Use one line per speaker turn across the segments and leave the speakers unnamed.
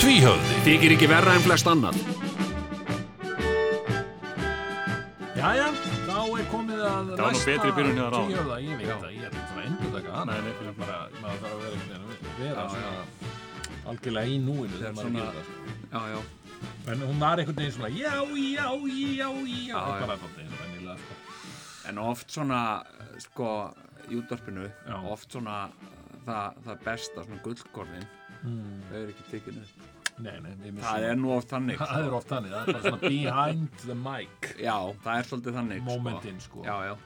Tvíhöfði
Þykir ekki verra en flest annan.
Jæja, þá er komið að
Það var nú betri byrjun hjá þér áðan.
tíu, ég veit það, ég er ekki svona endur taka hana
Nei,
en
nei, fyrir
bara, maður þarf að vera einhvern veginn að vera svona algjörlega í núinu þegar maður er
svona-
að gera það
Já, já.
sko. en hún var einhvern veginn svona já, já, já, já
Já, já.
bara þátti eins og vennilega sko.
En oft svona, sko, í útvarpinu,
Já.
oft svona það, það besta, svona gullkornin,
Hmm.
Mm.
þau eru ekki tekinu.
nei, nei, við missum
Það er nú oft þannig. sko.
það er oft þannig, það er bara svona behind the mic
Sko.
Já, það er svolítið þannig.
momentin sko
Já, já.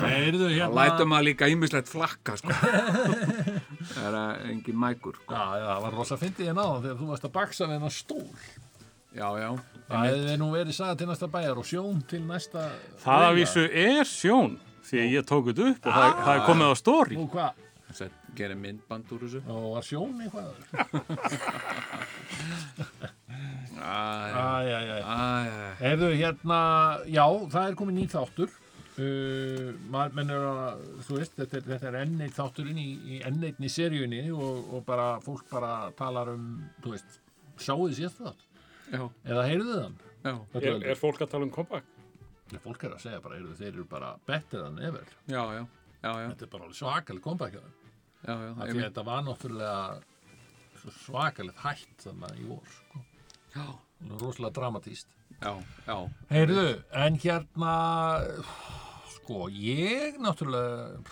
heyrðu
Það
hérna
lætur maður líka ímislegt flakka, sko. það er eh, engin mækur, sko.
já, já, það var rosa fyndið hérna áðan þegar þú varst að baksa við hennar stól
Já, já.
það hefði nú verið saga til næsta bæjar og sjón til næsta
Það að
miðla.
vísu er sjón því að ég tók þetta upp og það, það er komið á stóri
nú hvað
Sett, gerir myndband úr þessu.
og var sjón eitthvað
Æ,
Æ, æ, æ.
æ, æ.
Heyrðu, hérna, já, það er komið nýr þáttur. Uh, maður menn er að, þú veist, þetta er, þetta er enneitt þátturinn í, í enneitni seríunni og, og bara, fólk bara talar um, þú veist, sjáuði sér þátt
Já,
eða heyrðuð hann.
já,
Þetta
Er, er fólk að tala um kompakt?
er fólk er að segja bara, heyrðu, þeir eru bara better than ever.
já, já. Já, já,
Þetta er bara alveg svakaleg kompakjaður.
já,
Því
já,
að
einmitt.
þetta var náttúrulega svakalegt hætt þannig í vor, sko.
já,
Róslega dramatíst.
já, já,
Heyrðu, en hérna, sko, ég náttúrulega,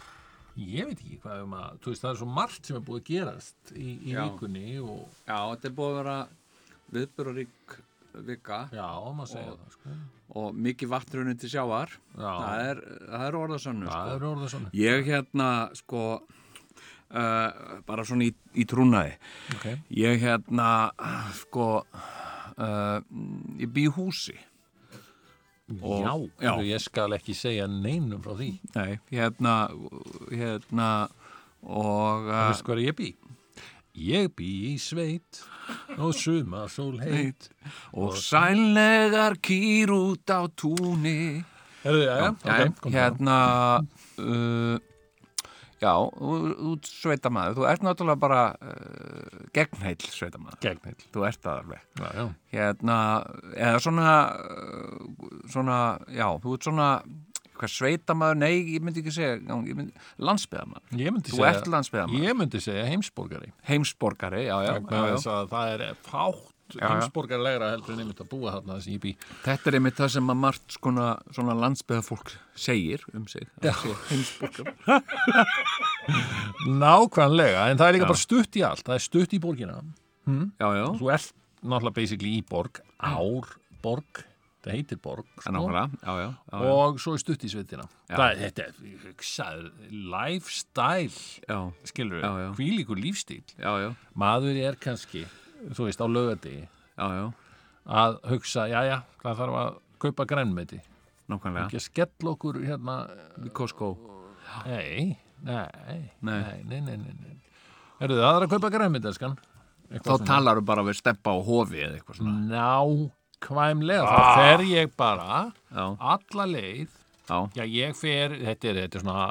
ég veit ekki hvað um að, þú veist, það er svo margt sem er búið að gerast í, í
Já.
vikunni og,
já, þetta er búið að vera viðbyrðarík vika
já, maður segja
Og-
það, sko.
og mikið vatnrunni til sjávar
Já,
það er, það er orðasönnu
það
sko.
er orðið svona.
ég hérna sko uh, bara svona í, í trúnaði
Ok.
ég hérna sko uh, ég bý í húsi og-
já,
já.
heyrðu, ég skal ekki segja neinum frá því.
Nei, hérna hérna og
Þú
uh,
veist hvað er ég bý? Ég bý í sveit og suma sól heit.
og sælnegar kýr út á túni
Heyrðu, já, já,
Já,
ok, kom það.
hérna uh, já, þú þú ert sveitamaður þú ert náttúrulega bara uh, gegnheil sveitamaður
Gegnheil,
þú ert það alveg
já, já.
hérna, eða svona uh, svona, já, þú ert svona hvað sveitamaður, nei, ég myndi ekki segja já, ég myndi, landsbyðamaður,
Ég myndi
Þú
segja,
ert landsbyggðarmaður.
Ég myndi segja heimsborgari.
heimsborgari já, já,
vegna
já,
þess
já.
að það er fátt
já.
heimsborgarlegra heldur en einmitt að búa þarna þess að ég bý
þetta er einmitt það sem að margt skona, svona landsbyðafólk segir um sig, að sé heimsborgari
Nákvæmlega, en það er líka bara stutt í allt það er stutt í borgina
já, já,
þú ert náttúrulega basically í borg ár, borg, það heitir borg sko,
en ákvæða já, já, já, já,
og svo er stutt í sveitina það, er- þetta er, hugsaður, lifestyle
já,
skilur
Já, já.
við, hvílíkur lífstíl
já, já,
maður er kannski, þú veist, á lögati
já, já.
að hugsa, já, já, hvað þarf að kaupa grænmeti,
Nákvæmlega.
ekki að skella okkur hérna
Í Costco.
Nei, nei,
Nei.
nei, nei, nei, nei, nei. Herðu, það er að kaupa græmyndelskan.
Þá talar þú bara við steppa á hofi eða eitthvað svona.
Nákvæmlega,
Ah.
þá fer ég bara
Já,
alla leið.
já,
Já, ég fer, þetta er, þetta er svona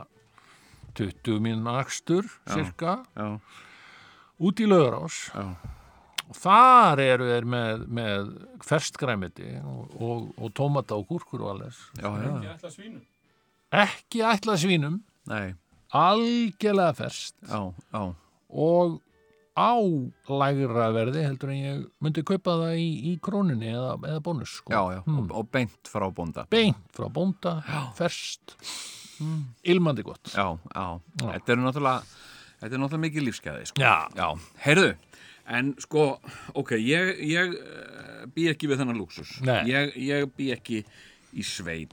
20 mínúna akstur, cirka,
já,
út í lögurás.
Já.
Og þar eru þeir með, með ferst græmyndi og, og, og tómata og gúrkur og alles.
já, já.
ætla svínu.
Ekki ætlað svínum,
Nei,
algjörlega ferst.
já, já,
og á lægra verði heldur en ég myndi kaupa það í, í krónunni eða, eða bónus sko.
já, já. Og, og beint frá bónda.
beint frá bónda, ferskt ilmandi gott
Mm. Já, já. Þetta er náttúrulega, þetta er náttúrulega mikið lífsgæði, sko.
já,
Já, heyrðu, en sko, ok, ég, ég uh, bý ekki við þennan lúksus.
Nei.
Ég, ég bý ekki í sveit.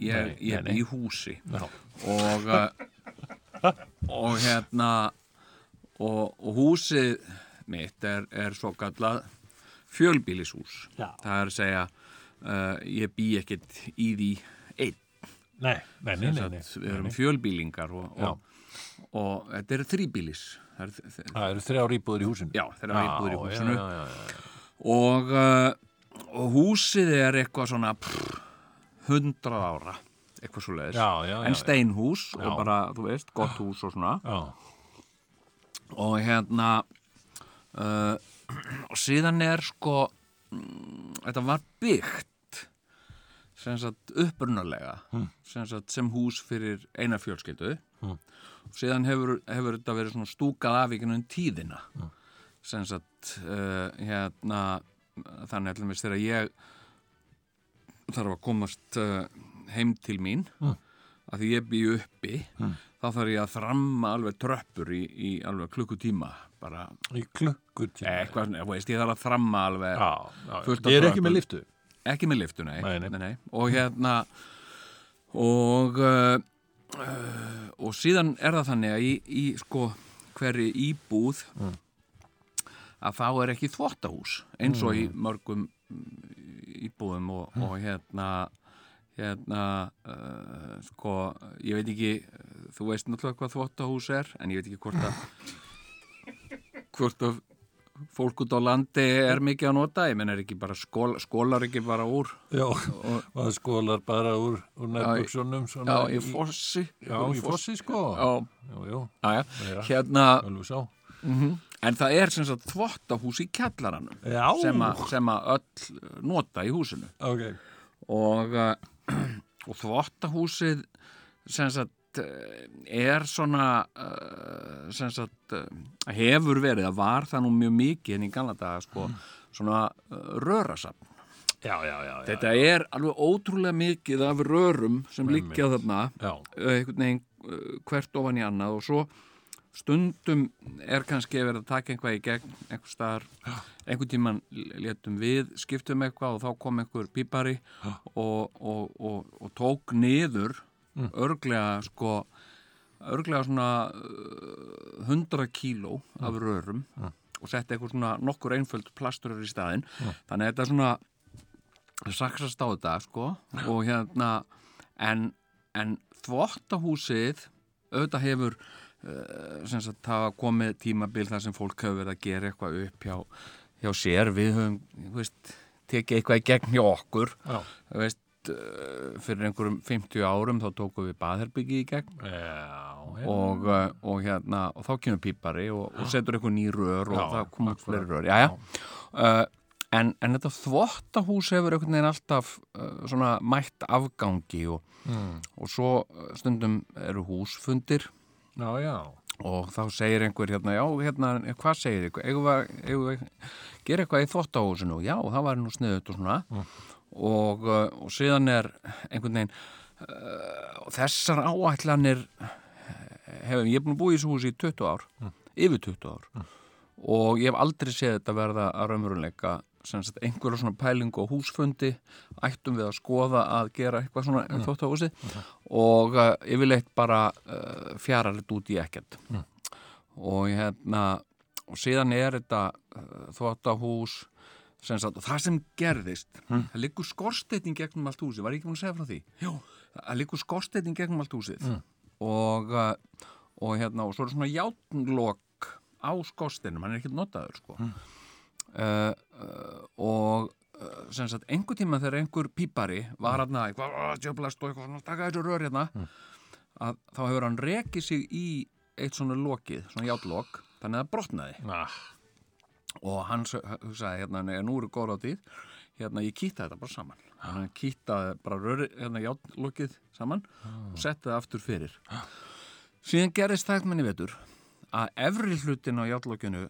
Ég,
Nei,
ég
nei,
bý í húsi.
já.
Og, uh, og hérna og, og húsið mitt er, er svo kallað fjölbýlishús
Já.
það er að segja uh, ég bý ekkit í því einn
Nei, nei, nei, nei, nei.
Satt, við erum fjölbýlingar og, og, og, þetta er þrýbýlis það er, þ- þ-
Það eru þrjár íbúður í húsinu
já, þeir eru íbúður í húsinu
já, já, já.
Og, uh, og húsið er eitthvað svona pff, 100 ára eitthvað svo leiðis
Já, já, já,
en
já.
steinhús
Já.
og bara, þú veist, gott hús og svona
Já.
og hérna uh, og síðan er sko mm, þetta var byggt sem sagt upprunalega sem sagt sem hús fyrir eina fjölskyldu og síðan hefur, hefur þetta verið svona stúkað af í gegnum tíðina sem sagt uh, hérna þannig allir mér þegar ég þarf að komast uh, heim til mín að því ég bý uppi þá þarf ég að þramma alveg tröppur í, í alveg klukkutíma bara
Í klukkutíma
eitthvað svona, þú veist, ég þarf að þramma alveg
Já, já,
Eh, Fullt
já.
af
Ég er ekki
tröppum.
með liftu
ekki með liftu, nei,
Nei, nei.
og hérna og uh, uh, og síðan er það þannig að í, í sko hverri íbúð að þá er ekki þvottahús eins og í mörgum mm, íbúðum og, og hérna hérna uh, sko, ég veit ekki uh, þú veist náttúrulega hvað þvottahús er en ég veit ekki hvort að hvort að fólk út á landi er mikið að nota ég menn er ekki bara skól, skólar ekki bara úr
Já, maður skólar bara úr, úr nærbuksunum
já, í fossi
Já, í fossi sko
já,
já, já,
já, já.
Meira.
hérna,
alveg sá
en það er sem sagt þvottahús í kjallaranum
Já,
sem, a, sem að öll nota í húsinu
ok
og, eh, og þvottahúsið sem sagt eh, er svona eh, sem sagt eh, hefur verið að var það nú mjög mikið en í gamla daga sko, svona eh, rörasafn
Já, já, já, já,
þetta er alveg ótrúlega mikið af rörum sem liggja þarna
já.
eh, einhvern veginn eh, hvert ofan í annað og svo stundum er kannski verið að taka einhvað í gegn einhver staðar, einhvern tíman létum við, skiptum eitthvað og þá kom einhver pípari og, og, og, og tók niður örglega sko örglega svona eh, 100 kíló af rörum og setti eitthvað svona nokkur einföld plasturur í staðinn þannig að þetta er svona saksast á þetta sko og hérna en, en þvottahúsið auðvitað hefur uh, sem sagt hafa komið tímabil þar sem fólk hefur verið að gera eitthvað upp hjá, hjá sér við höfum þú veist, tekið eitthvað í gegn hjá okkur
Já.
Þú veist, eh, fyrir einhverjum 50 árum þá tókum við baðherbyggi í gegn
já, já.
og, uh, og hérna og þá kemur pípari og, og setur eitthvað ný rör og
Já,
það koma upp fleiri rör já, já. Uh, en, en þetta þvottahús hefur einhvern veginn alltaf uh, svona mætt afgangi og, og svo uh, stundum eru húsfundir
já, já.
og þá segir einhver hérna, já, hérna, hvað segir þið, eigum við að- eigum við að gera eitthvað í þvottahúsinu, já, það var nú sniðut og svona og, uh, og síðan er einhvern veginn uh, og þessar áætlanir hefum, ég er búin að búa í þessu húsi í 20 ár, yfir 20 ár og ég hef aldrei séð þetta verða að raunveruleika sem sagt einhverja svona pælingu á húsfundi ættum við að skoða að gera eitthvað svona mm. þótt á húsi og uh, yfirleitt bara uh, fjara litt út í ekkert og hérna og síðan er þetta uh, þvóttahús sem sagt, og það sem gerðist það liggur skorsteitin gegnum allt húsið var ég ekki búin að segja frá því? Jó. það liggur skorsteitin gegnum allt húsið og, uh, og hérna og svo er svona játnlokk á skorsteinum, hann er ekkert notaður sko uh, uh, og uh, sem sagt, einhver tíma þegar einhver pípari var hann að eitthvað djöblast og eitthvað svona, taka þessu rör hérna að þá hefur hann rekið sig í eitt svona lokið, svona játlokk þannig að það brotnaði
Ah,
og hann s- hugsaði hérna, nei, nú eru góð á tíð hérna, ég kýtta þetta bara saman hann kýttaði bara röri, hérna, játlokið saman og setti það aftur fyrir síðan gerist það manni vetur að efri hlutin á játlokinu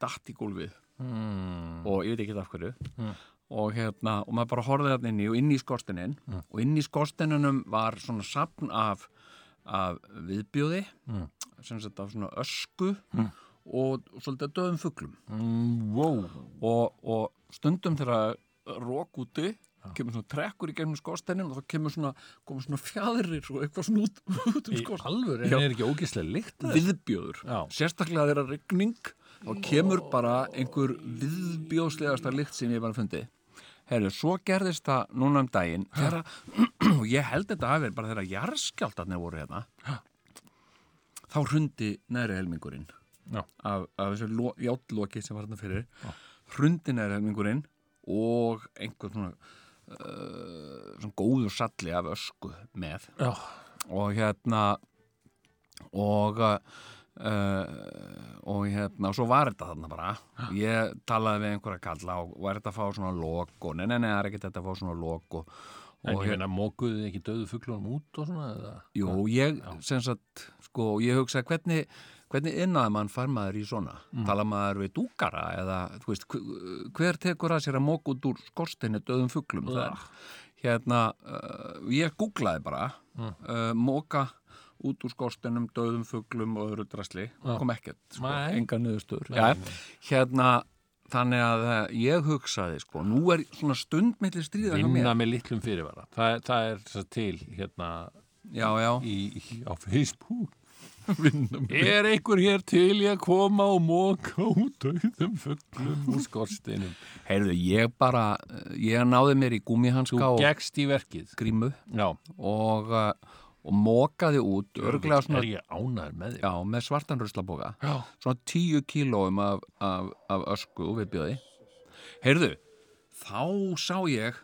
datt í gólfið mm. og ég veit ekki af hverju og hérna, og maður bara horfði þarna inn í og inn í skorstinin og inn í skorstininum var svona sapn af af viðbjóði sem sagt af svona ösku og, og svolítið döðum fuglum
mm, wow
og, og stundum þegar það er rók úti kemur svona trekkur í gegnum skorsteinin og þá kemur svona, koma svona fjaðrir og eitthvað svona út, út um
Í
skorsteinin
alvöru, en
Já.
er ekki ógeðslega lykt af þessu?
viðbjóður,
Já.
sérstaklega þeirra rigning og kemur bara einhver viðbjóðslegasta lykt sem ég bara fundi Herru, svo gerðist það núna um daginn þeirra, og ég held þetta hafi verið bara þeirra jarðskjáltarnir voru hérna þá hrundi næri helmingurinn
Já.
af, af þessu játloki sem var hérna fyrir Já. hrundi næri helmingurinn og einhver svona, uh, svona góður salli af ösku með
Já.
og hérna og uh, og hérna, svo var þetta þarna bara ég talaði við einhverja kalla og var þetta að fá svona lok og nei, nei, nei, það er ekki þetta að fá svona lok og,
En
og
ég meina, mókuðu þið ekki döðu fugglunum út og svona? Eða?
jú, ég sem sagt, sko, ég hugsaði hvernig hvernig innaði mann fær maður í svona
Mm.
tala maður við dúkara eða, þú veist, hver- hver tekur að sér að mók út úr skorstinu döðum fuglum það
Ah.
er, hérna uh, ég googlaði bara
Mm.
uh, móka út úr skorsteinum, döðum fuglum og öðru drasli,
Ah.
kom ekkert sko,
Nei.
enga niðurstöður ja, hérna, þannig að eh, ég hugsaði, sko, nú er svona stund milli stríða hjá mér
vinna með litlum fyrirvara það, það er svo til hérna
já, já,
í, í, á Facebook er einhver hér til í að koma og móka út auðum fuglum úr skorsteinum
heyrðu, ég bara eh, ég náði mér í
þú
gúmihanska og
gegst í verkið
grímu
já,
og, eh, og mókaði út örglega svona,
er ég ánæður með þig
já, með svartan ruslaboka
já,
svona tíu kílóum af, af, af ösku og viðbjöði heyrðu, þá sá ég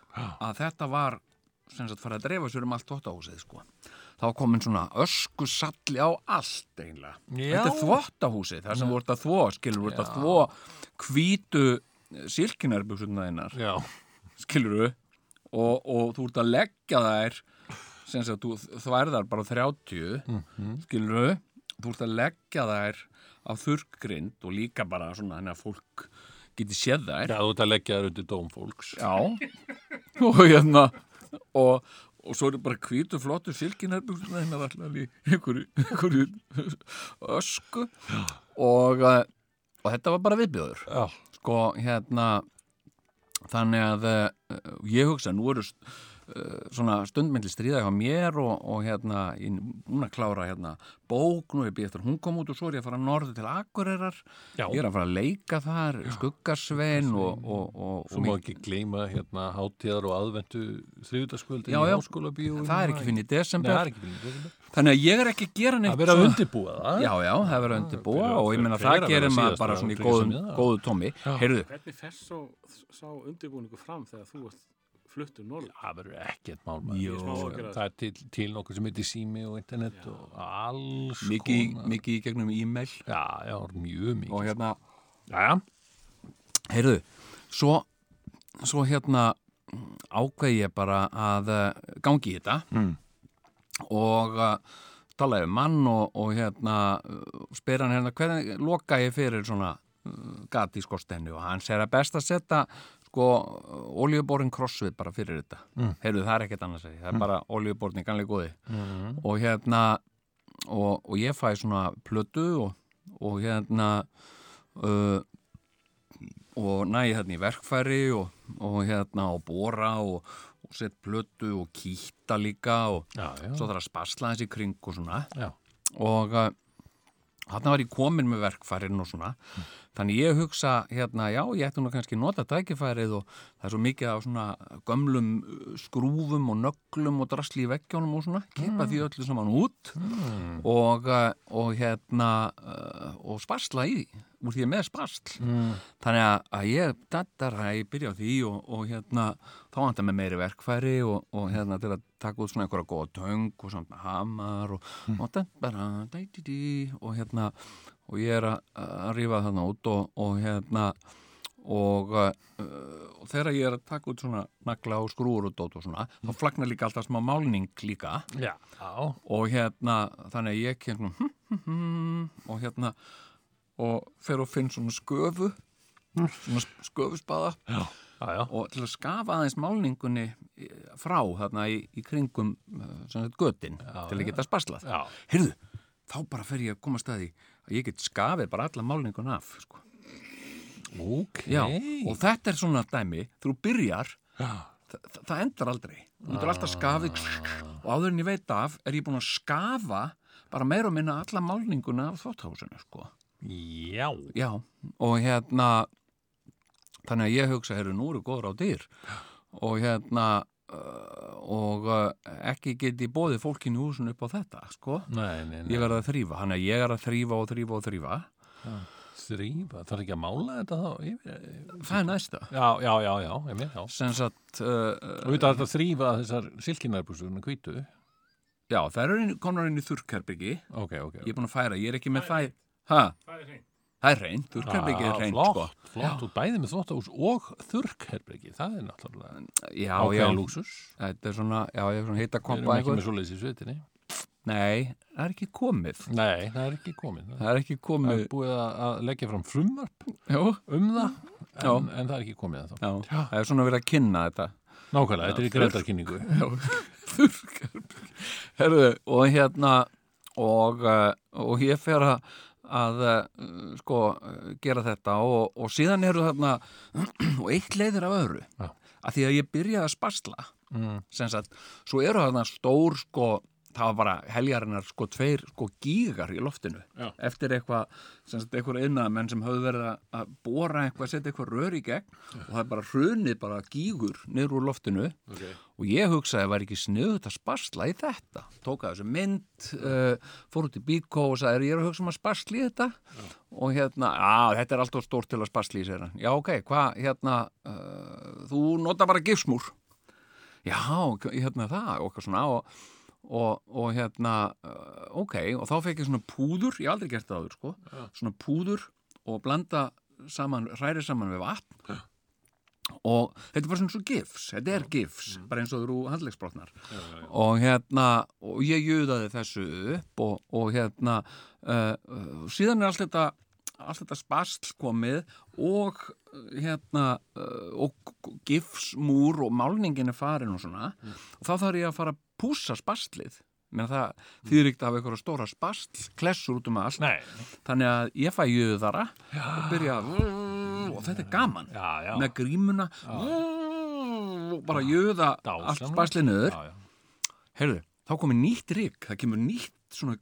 að þetta var sem sagt farið að dreifa sér um allt þvottahúsið sko. þá komin svona ösku salli á allt eiginlega
Já.
þetta er þvottahúsið, það sem voru þetta þvó skilur voru þetta þvó hvítu silkinarbuxurna þeinar
já.
skilur við og, og þú ert að leggja þær sem sagt, þú þværðar bara 30 mm skilur við þú ert að leggja þær á þurrgrind og líka bara svona þannig að fólk geti séð þær
já, þú ert að leggja þér undir dóm fólks
og hérna og, og svo er bara hvítu flottu silkinarbuxurnar hérna allar í einhverju, einhverju ösku og, eh, og þetta var bara viðbjöður
já,
sko hérna þannig að uh, ég hugsa nú eru uh, svona stundmyndli stríða hjá mér og, og hérna ég er búin að klára hérna bók nú ég býð eftir að hún kom út og svo er ég að fara norðu til Akureyrar
Já.
ég er að fara að leika þar skuggarsvein og, og, og,
þú
og
má
mikið-
ekki gleyma hérna hátíðar og aðventu þriðutaskvöldi
Já, já.
háskóla bíó
það er ekki finn í
Nei, það er
desember
ekki finn
þannig að ég er ekki að gera neitt
að vera að
svona-
undirbúa það
Já, já, það verður undirbúa
fyrir-
og ég meina
fyrir að
það
vera
gerir maður
síðasta
bara svona í
frísum
góðum,
í það.
góðu tómi. Heyrðu,
Hvernig fer svo, sá undirbúningu fram þegar þú ert fluttur norður?
Það verður ekkert mál maður.
Jó.
Ég skal- Það er til, til nokkuð sem heitir sími og internet og alls
mikið,
konar.
mikið í gegnum e-mail
Já, já, mjög mikið.
og hérna
já,
Heyrðu, svo, svo hérna ákveði ég bara að eh, gangi í þetta
Mm.
og eh, talaði við mann og, og hérna eh, spyr hann hérna hvernig loka ég fyrir svona eh, gat í skorstennu og hann segir að best að setja sko oljuborin krossvið bara fyrir þetta mm. heyrðu það er ekkert annars að því,
Mm.
það er bara oljuborin í ganlega góði
Mm-hmm.
mm. og hérna og, og ég fæ svona plötu og, og hérna uh, og næði hérna í verkfæri og, og hérna og bóra og, og sett plötu og kýta líka og
já, já.
svo þarf að spasla þessi kring og svona
já.
og uh, þarna var ég komin með verkfærin og svona þannig ég hugsa hérna já ég ætti nú kannski að nota tækifærið og það er svo mikið af svona gömlum uh, skrúfum og nöglum og drasli í veggjónum og svona kippa því öllu saman út og, uh, og hérna uh, og sparsla í því úr því ég er með sparsl þannig að, að ég dattar að ég byrja á því og, og hérna þá vantar með meiri verkfæri og, og hérna til að taka út svona einhverja góða töng og svona hamar og, og þetta bara dæ, dí, dí, og hérna og ég er að, að rífa þarna út og, og hérna og, uh, og þegar ég er að taka út svona nagla og skrúur og dót og svona þá flagnar líka alltaf smá málning líka
Já, já.
og hérna þannig að ég kem svona hm, hm, hm, og hérna og fer og finn svona sköfu svona s- sköfuspaða
já, já.
og til að skafa aðeins málningunni eh, frá þarna í, í kringum eh, sem sagt götin til að geta sparslað
Já.
heyrðu, þá bara fer ég að koma að staði að ég get skafið bara alla málningun af sko.
Ok.
Já, og þetta er svona dæmi, þegar þú byrjar það, það endar aldrei þú myndir
Ah.
alltaf skafið og áður en ég veit af er ég búin að skafa bara meira og minna alla málninguna af þótthásinu sko
Já.
já, og hérna þannig að ég hugsa, herru, nú eru góður á dýr og hérna uh, og uh, ekki geti bóðið fólkinu í húsinu upp á þetta sko,
Nei, nei, nei.
ég verð að þrýfa þannig að ég er að þrýfa og þrýfa og þrýfa
Þrýfa. Það er ekki að mála þetta þá yfir.
það er næsta
Já, já, já, já. Ég mér, já.
sem sagt, uh,
Og þetta er alltaf að þrýfa þessar silkinarbústurinn hvítu.
já, það eru inn- komnar inn í þurrkarbyggi
Ok, ok.
ég er búin að færa, ég er ekki með það ha,
Það er hreint.
það er reynd, þurrkarbyggi er reynd
Ah, flott,
sko.
flott, og bæði með þvóttahús og þurrkherbyggi, það er náttúrulega
já, já,
ákveðin lúksus
þetta er svona, já, ég er svona heita
við erum
kompa
ekki
eitthvað
með svoleiðis í sveitinni
nei, það er ekki komið
nei, það er ekki komin það
það er ekki komið
er búið að að leggja fram frumvarp
já,
um það,
Já.
en, en það er ekki komið ennþá.
já, það er svona verið að kynna þetta
nákvæmlega, þetta er í greindarkynningu
þurrkarbyggi herðu, og hérna og, eh, og ég fer að að eh, sko eh, gera þetta og, og síðan eru þarna og eitt leiðir af öðru
Já.
að því að ég byrjaði að spasla
mm.
sem sagt, svo eru þarna stór sko, það var bara heljarinnar sko tveir sko gígar í loftinu
Já.
eftir eitthvað, sem sagt, eitthvað innamenn sem höfðu verið að- að bóra eitthvað setja eitthvað rör í gegn og það er bara hrunið bara gígur niður úr loftinu
Ok.
og ég hugsaði að var ekki sniðut að spasla í þetta tók að þessu mynd uh, fór út í bíkó og sagði ég er að hugsa um að spasla í þetta og hérna, að þetta er alltaf stórt til að spasla í sér já ok, hvað, hérna uh, þú nota bara gifsmúr já, ok, hérna það okkar svona og, og, og hérna, uh, ok og þá fekk ég svona púður, ég hef aldrei gert það áður sko, svona púður og blanda saman, hræri saman við vatn og þetta er bara svona svo gifs, þetta er gifs
Mm.
bara eins og þú handlegsbrotnar og hérna, og ég juðaði þessu upp og, og hérna uh, uh, síðan er allt þetta allt þetta spasl komið og uh, hérna uh, og g- gifsmúr og málningin er farin og svona
Mm.
og þá þarf ég að fara að pússa spaslið menn það þýðir ekkert af einhverja stóra spasl klessur út um allt
nei,
þannig að ég fæ juðara og byrja að og þetta er gaman
já, já,
með grímuna og bara jöða
Dásamlegt.
allt spaslinuður
já, já.
heyrðu, þá komið nýtt rík, það kemur nýtt svona,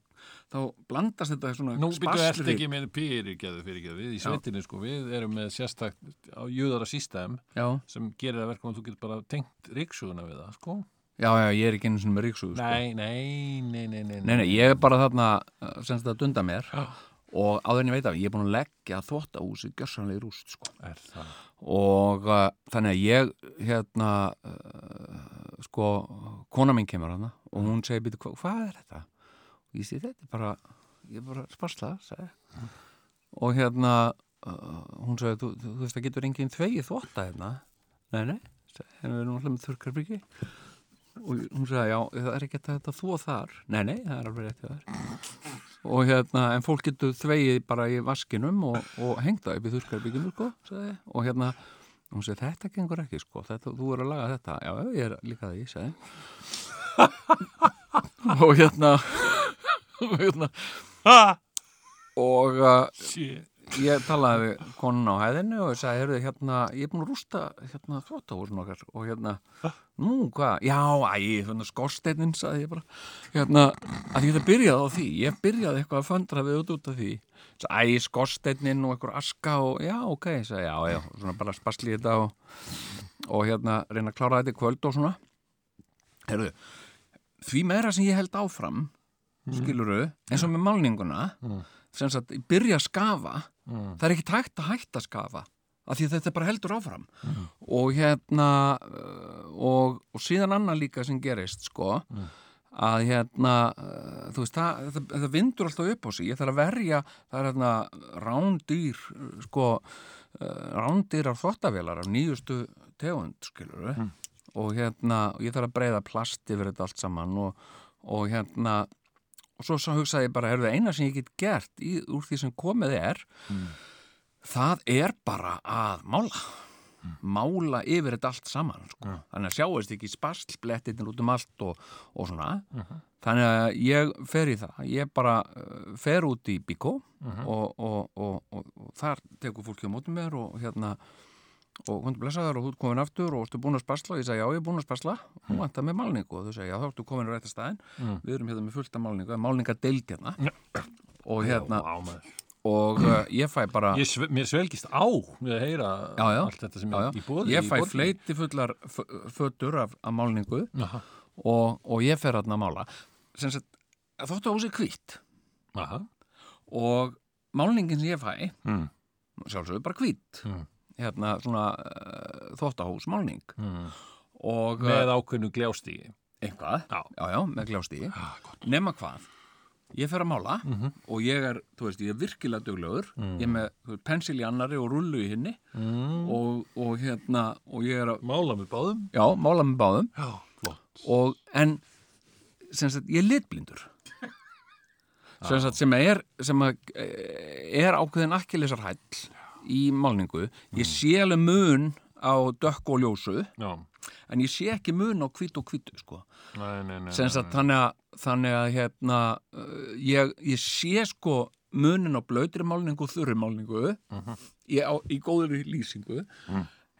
þá blandast þetta
Nú
svona
byrjuðu ert
spaslirík
ekki með fyrirgeðu fyrirgeðu, við í sveitinni sko, við erum með sérstakt á jöðara sístæðum
já,
sem gerir það verkum að þú getur bara tengt ríksuguna við það, sko.
já, já, ég er ekki einu svona með ríksuðu sko.
Nei, nei, nei, nei, nei,
nei, nei, ég er bara þarna uh, semst að dunda mér
Já.
og áður en ég veit af, ég er búin að leggja þvóttahúsi gjörsanlega í rúst sko.
Er það?
og uh, þannig að ég hérna uh, sko, kona mín kemur hana og hún segir, býtu, hva, hvað er þetta? og ég segi, þetta er bara ég er bara sparsla, sagði ég. og hérna uh, hún segir, þú, þú, þú veist, það getur enginn þvegið þvotta hérna nei, nei, sagði ég, en við erum alltaf með þurkarbyggi og hún segir, já, það er ekki þetta þú og þar nei, nei, það er alveg rétt hjá þér og hérna, en fólk getur þvegið bara í vaskinum og, og hengt það upp í þurkarbygginu, sko, sagði ég. og hérna hún segir, þetta gengur ekki, sko þetta, þú er að laga þetta, já, ég er líka það ég sagði og hérna og hérna og uh,
Shit.
ég talaði við konun á hæðinu og ég sagði, heyrðu, hérna, ég er búin að rústa hérna þvóttahúsin okkar og hérna, nú, hvað, já, æ, þannig skorsteinninn, sagði ég bara, hérna, að ég þetta byrjaði á því, ég byrjaði eitthvað að föndra við út út af því, sagði, æ, skorsteinninn og eitthvað aska og, já, ok, ég sagði, já, já, svona bara spasli þetta og, og hérna, reyna að klára þetta í kvöld og svona, heyrðu, því meira sem ég held áfram, skiluru, eins og með málninguna, sem sagt, byrja að skafa það er ekki tægt að hætta að skafa af því að þetta bara heldur áfram og hérna uh, og, og síðan annað líka sem gerist sko, að hérna uh, þú veist, það, það, það vindur alltaf upp á sig, ég þarf að verja það er hérna rándýr uh, sko, uh, rándýr af þvottavélar af nýjustu tegund, skilur við og hérna, og ég þarf að breyða plast yfir þetta allt saman og, og hérna og svo, svo hugsaði ég bara, herðu, eina sem ég get gert í, úr því sem komið er það er bara að mála mála yfir þetta allt saman sko. þannig að sjáist ekki sparslblettirnir út um allt og, og svona þannig að ég fer í það ég bara uh, fer út í Bíkó og, og, og, og, og þar tekur fólki á mótum mér og hérna og hún blessaður og þú ert komin aftur og ertu búin að spasla og ég sagði já ég er búin að spasla hún vantar með málningu og þú sagði já þá ertu komin að ræta staðin við erum hérna með fullt af málningu eða málningadeild hérna og hérna
Vá, maður.
og uh, ég fæ bara
Ég, sve- mér svelgist á við að heyra
já, já,
allt þetta sem
já, já.
er í bóði
ég fæ fleiti fullar fötur af, af málningu
Aha.
og, og ég fer hérna að mála sem sagt þóttu húsi hvítt
Aha.
og málningin sem ég fæ
Mm.
sjálfsögur bara hvít
Mm.
hérna svona uh, þóttahús málning
Mm.
og uh,
með ákveðnu gljástigi
eitthvað,
Já.
já, já með gljásti nema hvað ég fer að mála
Mhm.
og ég er, þú veist, ég er virkilega duglegur ég er með þú veist, pensil í annari og rullu í hinni
mm.
og, og hérna, og ég er að
mála með báðum
já, mála með báðum
já, flott
og en sem sagt, ég er litblindur sem sagt, sem er sem að, eh, er ákveðin akkilesar hæll í málningu ég sé alveg mun á dökku og ljósu
já.
en ég sé ekki mun á hvít og hvítu sko.
Nei, nei, nei,
sem
nei,
sagt, þannig að, þannig að hérna, eh, ég, ég sé sko munin á blöytri málningu og þurri málningu ég, á, í góðri lýsingu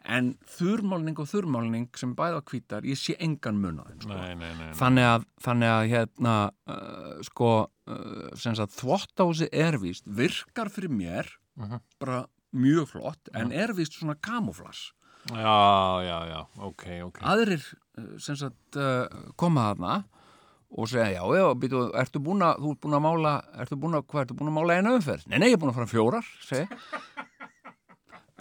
en þurrmálning og þurrmálning sem bæða hvítar, ég sé engan mun á þeim sko.
nei, nei, nei, nei.
Þannig að, þannig að hérna, uh, sko, uh, sem sagt, þvottási er víst, virkar fyrir mér, bara mjög flott, en er víst svona kamuflas.
já, já, já, ok, ok
Aðrir, uh, sem sagt, uh, koma þarna og segja, já, já, býtu, ertu búin að, þú ert búin að mála, ertu búin að, hvað, ertu búin að mála eina umferð? Nei, nei, ég er búin að fara fjórar, segja.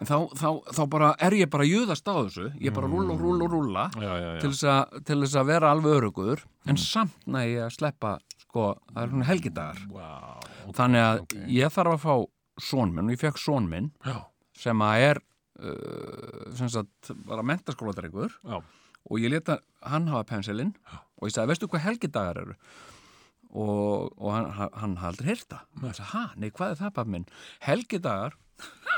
En Þá, þá, þá bara er ég bara að jöðast á þessu, ég bara rúla, rúla, rúla. Já.
já, já, Mm. já,
til þess, að, til þess að vera alveg örugur en samt næg ég að sleppa sko, það er svona helgidagar
wow.
þannig að ég þarf að fá són minn og ég fekk són minn
já,
sem að er uh, sem sagt bara mentaskóladrengur
já,
og ég leta hann hafa pensilinn og ég sagði, veistu hvað helgidagar eru? og, og hann, hann- hann hafði aldrei heyrt það hann sagði, hæ, nei, hvað er það bara minn? helgidagar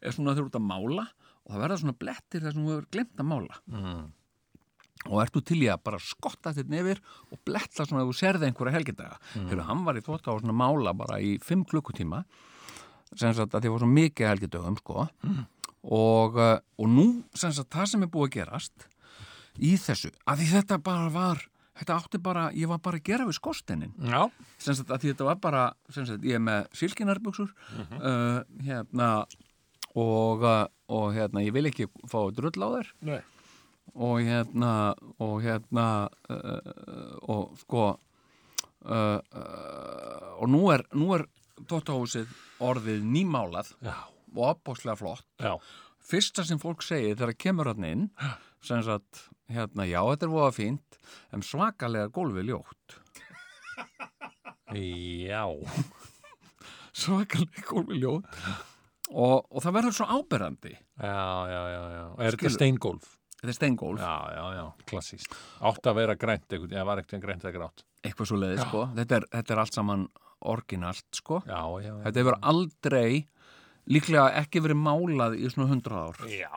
er svona þegar þú ert að mála og það verða svona blettir þar sem þú hefur glemt að mála
mm.
og ertu til í að bara skotta þetta nefir og bletta svona að þú serði einhverja helgidaga þegar hann var í þvótt á svona mála bara í fimm klukkutíma sem sagt að því var svo mikið af helgidögum sko og, eh, og nú sem sagt það sem er búið að gerast í þessu, að því þetta bara var þetta átti bara, ég var bara að gera við skorsteinin
já,
sem sagt að því þetta var bara sem sagt ég er með silkinarbuksur uh, hérna og, eh, og hérna ég vil ekki fá drull á þær
Nei.
og hérna og hérna uh, og sko uh, uh, og nú er, nú er Tóttahúsið orðið nýmálað
já,
og opbóðslega flott
já
fyrsta sem fólk segir þegar það kemur hann inn sem sagt, hérna, já, þetta er voða fínt en svakalega gólfið ljótt
Já,
svakalega gólfið ljótt og, og það verður svo áberandi
já, já, já, já. Er þetta
Skilur-
steingólf?
þetta er steingólf,
Já, já, já, klassíst Átt að vera grænt, einhvern- eða var ekkert grænt eða grátt
eitthvað svo leiði sko. þetta, er- þetta er allt saman orginalt sko.
Já, já, já
Þetta hefur aldrei líklega ekki verið málað í svona 100 ár.
Já,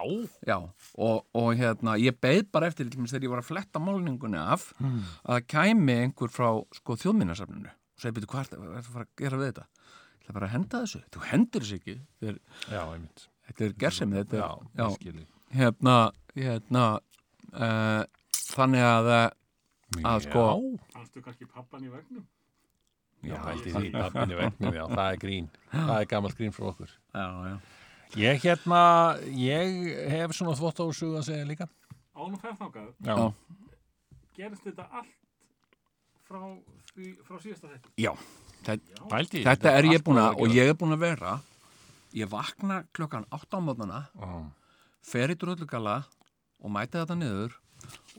Já, og, og hérna, ég beið bara eftir til dæmis þegar ég var að fletta málningunni af að það kæmi einhver frá sko, þjóðminnasafninu. Svo ég byrju, hvað ertu er að fara að gera við þetta? Það er bara að henda þessu. Þú hendur þessu ekki. Þetta er,
já, einmitt
þetta er gersemi, þetta
Já,
er,
ég skilji
hérna, hérna, uh, þannig að, eh, að sko,
Fannstu kannski pappan í vegnum?
Já, hældi því, pappinni vegnum, já, það er grín Það er gamalt grín frá okkur
já, já.
Ég hérna, ég hef svona þvótt að segja líka
Án og ferðnákað,
Já,
Já.
gerist þetta allt frá, því, frá síðasta þetta?
já. Þetta,
hældi
þetta er ég búin að, og ég er búin að vera, ég vakna klokkan 8 á mótnana fer í drullugala og mæta þetta niður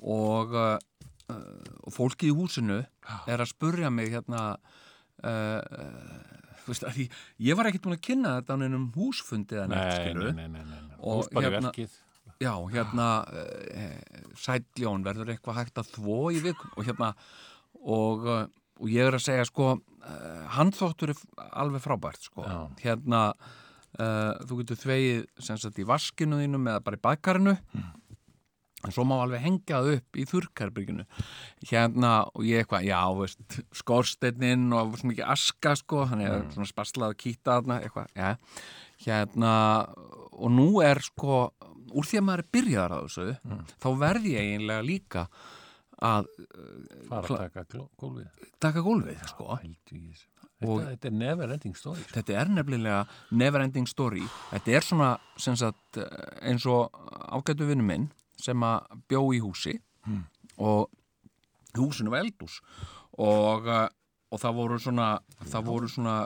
og, uh, uh, og fólki í húsinu er að spurja mig hérna uh, uh, þú veist, að því, ég var ekkert búin að kynna þetta á neinum húsfundi eða neitt
Nei,
skilurðu.
nei, nei, nei, nei.
Og
Húsbæri
hérna-
verkið
Já, hérna uh, sætljón verður eitthvað hægt að þvó í vikun og hérna og, eh, og ég er að segja sko uh, handþóttur er f- alveg frábært sko,
Já.
hérna uh, þú getur þvegið sem sagt í vaskinu þínum eða bara í bakarinu en svo má alveg hengja það upp í þurrkarbyrginu hérna og ég eitthvað, já, veist skorsteinninn og svo mikið aska sko, hann er svona spaslað að kýta þarna eitthvað, já, hérna og nú er sko úr því að maður er byrjaðar á þessu þá verð ég eiginlega líka að
fara að taka gló- gólfið
taka gólfið sko.
Pældu í þessu.
Og-
þetta, þetta er never ending story sko.
þetta er nefnilega never ending story þetta er svona sem sagt, eins og ágætu vinnu minn sem að bjó í húsi og í húsinu var eldús og, eh, og það voru svona það voru svona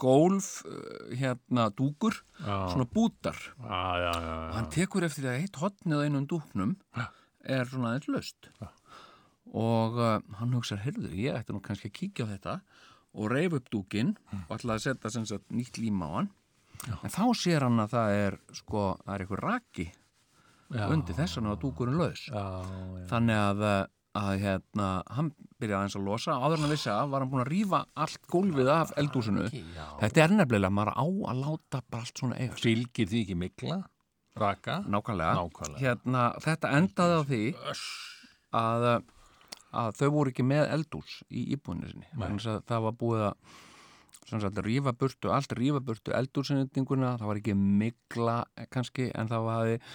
gólf eh, hérna dúkur
Já.
svona bútar
ah, já, já,
og hann tekur eftir því að eitt hotnið á einum dúknum er svona aðeins löst og uh, hann hugsar, heyrðu, ég ætti nú kannski að kíkja á þetta og reyf upp dúkin og ætlaði að setja sem sagt nýtt líma á hann en þá sér hann að það er sko, það er einhver raki
Já.
undir þess að dúkurinn laus
já, já.
þannig að, uh, að hérna, hann byrjaði aðeins að losa áður en að vissi að var hann búin að rífa allt gólfið af eldúsinu þetta er nefnilega, maður á að láta bara allt svona eiga sig.
fylgir því ekki mikla raka
Nákvæmlega.
Nákvæmlega.
Hérna, þetta endaði á því að, að þau voru ekki með eldús í íbúinu sinni. Þannig að það var búið að sem sagt, rífa burtu, allt rífa burtu eldúsinnendinguna, það var ekki mikla eh, kannski, en það var eh,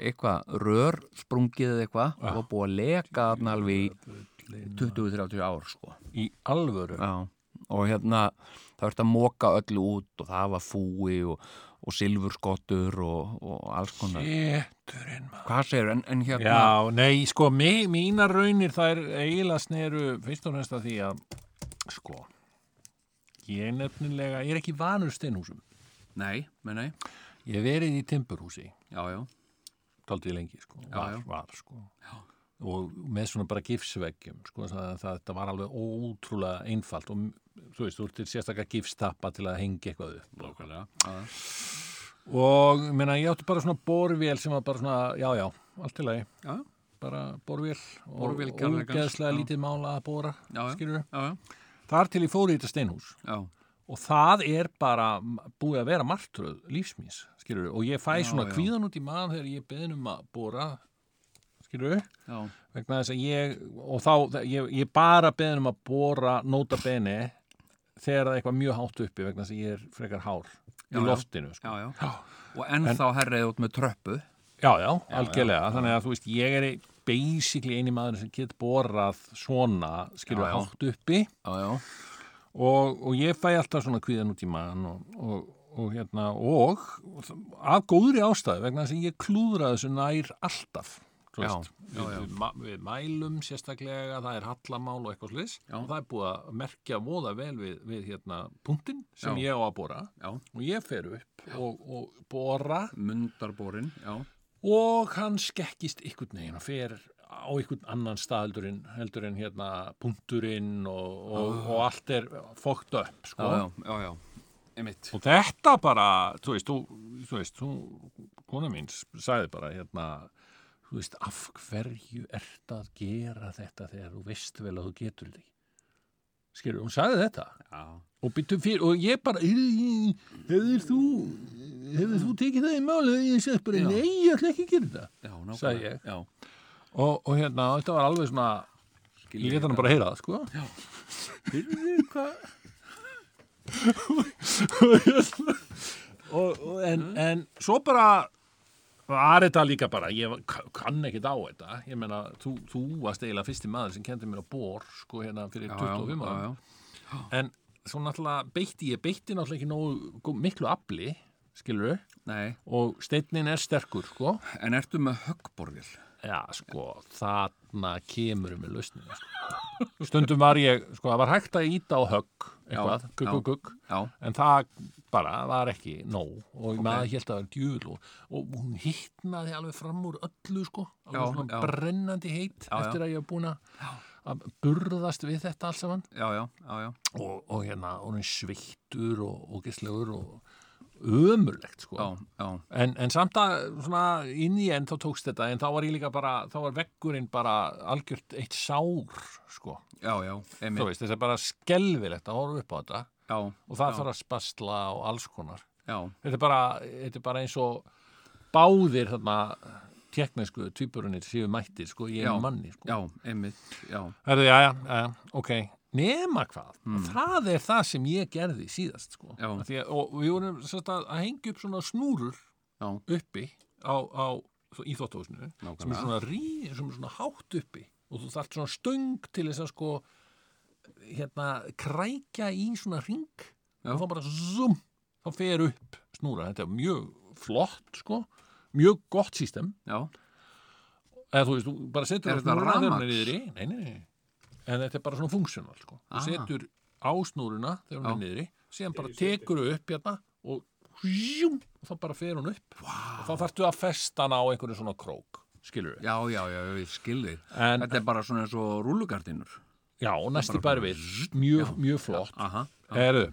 eitthvað rör sprungið eða eitthvað og var búið að leka þarna alveg í 20-30 ár sko.
í alvöru
Já, og hérna það verður að móka öllu út og það var fúi og, og silfurskottur og, og alls konar
Geturinn maður
Hvað segir, en, en hérna
Já, nei, sko, mi- mínar raunir það er eiginlega sneru fyrst og næsta því að sko, ég nefnilega ég er ekki vanur steinhúsum
Nei, nei, nei,
ég hef verið í timburhúsi
já, já,
taldið lengi sko, var,
já.
var sko já. og með svona bara gifsveggjum sko, það, það, það var alveg ótrúlega einfalt og þú veist, þú ert til sérstaklega gifstappa til að hengja eitthvað upp Lókulega. og ég meina, ég átti bara svona borvél sem var bara svona, já, já, allt í lagi
já,
bara borvél og
Borvél kærleikans,
ógeðslega
já.
lítið mála að bóra
Já, já.
skilur
já, já,
þar til ég fór í þetta steinhús
já,
og það er bara búið að vera martröð lífsmins, skilur og ég fæ svona
já.
kvíðan út í maðan þegar ég beðin um að bóra skilur
já,
vegna þess að ég og þá, ég, ég bara beðin um að bóra nota beni þegar það er eitthvað mjög hátt uppi vegna þess að ég er frekar hár
Já,
í
já.
loftinu sko.
já, já. Og ennþá herrið út með tröppu
Já, já, algjörlega. Þannig að þú veist, ég er basically eini maður sem get borað svona, skilur,
Já, já.
hátt uppi
Já, já,
og, og ég fæ alltaf svona kvíðan út í maðan og, og, og hérna, og af góðri ástæðu vegna þess að ég klúðra þessu nær alltaf. þú
Já,
veist.
já, já.
Við, ma- við mælum sérstaklega, það er hallamál og eitthvað slis
Já.
og það er búið að merkja voða vel við, við hérna, punktinn sem
Já.
ég á að bora
já,
og ég fer upp og, og bora
mundarborin, já
og hann skekkist ykkur neginn og fer á ykkur annan stað heldur en, heldur en hérna punkturinn og, og, og allt er fókt upp sko.
Ah. Já, já, já, já, einmitt
og þetta bara þú veist, þú, þú veist þú, kona mín sagði bara hérna þú veist, af hverju ert að gera þetta þegar þú veist vel að þú getur þetta ekki skilur, hún sagði þetta
Já,
og, byrju fyrir, og ég bara "Yrði, hefur þú hefur þú tekið það í máli ég sagði bara,
Já.
nei, ég ætla ekki að gera þetta
já, nákvæmlega
Sagði ég.
Já,
og, og hérna, þetta var alveg svona ég
skil
leta hann bara heyra það, sko já, og, og, en, en svo bara var þetta líka bara ég k- kann ekkit á þetta ég meina, þú, þú varst eiginlega fyrsti maður sem kendi mér á bor, sko, hérna fyrir 25
já, já,
ára, en svo náttúrulega beitti, ég beitti náttúrulega ekki nógu gó- miklu afli, skilur
já, nei
og steinnin er sterkur, sko
En ertu með höggborðil?
Já, sko, þarna kemur við lausninu, sko. Stundum var ég, sko, það var hægt að íta á högg, eitthvað,
Já,
gugg,
já.
gugg, gugg,
Já,
en það bara var ekki nóg og maður held að það var djúl og, og hún hittnaði alveg fram úr öllu, sko, alveg
Já,
svona
já.
brennandi heitt
já.
eftir að ég hef búin að burðast við þetta alls saman
já, já, já, já
og, og hérna, og hún sveittur og, og gæslegur og ömurlegt, sko.
Já, já,
En, en samt að svona inn í enn þá tókst þetta en þá var ég líka bara, þá var veggurinn bara algjört eitt sár sko,
já, já,
þú
einmitt
veist, þess að bara skelfilegt að horfa upp á þetta
Já,
og það þarf að spasla og alls konar
já,
þetta er bara, þetta er bara eins og báðir þarna teknesku tvíburunir séu mættir sko, í
Já.
einu manni sko.
já, einmitt, já
Herðu, já, já, já, ok. Hmm. Nema hvað, það er það sem ég gerði síðast, sko.
Já.
Af því Að, og við vorum sérst, að, að hengja upp svona snúrur
Já.
uppi á, á þó- í þóttóðsnu sem er svona rí, sem er svona hátt uppi og þú þarft svona stöng til þess að sko hérna krækja í svona ring og þá bara zoom, þá fer upp snúra, þetta er mjög flott sko, mjög gott sístem
já,
eða þú veist, þú bara setur
Er þetta
snúruna þegar hún
rafmagns?
niðri nei, nei, nei, en þetta er bara svona funksjónal sko. þú
Ah.
setur á snúruna þegar hún er
Já.
niðri, síðan bara tekur þú upp hérna og hjúm, og þá bara fer hún upp wow. og þá þarftu að festa hana á einhverju svona krók skilur við,
já, já, já, ég skilði
En-
þetta er bara svona eins og rúlugardinur
já, og næsti bara við mjög, mjög flott
aha,
Heru,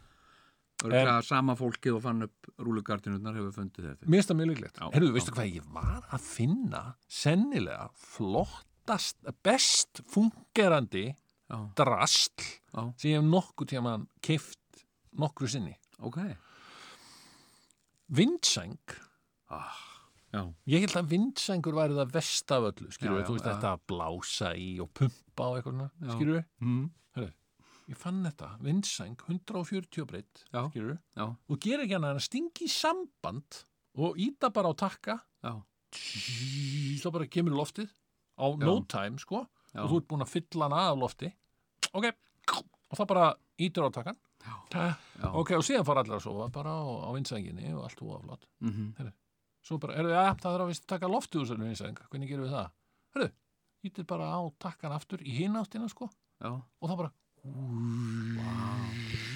örgla sama fólkið og fann upp rúlugardinunar hefur fundið þetta
mér stað mjög líklegt
Já,
Heru, veistu hvað ég var að finna sennilega flottast best fungerandi
já,
drastl
Já.
sem ég hef nokkuð tíma keift nokkru sinni
ok,
vindsæng
já,
ég held að vindsængur væri það vest af öllu skilur
Já,
við,
já,
þú veist
já.
þetta að blása í og pumpa og eitthvað svona, skilur við
mm.
ég fann þetta, vindsæng, 140 breytt
Já.
skilur við,
já,
og gerir ekki hann að stingi í samband og íta bara á takka
já,
Tss, þá bara kemur í loftið á no time sko
Já.
og þú ert búin að fylla hana af lofti ok, og það bara ítur á takkan já.
Já.
ok, og síðan fara allir að sofa bara á, á vinsænginni og allt úaflott
mhm,
svo bara, erum við að það þarf að víst taka loftið úr sérnum vinsæng, hvernig gerum við það hörðu, ítir bara á takkan aftur í hináttina sko,
já
og það bara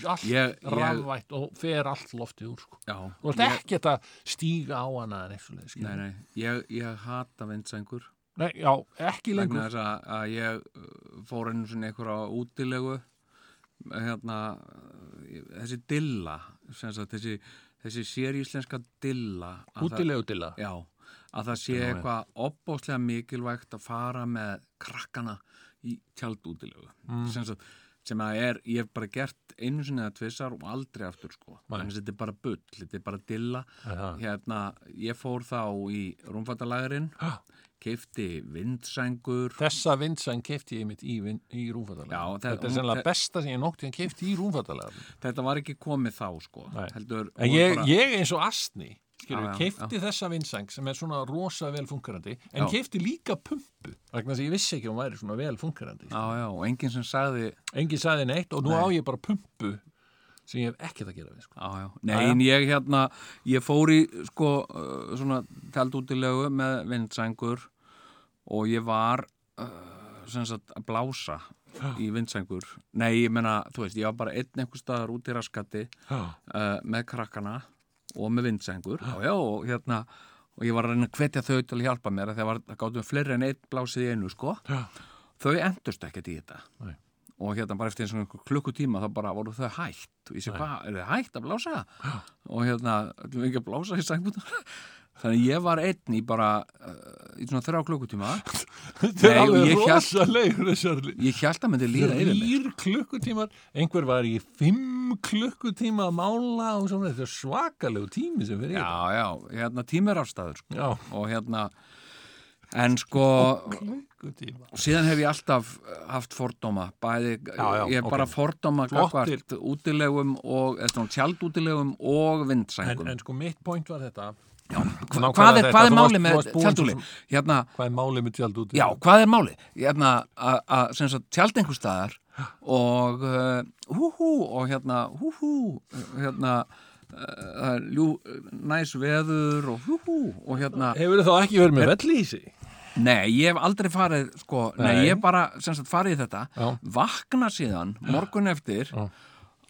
allt
Ég- ég-
rafvætt og fer allt loftið úr sko.
já,
þú ert ekkert að stíga á hana eða neitt svoleiðis, skilur
nei,
við.
nei, ég, ég hata vindsængur
Nei, já, ekki lengur
vegna þess að, að ég uh, fór einu svona einhverja útilegu hérna uh, þessi dilla sem sagt, þessi, þessi séríslenska dilla að það-
útilegu til það
já, að það sé eitthvað opbóðslega mikilvægt að fara með krakkana í tjaldútilegu
Mm.
sem, sagt, sem að er, ég hef bara gert einu sinni eða tvissar og aldrei aftur sko þannig að þetta er bara bull, þetta er bara dilla
Aha.
hérna, ég fór þá í rúmfattalagarinn
Ha.
keifti vindsængur
Þessa vindsæng kefti ég mitt í, vin- í rúmfattalega.
Já, það-
þetta er
hún-
sennilega
það-
besta sem ég nótti hann kefti í rúmfattalega.
þetta var ekki komið þá sko
Nei.
heldur,
En
voru
ég,
bara,
ég eins og astni, skilur við,
Já, já,
kefti þessa vindsæng sem er svona rosa vel funkarandi, en
Já.
kefti líka pumpu, vegna þess að ég vissi ekki að hún væri svona vel funkarandi.
já, já, og enginn sem sagði
Engin sagði neitt og nú á ég bara pumpu sem ég hef ekkert að gera við, sko.
já, já. nei, en ég hérna ég fór í sko uh, svona tjaldútilegu með vindsængur og ég var uh, sem sagt að blása í vindsængur, nei, ég menna þú veist, ég var bara einn einhver staðar út í raskatti uh, með krakkana og með vindsengur já, já, og, hérna, og ég var að reyna að hvetja þau til að hjálpa mér að það var gáttum fleiri en einn blásið í einu sko.
Já.
þau endurst ekkert í þetta
Nei.
og hérna bara eftir eins og einhver klukkutíma þá bara voru þau hætt og ég segi hvað, er þau hætt að blása já. og hérna, ætlum við ekki að blása í senguna þannig ég var einn í bara uh, í svona þrjá klukkutíma
Þetta er
Nei, og
alveg
ég hélt-
rosa leigur þessar
ég hjælt að myndi líða yfir mig
Þrýr klukkutímar, einhver var í fimm klukkutíma að mála og svona, þetta er svakalegu tími sem fyrir í
já, já, hérna tímir afstæður sko.
þetta. Já.
og hérna en sko,
klukkutíma
og síðan hef ég alltaf eh, haft fordóma bæði,
já,
ég hef
ok.
bara fordóma
Flottir.
gagvart útilegum og eða, tjaldútilegum og
en,
vindsængum
en sko mitt point var þetta
Hva,
nákvæmlega
hvað er,
þetta,
hvað er
þú varst-
málið
þú
með
varst búin
tjaldúli?
svo-
Hérna,
hvað er málið með tjald út
já, hvað er málið? Hérna, að- að sem sagt tjald einhver staðar og eh, húhú og hérna húhú hérna eh, það er ljú, næs veður og húhú og hérna
hefur þá ekki verið með vellísi
Nei, ég hef aldrei farið, sko, nei,
Nei.
ég hef bara, sem sagt, farið í þetta,
Já.
vakna síðan, morgun eftir,
Já.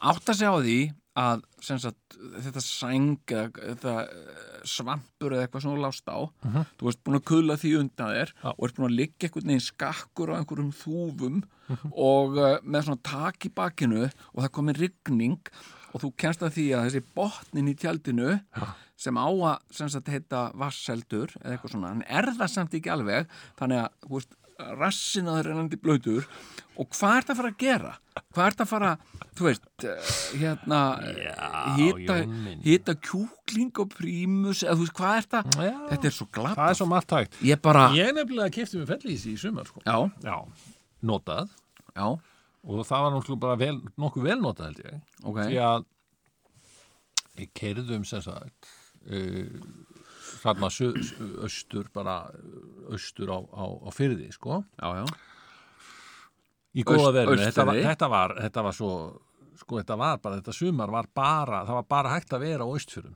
átta sig á því að, sem sagt, þetta sæng, eða þetta eh, svampur eða eitthvað sem þú lást á, þú ert búin að kula því undan þér
Mhm. Já.
og ert búin að liggja einhvern veginn skakkur á einhverjum þúfum
Mhm.
og uh, með svona tak í bakinu og það komin rigning og þú kennst að því að þessi botnin í tjaldinu sem á að sem sagt heita vasseldur eða eitthvað svona, en er það samt ekki alveg þannig að, þú veist, rassin á þeirra ennandi blöytur og hvað er það að fara að gera? Hvað er það að fara, þú veist, eh, hérna
Já,
hýta,
Jón minn.
hýta kjúkling og prímus, eða þú veist, hvað er það?
Já.
Þetta er svo glatt.
það er svo margt hægt
Ég bara,
ég nefnilega kefti með vellísi í sumar sko.
já,
já, notað
já,
og það var náttúrulega bara vel, nokkuð vel notað held ég
ok,
um, því að ég keirðum sem sagt uh, þarna su- su- austur bara eh, austur á, á, á fyrði sko
já, já,
í góða
Aust-
verðinu, þetta, var-
austurði.
þetta var þetta var svo, sko þetta var bara þetta sumar var bara, það var bara hægt að vera á austfjörum,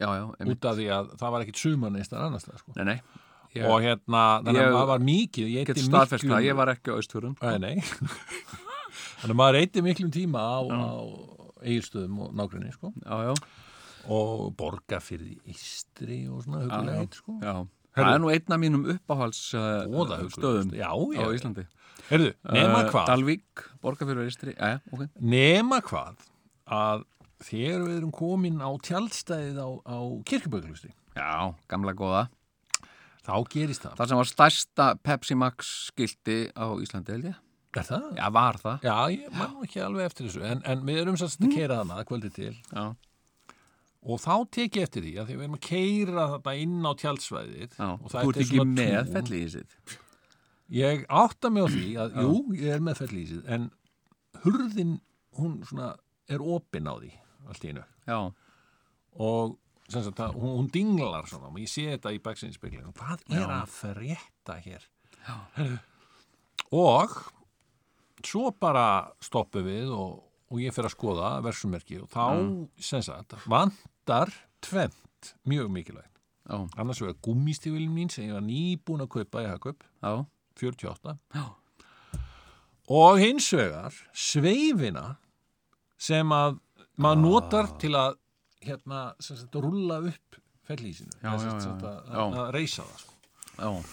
já, já einmitt.
út af því að það var ekkit sumar neist en annars það, sko.
Nei, nei, Ég-
og hérna, þannig
Ég-
að maður var mikið ég
get
eyddi
staðfest
miklu-
það, ég var ekki á austfjörðum
Nei, nei. þannig að maður eitti miklum tíma á, á eigirstöðum og nágrinni sko.
Já, já,
og borga fyrir ístri og svona hugulegt sko.
já Það er nú einn af mínum uppáhalds
Voða
uh,
hugulegt.
stöðum
sko. Já,
á
já.
Íslandi
Herðu, nema
Eh,
hvað
Dalvík, Borgarfjörður Ístri Já, já, ok
nema hvað að þegar við erum komin á tjaldstæðið á, á kirkjubökulustri
Já, gamla góða
þá gerist það.
Það sem var stærsta Pepsi Max skilti á Íslandi, held ég
Er það?
Já, var það
Já, ég man nú ekki alveg eftir þessu en, en við erum
Mm.
sannst að keira þarna kvöldi til
Já,
og þá tek ég eftir því að því við erum að keira þarna inn á tjaldsvæðið
já
og
Þú ert
er
ekki
svona
með
tún.
felli í sitt
Ég átta mig á því að, jú, ég er með fellísið en hurðin, hún svona er opin á því, allt í einu
Já,
og sem sagt, það, hún, hún dinglar svona og ég sé þetta í baksinspeglinu hvað er
Já.
að frétta hér Heyrðu. og svo bara stoppum við og, og ég fer að skoða versumerki og þá sem sagt, vantar tvent mjög mikilvægt
já,
annars vegar gummistífilin mín sem ég var nýbúin að kaupa í Hagkaup
já
48 Já. og hins vegar sveifina sem að
Ah.
maður notar til að hérna, sem sagt, rúlla upp fellísinu,
Já,
Eða sem
já, já,
sagt,
já.
að,
Já.
að- að reysa það sko.
Já,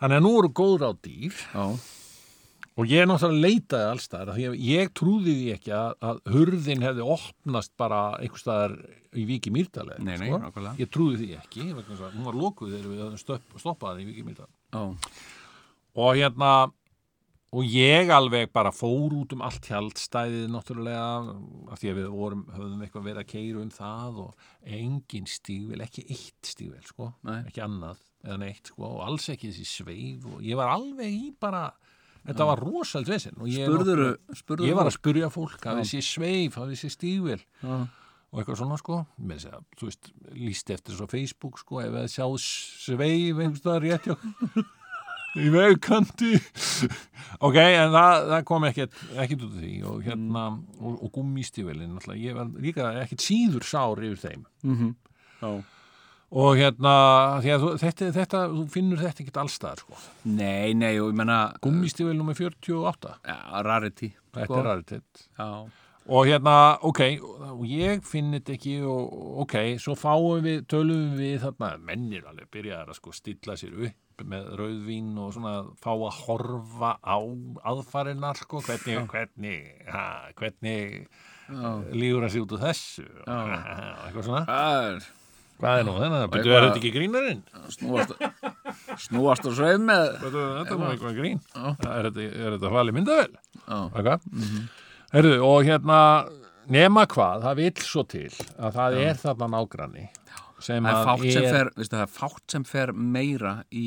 þannig að nú eru góð ráð dýr
já,
og ég náttúrulega leitaði alls þar því að ég trúði því ekki að, að hurðin hefði opnast bara einhvers staðar í Viki Mýrdalegi
Nei, nei, nákvæmlega.
sko. ég trúði því ekki, vegna þess að hún var lokuð þegar við höfum stöpp- stoppað hann í Viki Mýrdalegi
já
og hérna og ég alveg bara fór út um allt tjaldstæðið náttúrulega af því að við vorum, höfðum eitthvað verið að keira um það og engin stígvel ekki eitt stígvel sko
Nei.
ekki annað eða neitt sko og alls ekki þessi sveif og ég var alveg í bara þetta var rosald vesinn og ég,
Spurðuru,
náttúrulega-
spurðuru
ég var að spurja fólk að þessi sveif, að þessi stígvel
Já,
og eitthvað svona sko með þess að, þú veist, líst eftir þessu á Facebook sko, ef það sjá sveif einhvers staðar rétt hjá í vegkanti ok, en það, það kom ekkert ekkert út af því og hérna
Mm.
og, og gummistífilin, náttúrulega, ég var líka ekkert síður sár yfir þeim
Mhm. já
og hérna, því að þú, þetta, þetta þú finnur þetta ekkert allstaðar sko
Nei, nei, og ég menna
gummistífil nummer 48,
Já, rarity
þetta
sko.
er raritet
Já,
og hérna, ok, og ég finn þetta ekki og ok, svo fáum við, tölum við þarna, mennir alveg byrjaðar að sko stilla sér upp með rauðvín og svona fá að horfa á aðfarinnar sko, hvernig, hvernig, ha, hvernig lígur að sé út úr þessu og eitthvað svona.
það er
Hvað er nú þennan? Byrju,
eitthvað-
er þetta ekki grínarinn?
snúast, snúast og sveif með
Þetta þetta var eitthvað grín. Er þetta, er þetta hvali myndavel?
Já. Mhm.
Okay. Herðu, og hérna, nema hvað, það vill svo til að það er þarna nágranni sem
það er
að
fátt sem
er,
fer, veistu, það er fátt sem fer meira í,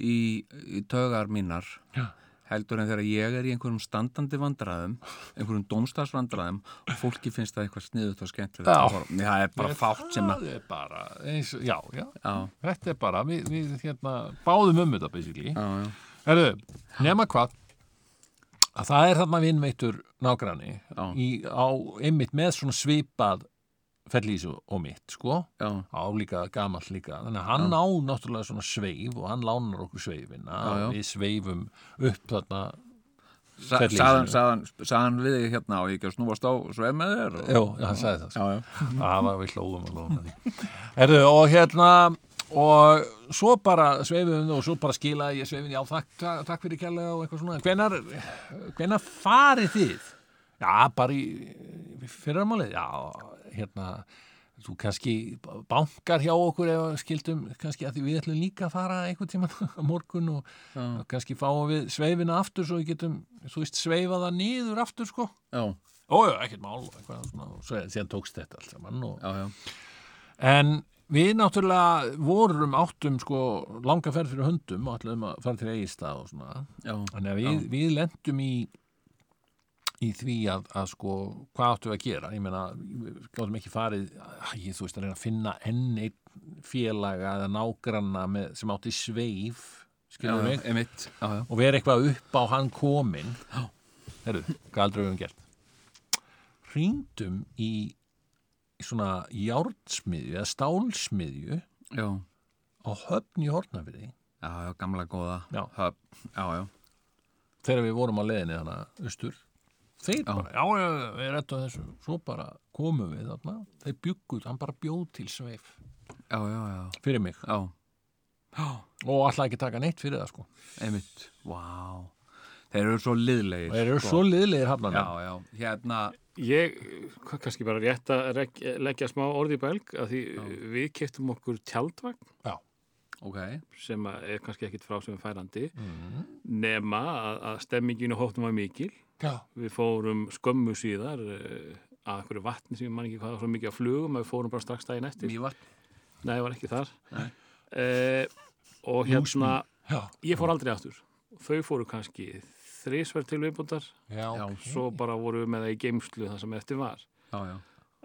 í, í tögar mínar
Já.
heldur en þegar ég er í einhverjum standandi vandræðum einhverjum dómstafsvandræðum og fólki finnst það eitthvað sniðut og skemmtilegt
Já.
að horfa. Nei, það er bara fátt sem að
Það er bara, eins, já, já,
já,
þetta er bara, við, við hérna, báðum um þetta, basically.
já, já,
Herðu, nema hvað, að það er þarna vinnveittur nágranni
Já.
í, á, einmitt með svona svipað fellísu og mitt, sko.
já,
á líka gamall líka þannig að hann á náttúrulega svona sveif og hann lánar okkur sveifina
Já, já.
við sveifum upp þarna
Sa-
Fellísinu.
sagðan, sagðan, sagðan við þig hérna og ég ekki að snúast á og sveif með þér og,
Jó, hann sagði það sko.
já, já,
Það var við hlóðum og hlóðum að því. Herðu, og hérna og svo bara sveifum við um og svo bara skilaði ég sveifin já, takk, takk- takk fyrir kjærlega og eitthvað svona hvenar, hvenar farið þið? Já, bara í fyrramálið, já hérna, þú kannski bankar hjá okkur eða skildum kannski að því við ætlum líka að fara einhvern tíma á morgun og kannski fáum við sveifina aftur svo við getum, þú veist, sveifaða niður aftur sko
já,
Ójá, ekkert mál og eitthvað svona og svo, síðan tókst þetta allt saman og...
já, já.
en við náttúrulega vorum áttum sko langa ferð fyrir höndum og ætluðum að fara til eigista og svona
já.
þannig að við, við lendum í í því að, að sko, hvað áttu að gera ég meina, við gátum ekki farið æ, þú veist að reyna að finna enn einn félaga eða nágranna með, sem átti sveif skilur mig,
emitt já, já.
og vera eitthvað upp á hann komin herru, hvað aldrei við höfum gert hringdum í í svona járnsmiðju eða stálsmiðju
Já.
á höfn í Hortnafyrði
já, já, gamla góða
Já.
Höfn. já, já,
þegar við vorum á leiðinni þannig austur þeir bara, já, já, já, við rettum þessu svo bara komum við þarna þeir bygguð, hann bara bjóð til sveif
já, já, já,
fyrir mig
já.
og alltaf ekki taka neitt fyrir það sko
emitt, vá þeir eru svo liðlegir
og þeir eru
sko.
svo liðlegir hafnana
já, já, hérna
Ég, hvað, kannski bara rétt að rek- leggja smá orði í belg að því við keftum okkur tjaldvagn
ok,
sem að er kannski ekkit frá sem er færandi
Mhm.
nema að, að stemmingin og hóttum var mikil
já,
við fórum skömmu síðar eh, að einhverju vatni sem ég man ekki hvað var svo mikið að flugum að við fórum bara strax daginn eftir
mývart
Nei, ég var ekki þar eh, og hérna
já,
ég fór aldrei aftur þau fóru kannski þrísverð til viðbúndar
já,
Já,
ok.
svo bara voru við með það í geimslu það sem eftir var
já, já,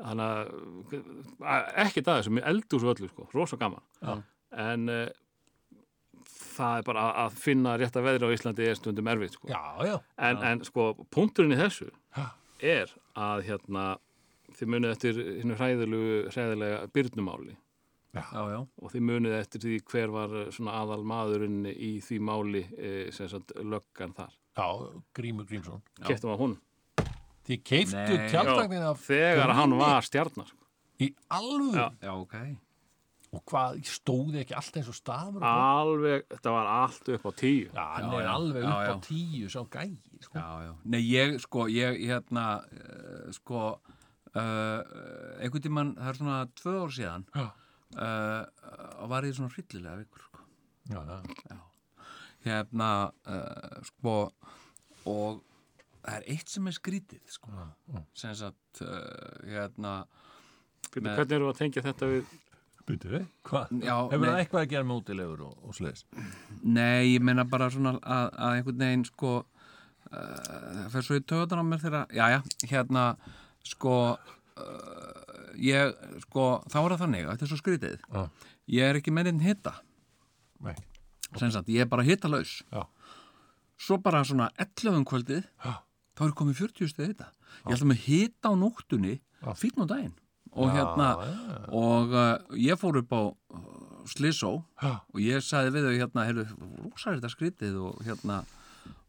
þannig að að- ekkert að þessu, mér eldur svo öllu sko, rosa gaman
Já.
en uh, það er bara að, að finna rétta veðri á Íslandi er stundum erfitt sko.
já, já,
en, en sko, punkturinn í þessu
Já.
er að hérna þið munið eftir hinnu hræðilegu hræðilega byrnumáli
já, já,
og þið munið eftir því hver var eh, svona aðal maðurinn í því máli eh, sem sagt löggan þar
já, Grímur Grímsson
keftum að hún
þið keiftu
Nei.
tjaldagnin af
þegar hann var stjarnar sko.
í alvöru
Já.
já, ok
og hvað, stóði ekki alltaf eins og stafur og
alveg, þetta var allt upp á tíu
Já, hann
Já,
er
já.
alveg
Já,
upp á
já.
tíu sá gæi, sko.
Já, já. Nei, ég, sko, ég, hérna, uh, sko, uh, einhvern tímann, það er svona tvö ár síðan,
Já.
uh, og var ég svona hryllilega vikur, sko.
Já, já.
Hérna, uh, sko, og það er eitt sem er skrítið, sko, sem sagt, uh, hérna,
Bíddu,
Nei.
hvernig erum við að tengja þetta við
Býtu við? Hvað?
Já,
eh? Hefur það
nei.
eitthvað að gera með útilegur og, og sliðis?
Nei, ég meina bara svona að, að einhvern veginn sko uh, það fer svo í töðan á mér þegar já, já, hérna sko uh, ég, sko, þá er það þannig að þetta er svo skrítið
Já.
ég er ekki með einn hitta
Nei.
sem sagt, ég er bara hittalaus
Já.
svo bara svona 11 um kvöldið
Já.
þá er komið 40 stuð hitta ég ætla með hitta á nóttunni fín á daginn og hérna og uh, ég fór upp á uh, Slysó
Já.
og ég sagði við þau hérna, heyrðu, rosa er þetta skrítið og hérna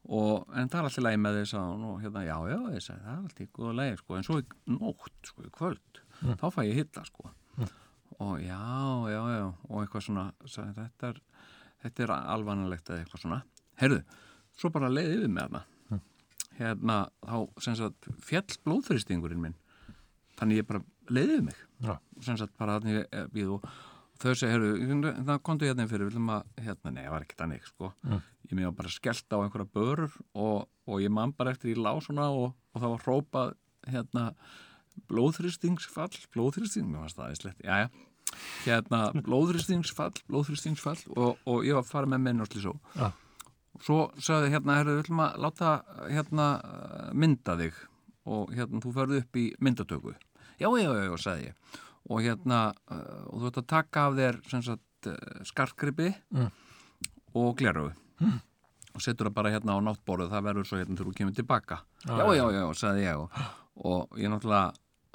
og, en það er alltaf lægi með þau sagði hún og hérna, já, já, ég sagði, það er alltaf góða lægi sko, en svo í nótt, sko, í kvöld þá fæ ég hitta, sko og já, já, já, og eitthvað svona sagði, þetta er, þetta er alvanalegt eða eitthvað svona, heyrðu svo bara leiði yfir með hana hérna, þá, sem sagt, fjall blóðþristingurinn minn þannig ég bara leiði yfir mig
Já.
sem sagt bara þannig ég býð og þau segi, heyrðu, það komdu hérna inn fyrir, viljum að, hérna, nei, það var ekki þannig, sko. Ég mér var bara skellt á einhverja börur og, og ég man bara eftir í lásuna og, og það var hrópað, hérna, blóðþristingsfall, blóðþristing, mér fannst það aðeinslegt, já, já, hérna, blóðþristingsfall, blóðþristingsfall og, og ég var farið með menn og slísó.
Já.
Svo sagði, hérna, heyrðu, viljum að láta, hérna, mynda þig og hérna, þú ferðu upp í myndatöku. Já, já, já, já, sagði ég og hérna uh, og þú ert að taka af þér sem sagt uh, skartgripi og gleröfu og setur það bara hérna á náttborðu það verður svo hérna þegar þú kemur tilbaka já, já, já, sagði ég og, og ég náttúrulega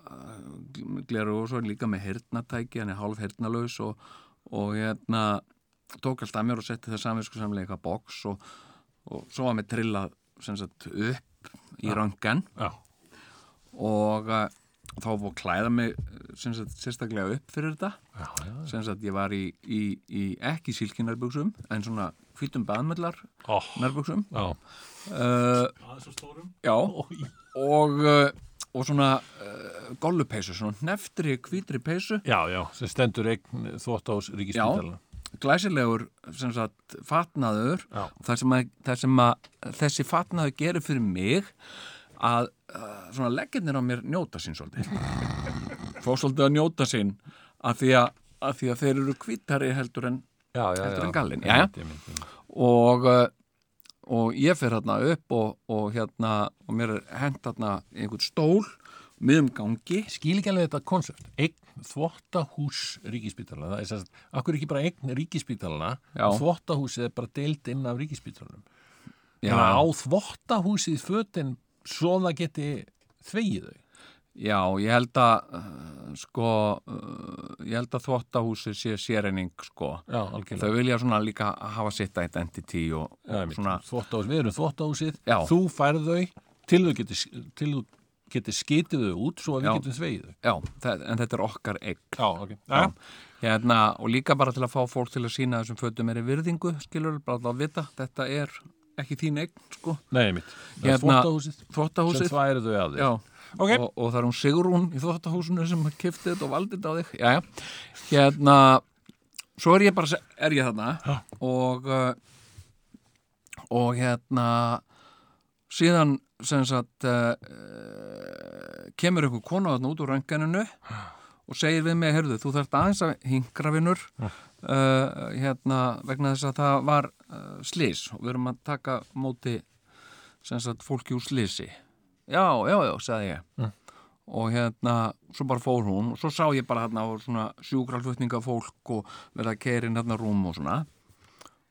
uh, gleröfu og svo líka með hernatæki hann er hálf hernalaus og, og hérna tók allt að mér og setti það samvisku samlega eitthvað boks og, og svo var mér trillað sem sagt upp í röngan
Já.
og uh, þá var að klæða mig eh, sem sagt, sérstaklega upp fyrir þetta
Já, já.
sem sagt ég var í, í, í ekki sílkinarbuksum en svona hvítum baðmöllar
Ó.
nærbuksum
Já.
uh,
aðeins og stórum
já og, uh, og svona uh, gollupeysu, svona neftri hvítri peysu
Já, já. Sem stendur eign þvótt ás ríkispítalana.
glæsilegur sem sagt fatnaður
Já.
þar sem, að, þar sem að þessi fatnaður gerir fyrir mig að uh, svona leggjarnir á mér njóta sín svolítið fór svolítið að njóta sín af því að, af því að þeir eru kvítari heldur en
Já, já, já.
Heldur en gallinn,
Ég
jæja.
myndi, ég myndi, ég myndi.
og uh, og ég fer hérna upp og, og hérna og mér er hengt hérna í einhvern stól miðum gangi
skil ekki alveg þetta konsept eign þvottahús ríkispítalana það er sérst, akkur ekki bara eign ríkispítalana
Já.
þvottahúsið er bara deild inn af ríkispítalanum
Já.
þannig að á þvottahúsið fötin svo það geti þvegið þau
Já, ég held að uh, sko, uh, ég held að þvottahúsi sé séreining sko.
já, algjörlega
Þau vilja svona líka hafa sitt identity og,
Já,
og svona,
svona... þvottahús, við erum þvottahúsið
Já.
þú færð þau til þú getur til þú getur skitið þau út svo að við
Já.
getum þvegið þau
já, það, en þetta er okkar eign.
já, ok
Já. Hérna, og líka bara til að fá fólk til að sína þessum fötum er í virðingu, skilur, bara til að vita, þetta er ekki þín eign, sko,
nei, mitt, það er
Hérna,
þvottahúsið sem
þvottahúsið.
þværið þau að þig
Já,
Ok.
og, og það er hún Sigrún í þvottahúsinu sem kifti þetta og valdi þetta á þig, já, já, hérna, svo er ég bara, se- er ég þarna og, uh, og hérna, síðan, sem sagt, uh, kemur einhver konu þarna út úr rönganinu og segir við mig, heyrðu, þú þarft aðeins að hingra vinnur uh, hérna, vegna þess að það var uh, slís og við erum að taka á móti sem sagt fólki úr slisi já, já, já, sagði ég og hérna, svo bara fór hún og svo sá ég bara hérna á svona sjúkralfutninga fólk og verða keirinn hérna rúm og svona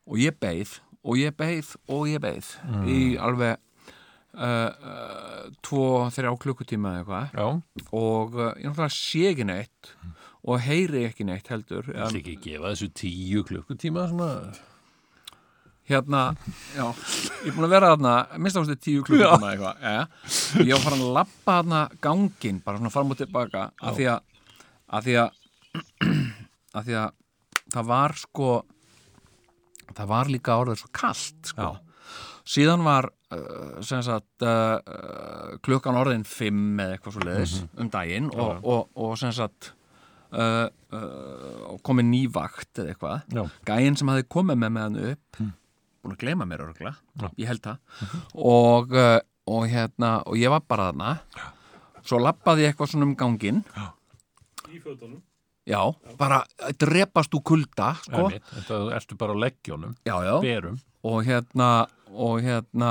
og ég beið og ég beið og ég beið í alveg uh, uh, tvo, þrjá klukkutíma eða eitthvað
já,
og uh, ég náttúrulega sé ekki neitt og heyri ekki neitt heldur
Það
en,
ekki gefa þessu tíu klukkutíma svona.
hérna, já ég er búin að vera þarna, minnst ástu tíu klukkutíma eitthvað, ja. ég var farin að lappa þarna gangin, bara svona fram og tilbaka af því að af því að, af því að það var sko það var líka orðið svo kalt sko. síðan var uh, sem sagt uh, uh, klukkan orðin 5 eða eitthvað svo leiðis um daginn og, og, og sem sagt uh, uh, komið nývakt eða eitthvað,
Já.
gæinn sem hafi komið með með hann upp búin að gleyma mér örgla, ég held það og, uh, og hérna og ég var bara þarna svo lappaði ég eitthvað svona um ganginn
Í fötunum.
já, bara að drepast úr kulda sko,
Einmitt. Þetta ertu bara á leggjónum,
já, já
berum.
og hérna og hérna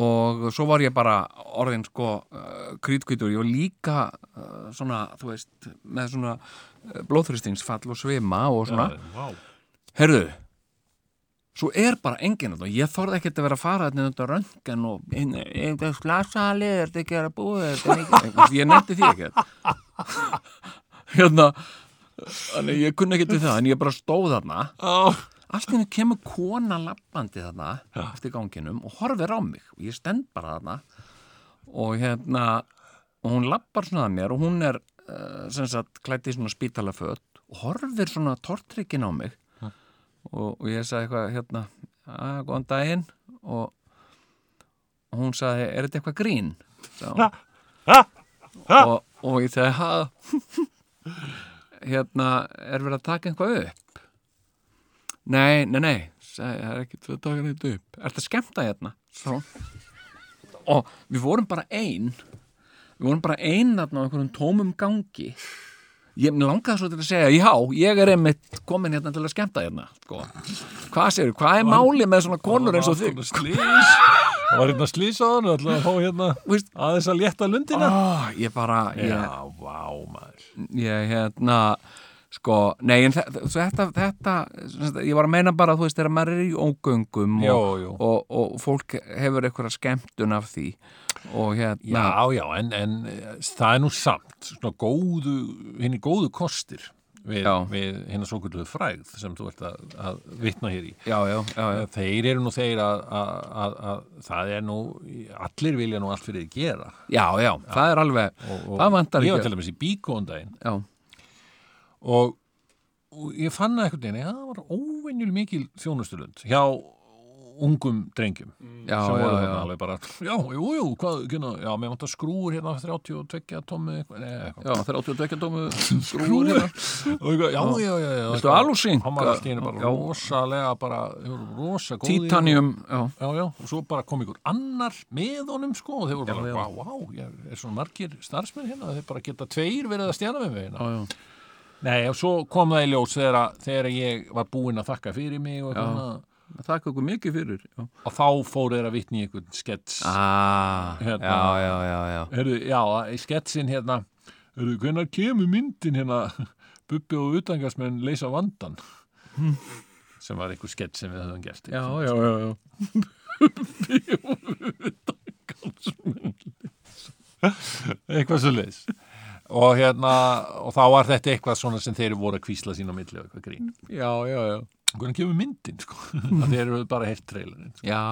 og svo var ég bara orðin sko uh, krítkvítur, ég var líka uh, svona, þú veist, með svona uh, blóðþristingsfall og svima og svona,
Vá.
heyrðu svo er bara enginn þarna. ég þorði ekkert að vera að fara þetta undan röntgen og einhver slasalið er þetta ekki að búið þetta er ekki- Eitthvað, ég nefndi því ekkert hérna þannig ég kunni ekkert við það en ég bara stóð þarna allt í henni kemur kona lappandi þarna eftir ganginum og horfir á mig og ég stend bara þarna og hérna og hún lappar svona að mér og hún er uh, sem sagt klætt í svona spítalaföt og horfir svona tortrykkin á mig og, og ég sagði eitthvað hérna, að góðan daginn og og hún sagði, er þetta eitthvað grín? Sá, og, og ég sagði, ha hérna, er verið að taka eitthvað upp? Nei, nei, nei sagði, það er ekki að taka neitt upp Er þetta skemmta hérna? Svo. Og við vorum bara ein Við vorum bara ein þarna á einhverjum tómum gangi Ég mig langaði svo til að segja, já, ég er einmitt komin hérna til að skemmta hérna sko. Hvað segir, hvað er málið með svona konur eins og þig? sko.
Slís. Það var hérna slís á hann, ætlaði að fá hérna
Veist-
aðeins að létta lundina.
Oh, ég bara, ég,
Já, vá, maður.
ég hérna sko, nei en þetta, þetta, þetta sem sagt, ég var að meina bara þú veist þegar maður er í ógöngum og,
Jó, jó.
Og, og fólk hefur einhverja skemmtun af því og hérna
Já, já, en, en eh, það er nú samt, svona góðu, henni góðu kostir við,
Já.
við hérna svo kvölduðu frægð sem þú ert að, að vitna hér í.
já, já, já, já,
Þeir eru nú þeir að, að, að, að það er nú, allir vilja nú allt fyrir því gera.
já, já, það er alveg það vantar
Ég var
ekki
til dæmis í um bíkóndaginn
já,
og, og ég fann það einhvern veginn, já, það var óvenjul mikil þjónustulund hjá ungum drengjum
já,
sem
já,
voru
já,
þarna alveg bara, já, jú, jú, hvað, kynna, já, mér vantar skrúur hérna 32 tómi, eitthvað, nei, eitthvað.
já það er 82 tómu skrúur hérna.
Og eitthvað, já, já, já, já,
Viltu
eitthvað.
alúsink?
Hann var alltaf einu bara
Já.
rosalega, bara, þeir voru rosa góði.
titanium, já,
Já, já, og svo bara kom ykkur annar með honum, sko, og þeir voru bara, vá, vá, ég er svona margir starfsmenn hérna, þeir bara geta tveir verið að stjana með mig hérna.
já, já,
Nei, og svo kom það í ljós þegar, að- þegar ég var búinn að þakka fyrir mig og eitthvað,
þakka okkur mikið fyrir já,
og þá fóru þeir að vitni í einhvern skets
ah,
Hérna.
já, já, já, já.
Heyrðu, já, í sketsin hérna Heyrðu, hvenær kemur myndin hérna Bubbi og utangarsmenn leysa vandan sem var einhver skets sem við höfum gert
Já, já, já, já.
eitthvað svo leys og hérna, og þá var þetta eitthvað svona sem þeir voru að kvísla sín á milli og eitthvað grín
Já, já, já.
hvernig kemur myndin, sko að þeir eru bara heilt trailerinn sko.
Já,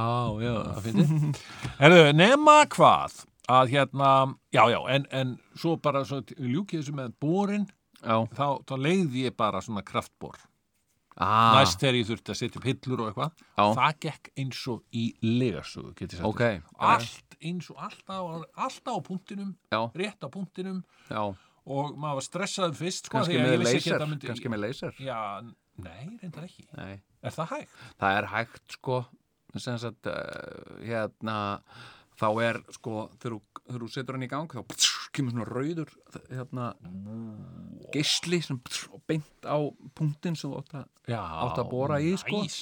já, það finnir.
Herðu, nema hvað að hérna, já, já, en, en svo bara, svo ljúkið þessu með borin
Já.
þá, þá leiði ég bara svona kraftbor
Ah,
næst þegar ég þurfti að setja upp hillur og eitthvað
Já.
það gekk eins og í legarsögu get ég sagt
Ok.
þér. allt eins og alltaf, alltaf á punktinum
Já,
rétt á punktinum
já.
og maður var stressaður fyrst sko,
Kannski
því að
með
ég vissi ekki að
laser.
þetta myndi-
Kannski með laser.
já, nei, reyndar ekki
Nei.
er það hægt?
það er hægt sko sem sagt uh, hérna þá er sko þegar þú- þegar þú setur hann í gang þá pss, kemur svona rauður hérna geisli sem pss, og beint á punktin sem þú átt að
já,
átt að bóra í sko
næs.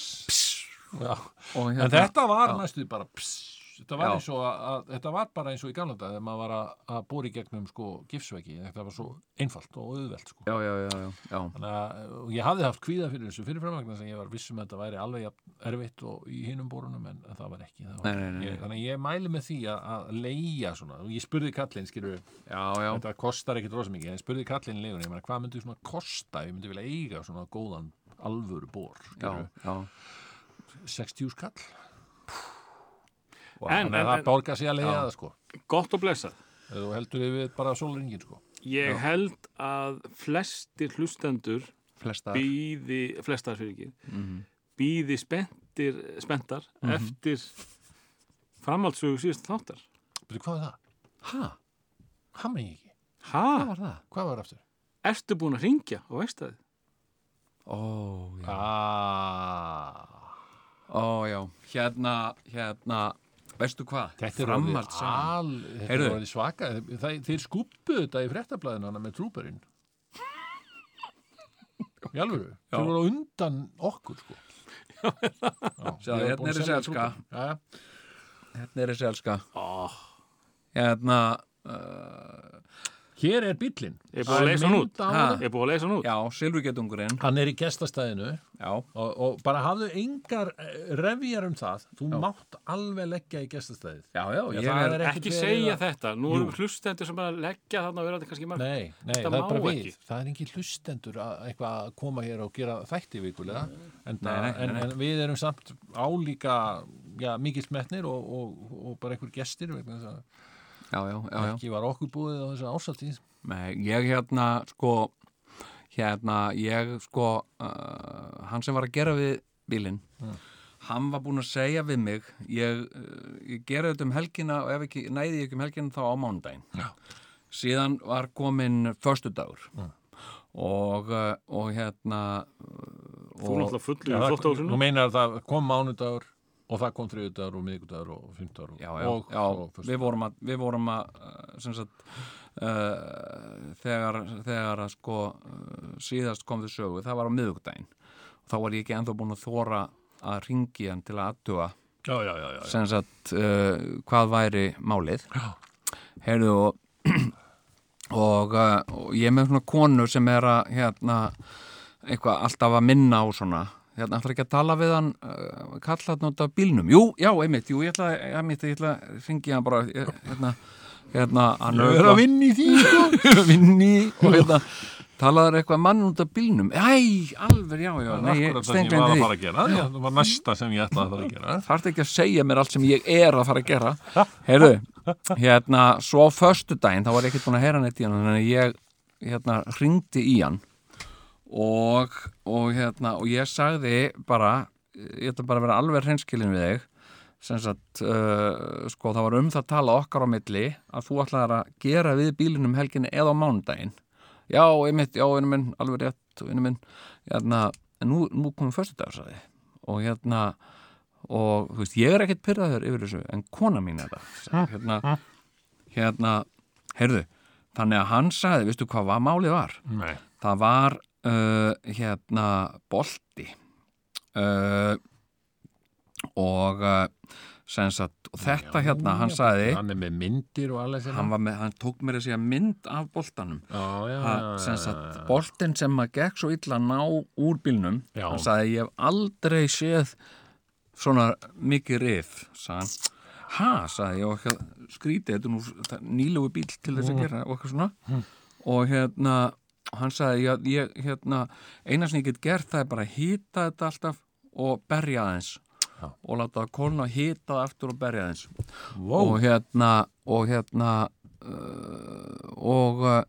Já.
og
en
hérna
þetta var
Já.
næstuð bara pss, þetta, var
Já.
eins og að, að, þetta var bara eins og í gamla dag þegar maður var að, að bóra í gegnum sko, gifsveggi, þetta var svo einfalt og auðvelt sko.
já, já, já, já, já,
Þannig að og ég hafði haft kvíða fyrir þessu fyrirframvagnar sem ég var vissum að þetta væri alveg jafn erfitt og í hinum borunum en það var ekki. Það var
Nei, nei, nei, nei.
Ég, þannig að ég mæli með því að, að leia svona. Og Ég spurði kallinn, skilur
já, já.
þetta kostar ekkit rosa mikið, en ég spurði kallinn í leigunni, ég meina, hvað myndi svona kosta, ef ég myndi vilja eiga svona góðan alvöru bor,
Já,
skilur
já,
60 skall.
En-
Þannig
en-
að það
en-
borga sig að leiða það, sko.
Gott og blessað.
Ef Þú heldur yfir bara sólringin, sko.
Ég held að flestir hlustendur
flesta
býði, flestar fyrir ekki,
Mhm.
býði spenntir, spenntar eftir framhaldsögu síðast þáttar.
Betur, hvað var það?
Hæ,
Hann megi ekki.
hvað
Hæ?
var það?
Hvað var aftur?
Ertu búin að ringja og veist það?
Ó, já,
Ah.
ó, já Hérna, hérna Veistu hvað?
Þetta er
Framhald
orðið
saman.
al, þetta er
Heyrðu.
orðið svaka. Það, þeir skuppuðu þetta í fréttablaðinu hana með trúperinn. Í alvöru.
Já.
Þeir voru á undan okkur, sko. Já,
Sjáðu,
ég var búinn að
hérna er þessi
selja
elska.
Trooperinn. Jæja.
Hérna er þessi elska
Ó.
Hérna uh,
Hér er bíllinn.
Ég er búinn að leysa hann út.
Ha.
Ég er búin að leysa hann út.
Já, silfurgetungurinn
Hann er í gestastæðinu
Já,
og, og bara hafðu engar revjar um það. Þú mátt alveg leggja í gestastæðið.
já, já,
Já,
ég
það
er,
er
Ekki
verið
segja
að-
þetta. Nú erum hlustendur sem bara leggja þarna og vera þetta kannski marg.
Nei, nei,
Þetta
það er
má
bara við.
ekki.
Það er engin hlustendur að eitthvað að koma hér og gera þætti vikulega. En,
Nei, nei, nei,
en,
nei.
en við erum samt álíka já, mikill metnir og, og, og bara einhver gestir vegna þess að
já, já, já, já.
ekki var okkur búið á þessa ásatið.
Nei, ég hérna sko hérna, ég sko uh, hann sem var að gera við bílinn hann var búinn að segja við mig ég, uh, ég gera þetta um helgina og ef ekki, næði ég ekki um helgina þá á mánudaginn Já. síðan var komin förstudagur og, uh, og hérna uh,
Þú er
og,
náttúrulega fullu í
Nú
þóttahúsinu.
meinar það kom mánudagur og það kom þriðudagur og miðgudagur og fymtudagur.
já, já,
og,
já,
og,
við vorum að, við vorum að uh, sem sagt uh, þegar, þegar að sko uh, síðast kom þau sögu, það var á miðugdæin þá var ég ekki ennþá búin að þóra að ringi hann til að attuga
já, já, já, já.
sem sagt uh, hvað væri málið heyrðu og og, uh, og ég er með svona konu sem er að hérna eitthvað alltaf að minna á svona hérna ætlar ekki að tala við hann uh, kalla hann út af bílnum, jú, já, einmitt jú, ég ætla, einmitt, ég ætla að ringi hann bara ég- hérna, hérna hann
Ég er að vinna í því, sko.
vinni og hérna talaður eitthvað mann út af bílnum æ, alveg, já, já, nei, ég
Akkurat það sem ég var
stengleindi
að
því
fara að gera. Já, Það var næsta sem ég ætlaði að fara að gera.
þarf ekki að segja mér allt sem ég er að fara að gera heyrðu, hérna svo á föstudaginn, þá var ég ekkert búin að heyra neitt í hann þannig að ég hérna ringdi í hann og, og hérna, og ég sagði bara, ég ætla bara að vera alveg hreinskilin við þig sem sagt, uh, sko, það var um það að tala okkar á milli að þú ætlaðir að gera við bílinum helginni eða á mánudaginn já, einmitt, já, einu minn, alveg rétt einu minn, hérna, en nú, nú komum föstudagur, sagði ég. og hérna, og þú veist, ég er ekkert pyrraður yfir þessu, en kona mín er það sagði, hérna, hérna heyrðu, þannig að hann sagði veistu hvað var, málið var
Nei.
það var, uh, hérna, bolti uh, og, uh, sem sagt, og þetta hérna, hann sagði
hann er með myndir og alveg sem
hann, var með, hann tók mér að segja mynd af boltanum
já, já,
að,
já,
sem
já,
sagt,
já.
boltin sem að gekk svo illa að ná úr bílnum
Já.
hann sagði ég hef aldrei séð svona mikið rif sagði hann ha, sagði ég og ekki skrítið, þetta er nú það er nýlegu bíl til
Mm.
þess að gera og eitthvað svona og hérna, hann sagði ég, ég, hérna, eina sem ég get gert það er bara að hýta þetta alltaf og berja aðeins
Já.
og láta það kólna og hýta það aftur og berja aðeins
Vó.
og hérna og hérna uh, og uh,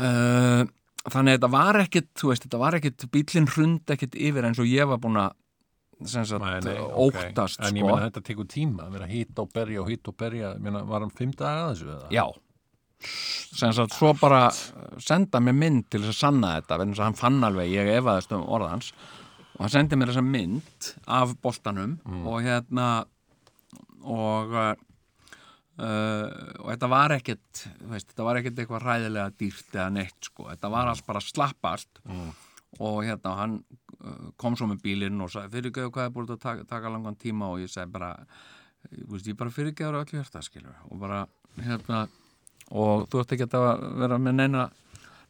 uh, þannig að þetta var ekkit þú veist, þetta var ekkit, bílinn hrund ekkit yfir eins og ég var búin að sem sagt,
Nei, nei, ok.
óttast
en ég
sko.
meina þetta tekur tíma að vera hýtt og berja og hýtt og berja Ég meina, var hann fimm daga að þessu eða?
já sem sagt, svo bara uh, senda mér mynd til þess að sanna þetta vegna þess að hann fann alveg, ég efaðist um orðans og hann sendi mér þessa mynd af boltanum og hérna og uh, uh, og þetta var ekkit þú veist, þetta var ekkit eitthvað ræðilega dýrt eða neitt sko, þetta var alls bara slappast mm. og hérna hann uh, kom svo með bílinn og sagði fyrirgeðu hvað er búin að taka, taka langan tíma og ég sagði bara, ég, veist, ég bara fyrirgeður öllu hjarta skilur og bara hérna og þú ert ekki að vera með neina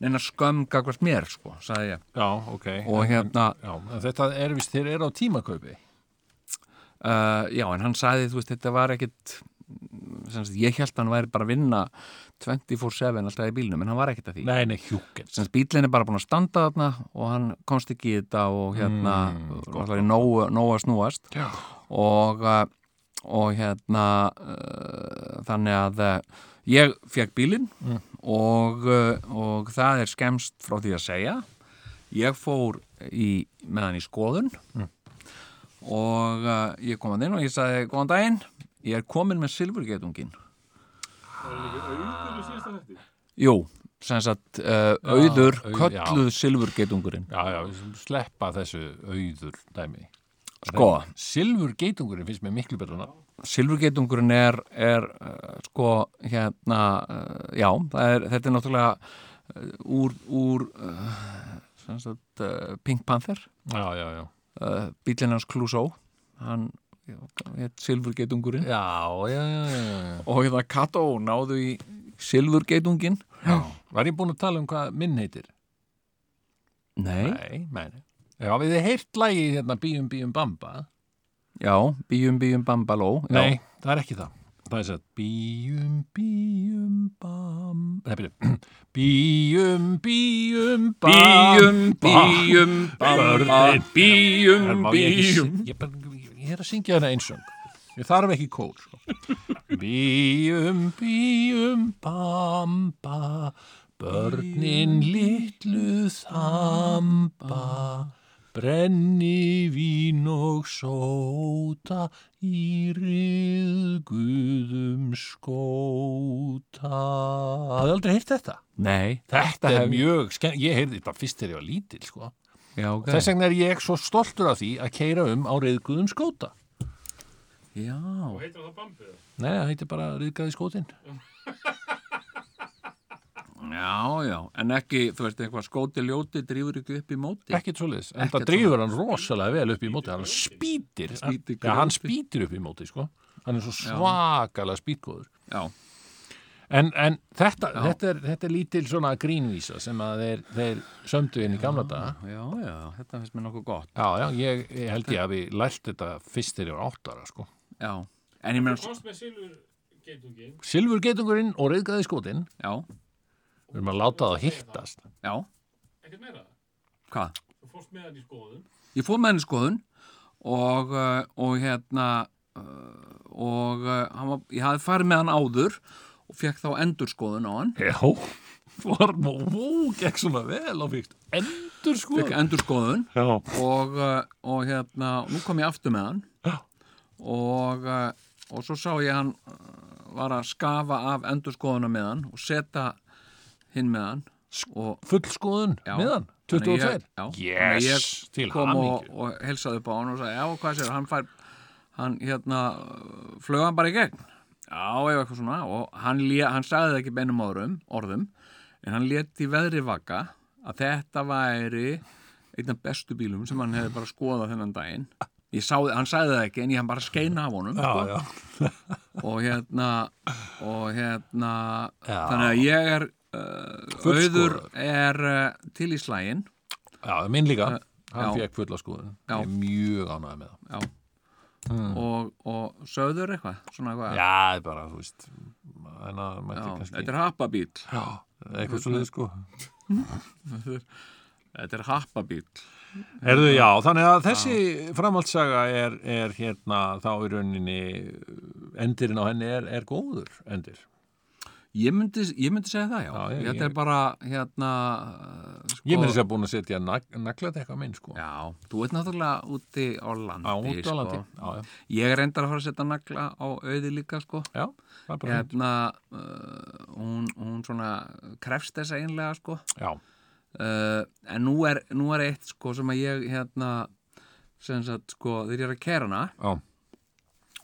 neina skömm gagvart mér sko, sagði ég
já ok
og
En-
hérna
já, en þetta er vist, þeir eru á tímakaupi
Uh, já, en hann sagði, þú veist, þetta var ekkit sem sagt, ég held að hann væri bara að vinna 24-7 alltaf í bílnum en hann var ekkit að því
nei, nei, hjúkens
sem sagt, bílinn er bara búin að standa þarna og hann komst ekki í þetta og hérna alltaf er nógu, nógu að snúast
Já.
og uh, og hérna uh, þannig að uh, ég fekk bílinn og, uh, og það er skemst frá því að segja ég fór í, með hann í skoðun og uh, ég kom hann inn og ég sagði góðan daginn, ég er komin með silfurgetungin Jú, sem sagt uh, auður
auð-
kölluð silfurgetungurinn
já, já, við skulum sleppa þessu auður dæmi
Sko,
Silfur geitungurinn finnst mér miklu betur nafn
silfurgetungurinn er, er uh, sko hérna, uh, já, það er, þetta er náttúrulega uh, úr, úr uh, sem sagt uh, Pink Panther,
já, já, já
uh, bílinn hans Clouseau, hann hétt silfurgetungurinn
Já, já, já, já, já.
og hérna Kato náðu í silfurgetungin
Var ég búin að tala um hvað minn heitir?
Nei,
Nei, nei, nei. Já, við þið heyrt lagið hérna Bíum Bíum Bamba?
já, bíum bíum bambaló já.
Nei, það er ekki það. Það er satt Bíum Bíum Bamba Nei, byrju Bíum Bíum Bamba
Bíum, bíum, bamba,
Börnin. Herra,
bíum,
má ég ekki
bíum
syng- Ég, bara- ég er að syngja hana einsöng Ég þarf ekki kór sko. Bíum, bíum, bamba Börnin litlu þamba Brenni vín og sóta Í riðguðum skóta Hafði aldrei heyrt þetta?
Nei,
Þetta
hef
er
ég-
mjög skemmt, ég heyrði þetta fyrst þegar ég var lítil, sko.
já, ok
Þess vegna er ég svo stoltur af því að keira um á reyðguðum skóta.
Já,
Nei, það heitir bara reyðgaði skótin.
já, já, en ekki, þú veist, eitthvað skóti ljóti drýfur ekki upp í móti
Ekkert svoleiðis. En það
Ekkert
drýfur hann rosalega vel upp í móti. Hann spýtir.
Spýtir
ja, hann
grjóti.
spýtir upp í móti, sko. Hann er svo svakalega spýtgóður.
Já,
En, en þetta, þetta, er, þetta er lítil svona grínvísa sem að þeir, þeir sömdu inn í gamla daga.
já, já, þetta finnst mér nokkuð gott
Já, já, ég, ég held ég að við lært þetta fyrst þegar ég var áttara, sko.
Já, en ég meina,
Komst með silfur geitungin
Silfur getungurinn og reyðgaði skótin,
já,
við erum að láta það hittast.
já,
ekkert meira,
hvað?
þú fórst með hann í skoðun
Ég fór með henni í skoðun og, uh, og hérna uh, og uh, hann var, ég hafði farið með hann áður og fekk þá endurskoðun á hann
Já, var nú, vú, gekk svona vel og fyrst endur sko.
fekk endurskoðun
Já,
og, uh, og hérna, nú kom ég aftur með hann og, uh, og svo sá ég hann uh, var að skafa af endurskoðuna með hann og setja hinn með hann og
fullskoðun
Já.
meðan,
Þannig ég-
22.
já,
Yes,
þannig ég
til
kom sko. og,
hamingju.
og helsaði upp á hann og sagði, já, hvað sér, hann fær hann hérna, uh, flög hann bara í gegn já, eða eitthvað svona og hann, lé, hann sagði það ekki beinum orðum, orðum en hann leti veðri vaka að þetta væri einn af bestu bílum sem hann hefði bara skoðað þennan daginn ég sá, hann sagði það ekki en ég hann bara skeina af honum sko.
já.
og hérna og hérna
Já.
þannig að ég er uh,
Fullskoðaður.
auður er uh, til í slægin
Já, minn líka. Hann
já.
fekk fulla skoðun.
Já.
Ég er mjög ánægð með það.
já og, og söður eitthvað svona eitthvað
Ah. Já, það er bara, þú veist, en að mætti
Já,
kannski...
þetta er happabíl
Já, eitthvað svo liðið sko.
þetta er happabíl
Herðu, já, þannig að þessi framhaldssaga er, er hérna þá í rauninni, endirinn á henni er, er góður endir.
ég myndi, ég myndi segja það já,
Já, ég-
þetta
ég-
er bara hérna uh, sko,
Ég með þess að búin að setja nag, nagladekka minn sko.
já, þú ert náttúrulega úti á landi,
á út á landi.
Sko.
Já, já,
ég er reyndar að fara að setja nagla á auði líka sko
já, það er bara fínt.
hérna uh, hún, hún svona krefst þess einlega sko
Já,
uh, en nú er, nú er eitt sko sem að ég hérna sem sagt sko þegar ég er að kæra hana
já,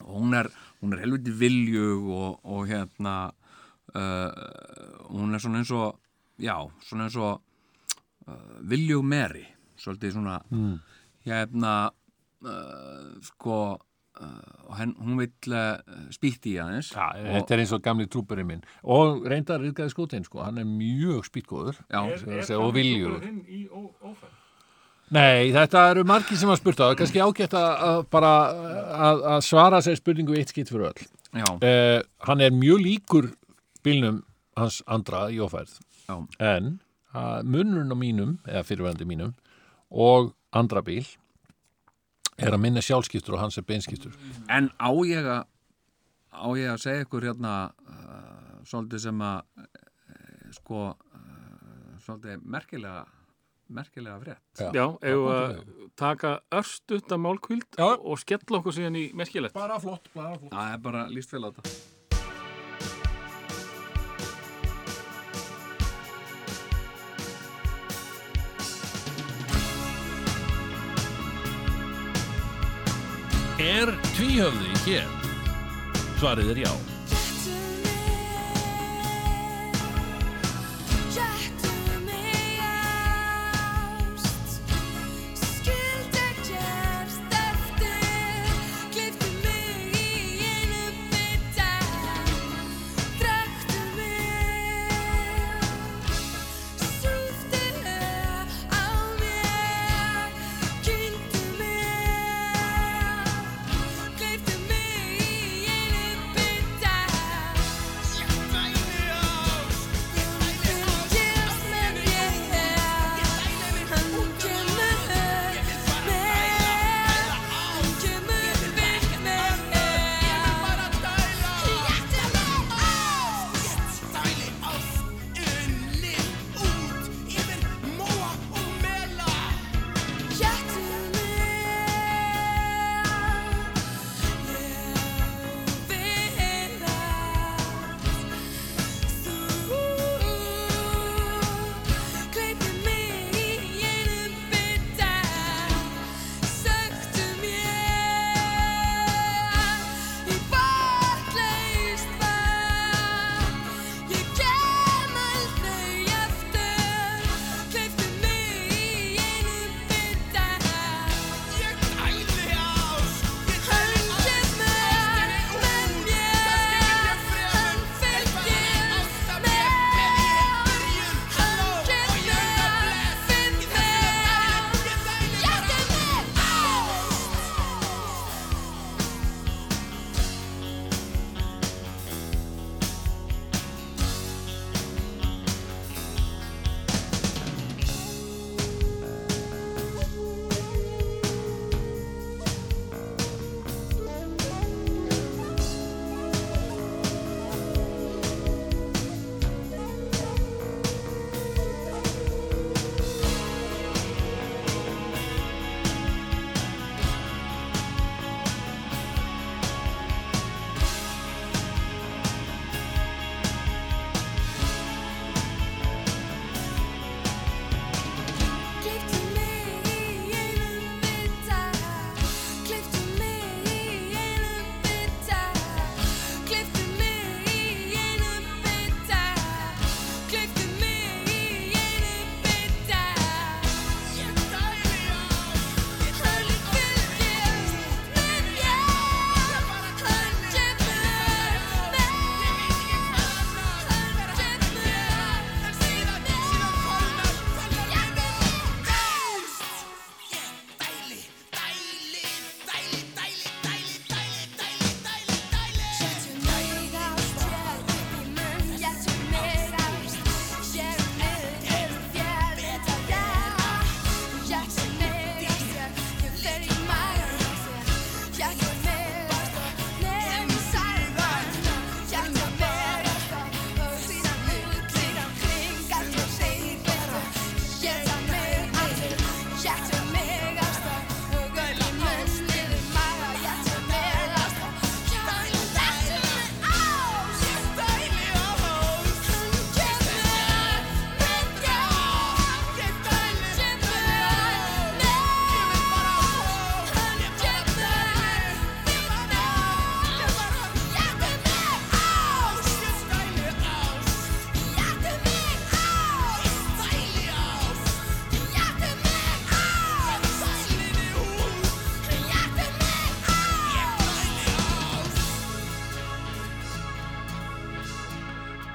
og hún er, hún er helviti viljug og, og hérna uh, hún er svona eins og já, svona eins og uh, viljug meri svolítið svona mm. hérna uh, sko uh, og henn, hún vill uh, spýtti í aðeins
já, þetta er eins og gamli trúpurinn minn. Og reyndar Ríðgæði skótinn sko, hann er mjög spýtgóður.
já,
Ég segi, og viljugur.
hinn í ófæð?
Nei, þetta eru margir sem að spurta það er kannski ágætt að, að bara að, að svara sér spurningu eitt skitt fyrir öll
já,
eh, Hann er mjög líkur bílnum hans andra í ofærð
já,
en að munurinn á mínum eða fyrirverandi mínum og andra bíl er að minna sjálfskiptur og hans er beinskiptur
En á ég að á ég að segja ykkur hérna uh, svolítið sem að uh, sko uh, svolítið merkilega merkilega frétt.
Já, ef að taka örstutta málkvíld
Já.
og skella okkur síðan í merkilegt.
Bara flott, bara flott.
Það er bara líst vel á þetta.
Er tvíhöfði hér? Svarið er já
Gleiftu mig í einu bita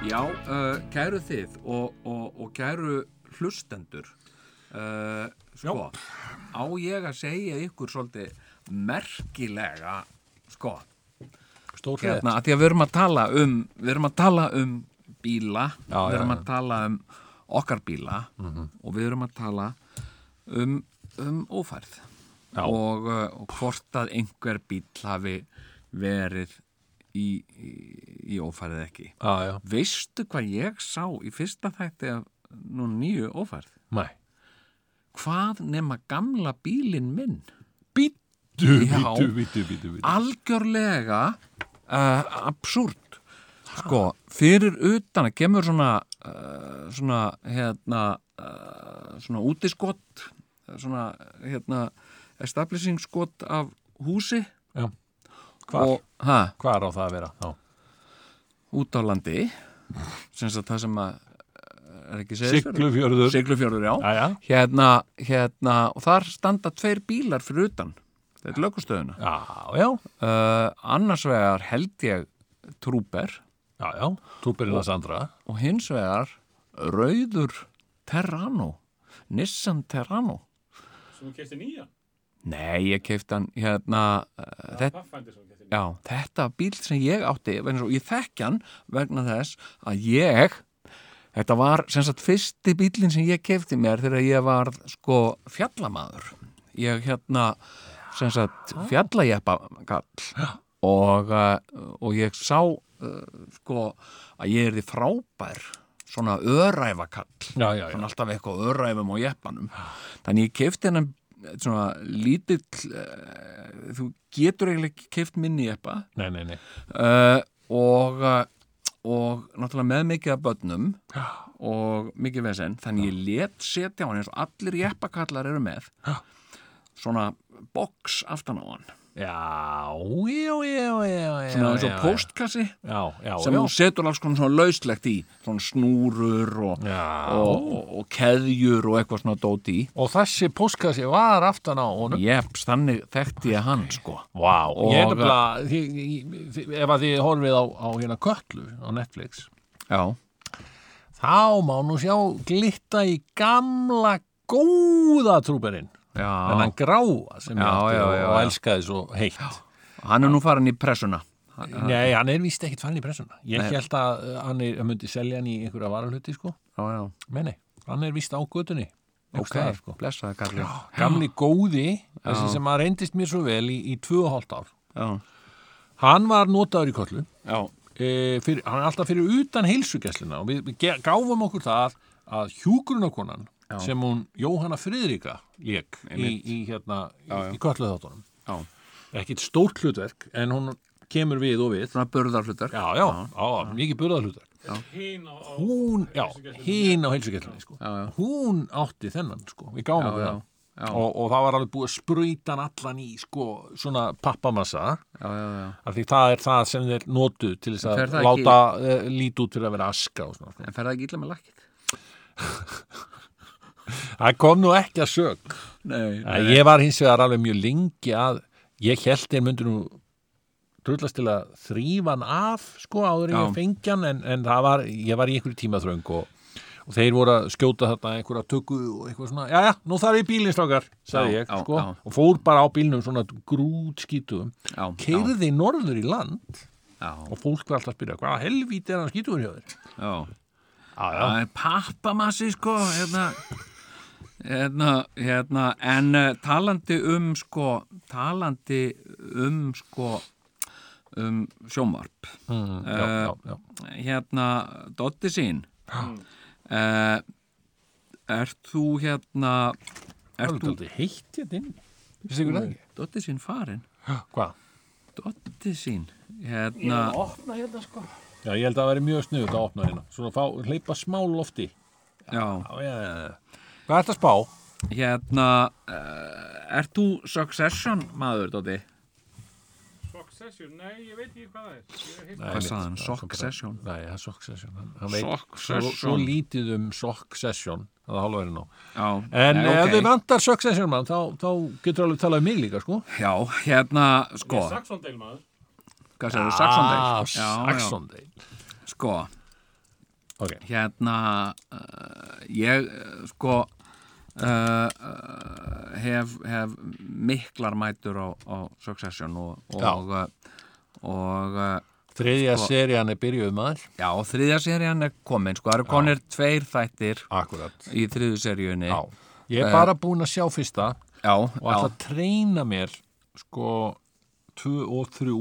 Já, uh, kæru þið og, og, og kæru hlustendur uh, sko, á ég að segja ykkur svolítið merkilega sko,
Stór hreð.
hérna, að því að við erum að tala um við erum að tala um bíla
Já,
við
já,
erum
Mhm.
að tala um okkar bíla og við erum að tala um, um ófærð
Já.
og, uh, og hvort að einhver bíl hafi verið í, í, í ófærð eða ekki
Já, já.
Veistu hvað ég sá í fyrsta þætti af nú nýju ófærð?
Mæ.
Hvað nema gamla bílinn minn?
Bítu,
Já.
bítu, bítu, bítu, bítu.
Algjörlega uh, absúrt. Sko, fyrir utan að kemur svona, uh, svona, hérna, uh, svona útiskott, svona, hérna, establishing skott af húsi.
Já. Hvar?
Og, ha,
Hvar á það að vera? Já.
út á landi, sem sagt það sem að, eh, er ekki segðisverður?
Siglufjörður.
Siglufjörður, já.
Já, já.
hérna, hérna og þar standa tveir bílar fyrir utan þetta er lögustöðuna
Já, já.
uh, annars vegar held ég trúber
Já, já. Túpirinn að Sandra.
og hins vegar rauður Terrano Nissan Terrano
Svo hún kefti nýja.
nei, ég keift hann hérna uh, þetta,
Pathfinder sem hún kefti
já, þetta bíl sem ég átti vegna svo, ég þekki hann vegna þess að ég Þetta var sem sagt fyrsti bílinn sem ég kefti mér þegar ég var sko fjallamaður. Ég hérna sem sagt fjallajeppa kall og, uh, og ég sá uh, sko að ég er því frábær svona öræfa kall.
Já, já, já.
Svona alltaf eitthvað á öræfum og jeppanum. Þannig ég kefti hennan eh, svona lítill, uh, þú getur eiginlega ekki keft minni jeppa
Nei, nei, nei.
uh, og, uh, og náttúrulega með mikið af börnum og mikið vesinn þannig ég let setja á hann eins og allir jeppakallar eru með svona box aftan á hann
Já, já, já, já, já.
svona eins
já,
og
já.
postkassi
Já, já,
sem
já.
þú setur alls konar svona lauslegt í svona snúrur og,
Já.
og, og, og keðjur og eitthvað svona dóti í
Og þessi póskassi var aftan á honum.
Jeps, þannig þekkti ég hann sko
Vá, ég er
Og-
nefnilega, þi- í- þi- ef að þið horfið á, á hérna Köllu á Netflix,
Já,
þá má nú sjá glitta í gamla góða trúberinn, en
já
hann gráa sem ég
Já,
átti
já,
og,
já,
og
já.
elskaði svo heitt.
hann er nú farin í pressuna
Nei, hann er víst ekkit fann í pressuna. Ég held að uh, hann er, hann myndi selja hann í einhverja varalhuti, sko,
Já, já,
meni, hann er víst á götunni. einhvers
ok,
staðar, sko.
blessaði kallið
Gamli góði, þessi sem að reyndist mér svo vel í, í tvö og hálft ár.
Já,
Hann var notaður í Köllu.
já
e, fyrir, hann er alltaf fyrir utan heilsugesslina og við, við ge- gáfum okkur það að hjúgrunakonan sem hún Jóhanna Friðrika leik í, í, hérna, í, í kölluðáttunum
Já.
ekkit stórt hlutverk en hún kemur við og við já,
svona burðarhlutar
já, já, mikið burðarhlutverk
Hinn á...
hún, já, hín á heilsugesslina sko.
já.
hún átti þennan sko. við gáfum okkur
já,
það
já.
Og, og það var alveg búið að spröyta hann allan í sko, svona pappamassa
já, já, já.
af því það er það sem þeir notu til þess
fer
að
það ekki-
láta ekki... lít út fyrir að vera aska og svona sko.
en fer það ekki illa með lakkið
það kom nú ekki að sög
nei,
ég var hins vegar alveg mjög lengi að ég held þeir myndu nú trullast til að þrýfa hann af sko áður en
Já.
ég fengi hann en, en það var, ég var í einhverju tímaþröng og, og þeir voru að skjóta þarna einhverja tökku og eitthvað svona, já já, nú þarf ég bílinn strákar sagði
Já,
ég
já,
sko,
já.
og fór bara á bílnum svona grútskítum,
já, já,
keirði norður í land
já,
og fólk var alltaf að spyrja, hvaða helvíti er hann skítur hjá þér?
já. það er pappamassi sko hérna Hérna, hérna, en uh, talandi um sko, talandi um sko, um sjómarp,
Mm, já, já, já.
hérna, Dotti sín, uh, ert þú hérna,
Það
ert
er
þú,
aldrei heitt hérna inn. Fyrst ykkur það ekki?
Dotti sín farin,
Hvað?
Dotti sín, hérna,
Opna hérna sko.
Já, ég held að það væri mjög snuðut að opna hérna. Svona fá, hleypa smá lofti.
já,
Já, já, já, já. Hvað ert að spá?
Hérna, uh, ert þú Succession maður, Dóti?
Succession, nei, ég veit ekki hvað það er. Ég er heitt.
Nei,
Hvað sagði hann? Succession?
Nei, það er Socksession. Hann, hann veit
Succession.
svo, svo lítið um Socksession. Það er hálfverðin á.
Já,
En
nei,
ef
ok.
þið vantar Socksession mann, þá, þá getur alveg talað um mig líka, sko.
Já, hérna, sko,
Saxondale maður.
hvað sagði þú? Saxon Day?
Ah, Saxondale.
Já, sko,
ok,
hérna uh, ég eh, sko uh, uh, hef, hef miklar mætur á, á Succession og og, uh, og uh,
þriðja serían er byrjuð maður
já, þriðja serían er komin sko, það eru konir tveir þættir
akkurat,
í þriðju seríunni
já ég er bara búin að sjá fyrsta
já,
og ætla
já,
að treyna mér sko 2 og 3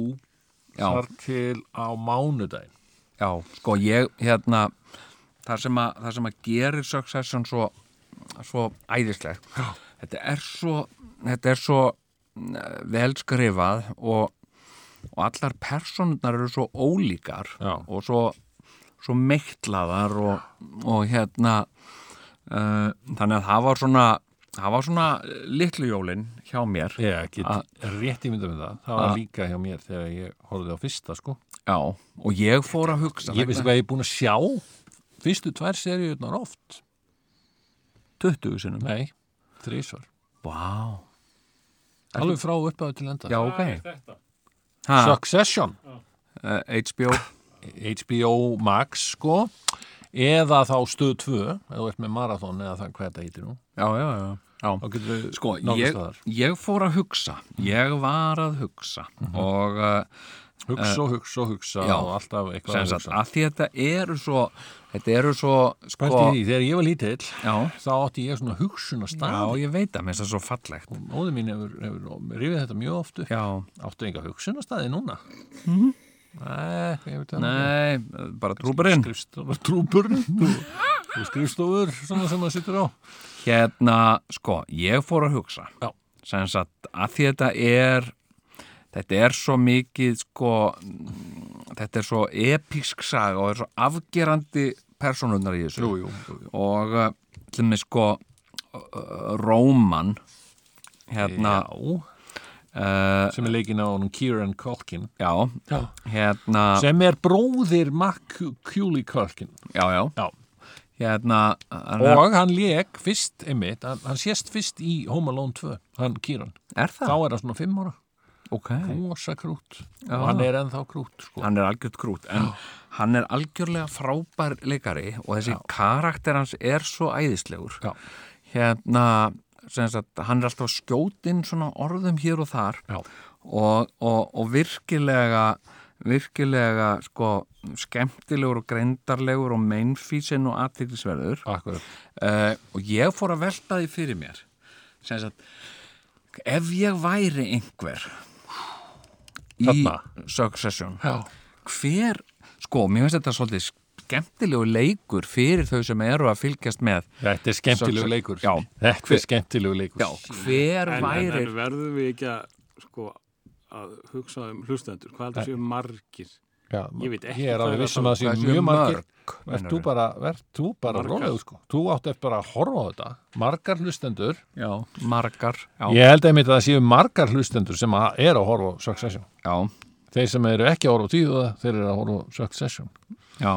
Já.
þar til á mánudaginn
já, sko ég hérna það sem að, það sem að gerir Succession svo, svo æðislegt þetta er svo, þetta er svo eh, vel skrifað og, og allar personurnar eru svo ólíkar
Já.
og svo, svo meiklaðar og, og hérna uh, þannig að það var svona það var svona litlu jólin hjá mér
ég get rétt ímynda með það það var líka hjá mér þegar ég horfði á fyrsta sko
já, og ég fór að hugsa
ég veistu hvað ég er búin að sjá fyrstu tvær seríunar oft
20 sinum
nei, þrísvar
wow.
alveg frá upphæðu til enda
já, ok
Þetta.
ha,
Succession,
uh, HBO
HBO Max sko eða þá stöð 2 eða þú ert með Marathon eða það hvað þetta heitir nú
já, já, já.
þá getur við
Sko,
nálgast
ég,
það þar.
ég fór að hugsa, ég var að hugsa og uh,
hugsa og hugsa og hugsa
já,
og alltaf eitthvað
sem
að
sagt,
hugsa
að því þetta eru svo, þetta eru svo, sko,
Pælti því, þegar ég var lítill
já,
þá átti ég svona hugsun að
já,
staði
ég veit að mér finnst það svo fallegt,
og móður mín hefur, hefur rifið þetta mjög oft upp
já,
áttu enga hugsun að staði núna Mhm. Nei, ég veit það
nei, bara trúburinn,
Skrifstofur, trúpur skrifstofur, svona sem maður sittur á
hérna, sko, ég fór að hugsa,
Já.
sem sagt, að því þetta er, þetta er svo mikið, sko, mm, þetta er svo episk saga og er svo afgerandi persónunar í þessu.
jú, jú, jú.
og uh, til með sko uh, Róman hérna já,
sem er leikin á honum Kieran Culkin
já
Já.
hérna
sem er bróðir Mac Cooley Culkin
já, já,
Já.
hérna hann er,
og hann leik fyrst, einmitt, hann, hann sést fyrst í Home Alone 2, hann Kieran
er
þá
það?
er hann svona fimm ára
ok,
rosa krút og hann er ennþá krút sko.
hann er algjörð krút en hann er algjörlega frábær leikari og þessi karakter hans er svo æðislegur
Já.
hérna sem sagt, hann er alltaf skjótinn svona orðum hér og þar
Já.
og, og, og virkilega virkilega sko skemmtilegur og greindarlegur og meinfísinn og aðtýrlisverður
Akkurat.
uh, og ég fór að velta því fyrir mér sem sagt ef ég væri einhver í
Þarna?
Succession
Já.
hver, sko, mér finnst þetta svolítið skemmtilegu leikur fyrir þau sem eru að fylgjast með
Þetta er skemmtilegu
Svo-
leikur.
Já.
Þetta er skemmtilegu leikur.
Já, hver
En, en,
væri
en verðum við ekki að sko að hugsa um hlustendur hvað heldur séu margir
Já,
Ég veit ekki
Ég er
hvað
alveg
er
vissum að
það
það sé
séu
mjög margir.
mörg,
Verð
meinar
þú
við.
bara, verð þú bara
Margar.
rólegur sko. Þú átt eftir bara að horfa á þetta. Margar hlustendur.
Já, margar Já,
Ég held einmitt að það séu margar hlustendur sem að er að horfa á Succession.
já,
Þeir sem eru ekki að horfa á tíu það, þeir eru að horfa á Succession.
já,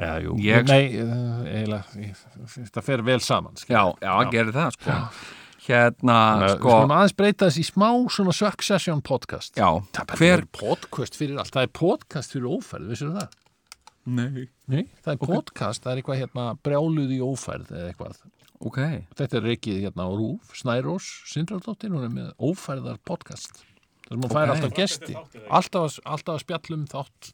Já, jú.
Ég-
Nei, eh, eiginlega, ég- þetta fer vel saman. Sko.
já, já, gerir það sko Hérna,
Við
sko
skulum aðeins breyta þess í smá svona Succession podcast.
Já,
Það
hver
er podcast fyrir allt. Það er podcast fyrir ófærð, vissir það?
Nei
Nei, það er podcast, það er eitthvað hérna brjáluð í ófærð eða eitthvað.
Ok,
Þetta er reikið hérna á Rúf, Snærós, Sindraldóttir, hún er með ófærðar podcast. Það sem hún fær
Ok.
alltaf gesti, alltaf, að- alltaf að spjallum þátt,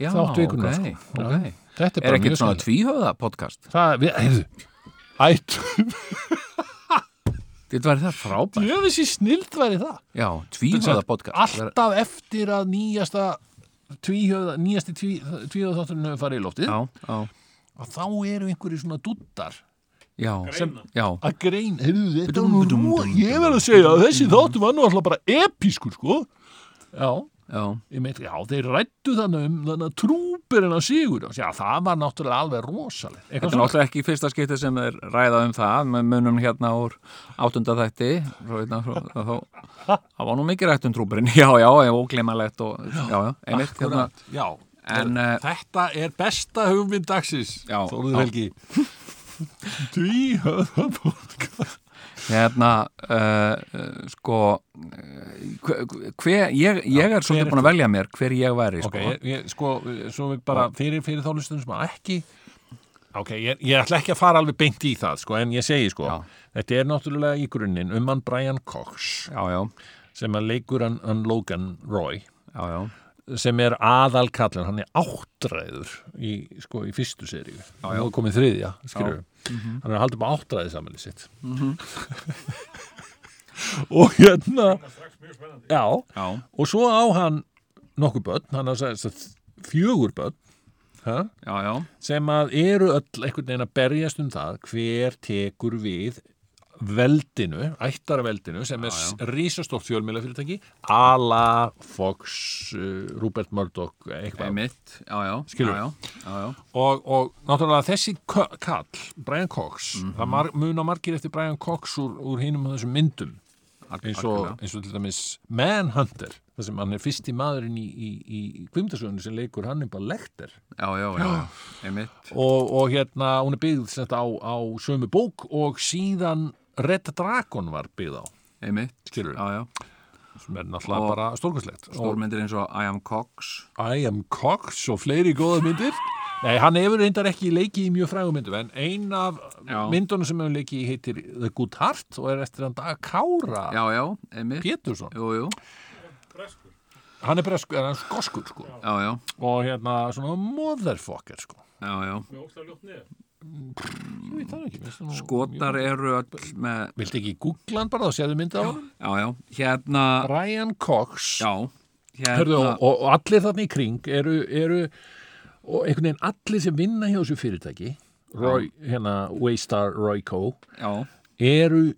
já,
þátt vikunar.
ok,
sko.
ok
Já. Þetta er
Er
bara mjög
ekkert svona
skemmt.
tvíhöfða podcast?
Það, við, heyrðu, ættu,
Þetta væri það frábært
ég veist í snild væri það.
Já, tvíhöfða podcast
Alltaf eftir að nýjasta tvíhöða, nýjasti tví, tvíhöða þátturinn hefur farið í loftið,
Já, já,
að þá eru einhverju svona dúttar
já Já,
að grein, heyrðu þetta
Bidum,
var
bidum,
nú,
bidum,
ég verð að segja að þessi þáttu var nú alltaf bara episkur sko já,
já,
ég meit, já, þeir rættu þannig um þannig að trúberinn að sigur já, það var náttúrulega alveg rosalegt
Þetta er náttúrulega ekki í fyrsta skipti sem er ræða um það, með munum hérna úr áttunda þætti, svo hérna, svo- þá, það var nú mikið rætt um trúburinn, já, já, ég var óglimalegt og, já, já, einmitt, hérna,
Akkurat, já,
en, eh,
þetta er besta hugmynd dagsins
Já,
Þóruður
já.
Helgi Tvíhöða podcast
hérna uh, uh, sko eh, hver, hver, ég, ég er
hver
svolítið
ert
búin að velja mér hver ég væri
Ok,
sko.
ég, ég, sko, svo við bara fyrir, fyrir þá lustum sem að ekki Ok, ég, ég ætla ekki að fara alveg beint í það, sko, en ég segi, sko
Já.
Þetta er náttúrulega í grunninn um hann Brian Cox
já, já,
sem að leikur hann, hann Logan Roy
já, já,
sem er aðal kallin, hann er áttræður í, sko, í fyrstu seríu og nú er komið þriðja, skilur
Mhm.
hann er að halda upp áttræði samanlega sitt og hérna já,
já,
og svo á hann nokkuð börn, hann á þess að fjögur börn ha?
já, já,
sem að eru öll einhvern veginn að berjast um það hver tekur við veldinu, ættarveldinu sem er rísastótt fjölmiðlafyrirtæki ala Fox uh, Rupert Murdoch eitthvað
einmitt já, já,
Skilur.
já, já, já, já,
og, og náttúrulega þessi kö- kall Brian Cox, það mar, muna margir eftir Brian Cox úr, úr hinum af þessum myndum eins og,
algjörlega.
eins og til dæmis Manhunter þar sem hann er fyrsti maðurinn í, í, í kvimtasögunni sem leikur Hannibal Lecter
já, já, já, já, einmitt
og, og hérna hún er byggð sem þetta á, á sömu bók og síðan Red Dragon var byggð á
einmitt,
Skilur.
já, já,
sem er náttúrulega
Og-
bara stórkastlegt
stórmyndir eins og I am Cox
I am Cox og fleiri góða myndir Nei, hann hefur reyndar ekki leikið í mjög frægum myndum en ein af
Já.
myndunum sem hefur leikið í heitir The Good Heart og er eftir hann dag Kára
já, já, einmitt,
Pétursson
jú, jú
hann er bara sko, hann er skoskur sko
já, já,
og hérna svona motherfucker sko
já, já
ég veit það nú ekki veist það nú-
Skotar eru öll með
Viltu ekki googla hann bara og séðu myndi á hann?
Já, já, hérna
Brian Cox
Já, hérna
Hörðu, og, og og allir þarna í kring eru, eru og einhvern veginn allir sem vinna hjá þessu fyrirtæki Roy, hérna Waystar Royco
Já,
eru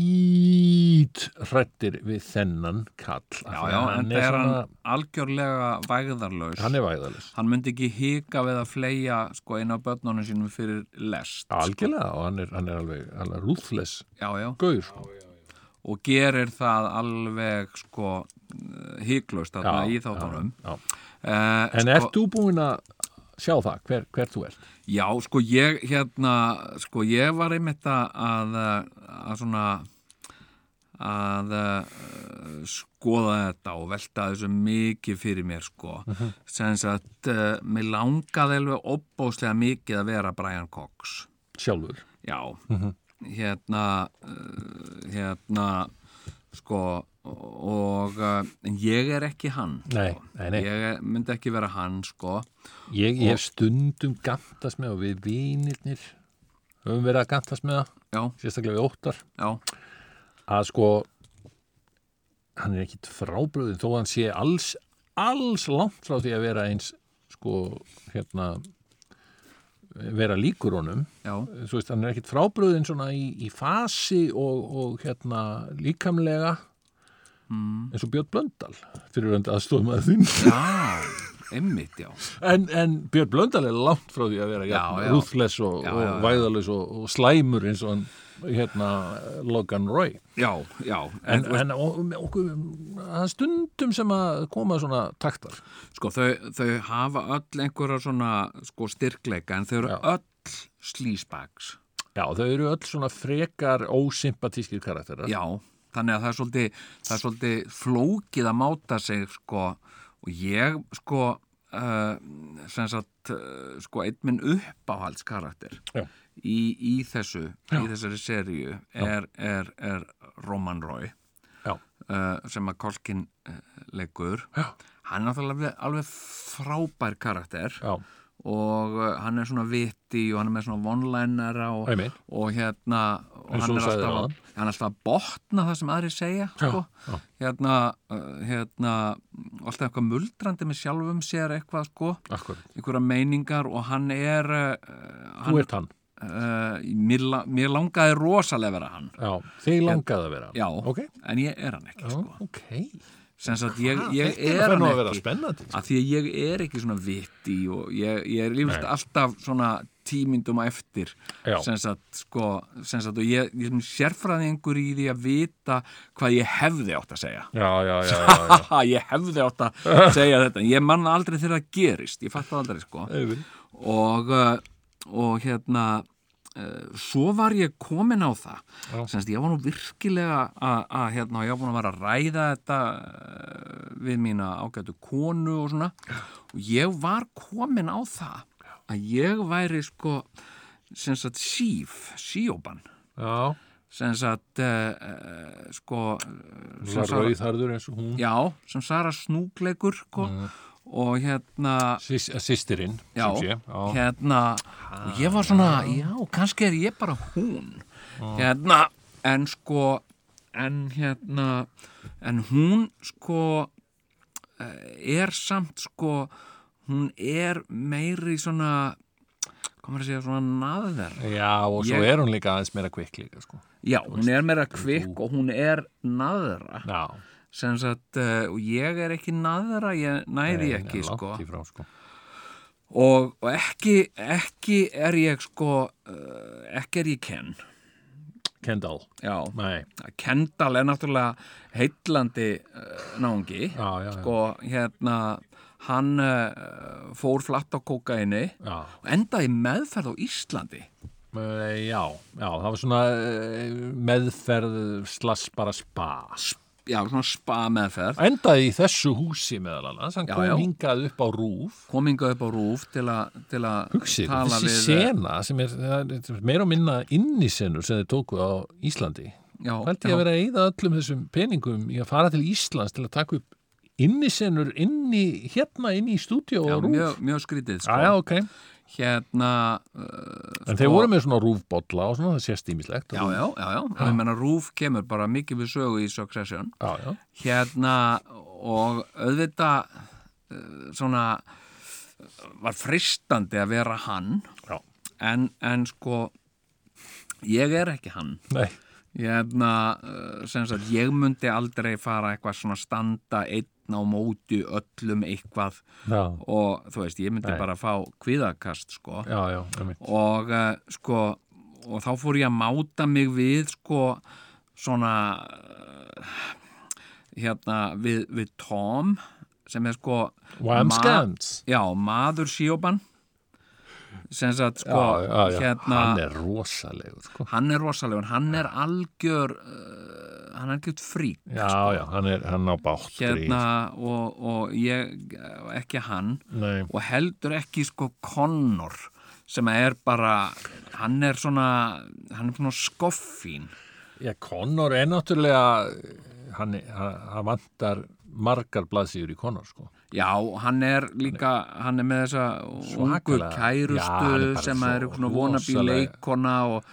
skýt hrættir við þennan kall Af
já,
því
já,
að
en
hann
það
er
er hann
svona,
algjörlega vægðarlaus
hann er væðalis
Hann myndi ekki hika við að fleia sko einu af börnunum sínum fyrir lest
algjörlega og hann er, hann er alveg, alveg ruthless
Já, já,
gaur sko.
og gerir það alveg sko hiklaust þarna
Já,
í þáttunum
já.
Eh,
en
sko,
ert þú búin að sjá það hver, hver þú ert?
Já, sko ég hérna sko ég var einmitt að að, að svona að uh, skoða þetta og velta þessu mikið fyrir mér sko sem sagt, uh, mér langaði alveg opbóðslega mikið að vera Brian Cox
sjálfur
já, hérna uh, hérna sko og uh, en ég er ekki hann
Nei, nei, nei.
ég er- myndi ekki vera hann sko
Ég, ég hef stundum gantast með og við vinirnir höfum verið að gantast með það,
já,
sérstaklega við óttar
já,
að sko hann er ekkit frábröðin þó að hann sé alls, alls langt frá því að vera eins sko hérna vera líkur honum
já
þú veist, hann er ekkit frábröðin svona í, í fasi og, og hérna líkamlega
Mm.
eins og Björn Blöndal fyrir önd aðstofmaður þín
já, einmitt já
En, en Björn Blöndal er langt frá því að vera já,
já.
rúðles og,
Já,
og
já, já.
væðalus og, og slæmur eins og hann hérna Logan Roy
já, já,
en, en, en okkur það er stundum sem að koma svona taktar
sko þau, þau hafa öll einhverja svona sko styrkleika en þau eru öll slísbaks
já, þau eru öll svona frekar ósympatískir karakterar
já, þannig að það er svolítið það er svolítið flókið að máta sig sko og ég sko uh, sem sagt uh, sko einn minn uppáhaldskarakter
Já.
í, í þessu í þessari serju er, er, er Roman Roy
Já.
uh, sem að Kolkin uh, leggur
Já.
hann er náttúrulega alveg, alveg frábær karakter
já,
og uh, hann er svona viti og hann er með svona vonlænara og,
Einmitt.
og hérna og
Eins og
hann,
þú
er
sagðir
alltaf,
áðan.
hann er alltaf að botna það sem aðri segja sko. hérna, uh, hérna alltaf eitthvað muldrandi með sjálfum sér eitthvað sko,
akkurat
einhverja meiningar og hann er uh,
þú
hann,
ert hann,
uh, mér, la- mér langaði rosalega að vera hann
já, þig langaði að vera hann.
já,
ok,
en ég er hann ekki
já,
sko.
ok
sem sagt, ég,
Ah,
ég
þetta
er
fer nú
hann
að vera
ekki
spennandi
að því að ég er ekki svona viti og ég, ég er lífst
Nei.
alltaf svona tímyndum á eftir
Já.
sem sagt, sko, sem sagt og ég, ég er sérfræðingur í því að vita hvað ég hefði átt að segja
já, já, já, já, já.
haha, ég hefði átt að segja þetta en ég manna aldrei þegar það gerist, ég fatt það aldrei sko
Auðvitað.
og, uh, og hérna eh, svo var ég komin á það
Já.
semst ég var nú virkilega að, að hérna, ég var búin að vera að ræða þetta eh, við mína ágætu konu og svona og ég var komin á það að ég væri sko semst að síf, síóban
Já,
semst að uh, sko eh,
Svo
Sara-
rauðharður eins og hún
já, sem Sara Snúkleikur sko, og hérna
Sýs- Systirinn,
já,
eh, sem sé Já,
hérna og ég var svona, já, kannski er ég bara hún hérna, en sko en hérna en hún sko eh, er samt sko hún er meiri svona hvað maður að segja, svona naðver
já og svo
Ég-
er hún líka aðeins meira kvikk líka sko.
já, hún er meira kvikk og hún er naðra
Já,
sem sagt, eh, og ég er ekki naðra, ég næði
en-
ekki
en langt
sko
í frá, sko.
og, og ekki, ekki er ég sko uh, ekki er ég Ken
Kendall,
já,
nei
Kendall er náttúrulega heitlandi uh, náungi
Já, já, já.
sko hérna hann uh, fór flatt á kókaini
Já,
og endaði í meðferð á Íslandi
Eh, já, já, það var svona eh, meðferð slass bara spa
já, svona spa meðferð
Endaði í þessu húsi meðal annars hann
Já,
kom
já.
hingað upp á rúf
komingað upp á rúf til að til að
Hugsið, ykkur,
tala
þessi
við
sena sem er, það er meira og minna innisenur sem þið tóku á Íslandi
eh, já,
Hældi ég að vera að eyða öllum þessum peningum í að fara til Íslands til að taka upp innisenur inni, hérna inni í stúdíu
já,
og rúf?
mjög, mjög skrítið sko.
Já, já, ok.
hérna uh,
En þeir voru með svona rúfbolla og svona, það sést ímislegt.
Já, já, já, já, og ég menna Rúf kemur bara mikið við sögu í Succession
Já, já.
hérna og auðvitað eh, svona var fristandi að vera hann
Já.
en, en sko ég er ekki hann
Nei,
hérna, eh, sem sagt, ég myndi aldrei fara eitthvað svona standa einn á móti öllum eitthvað
já,
og þú veist, ég myndi
Nei.
bara fá kvíðakast sko
já, já, einmitt.
og uh, sko og þá fór ég að máta mig við sko svona uh, hérna við, við Tom sem er sko
Wamskans.
já, maður síóban sem sagt sko
Já, já, já.
hérna
Hann er rosalegur, sko.
hann er rosalegur, hann er algjör uh, hann er algjört frík
Já, já, hann er, hann á bátt.
hérna og, og ég eh, ekki hann
Nei,
og heldur ekki sko Connor sem er bara hann er svona, hann er svona skoffín
já, Connor er náttúrulega, hann, er- hann, hann vantar margar blaðsýður í Connor, sko.
já, hann er líka hann er með þessa ungu
Svakalega. Já, hann er
kærustu
bara
sem
svo
er eitthvað svona vonabí
rosalega-
leikona og,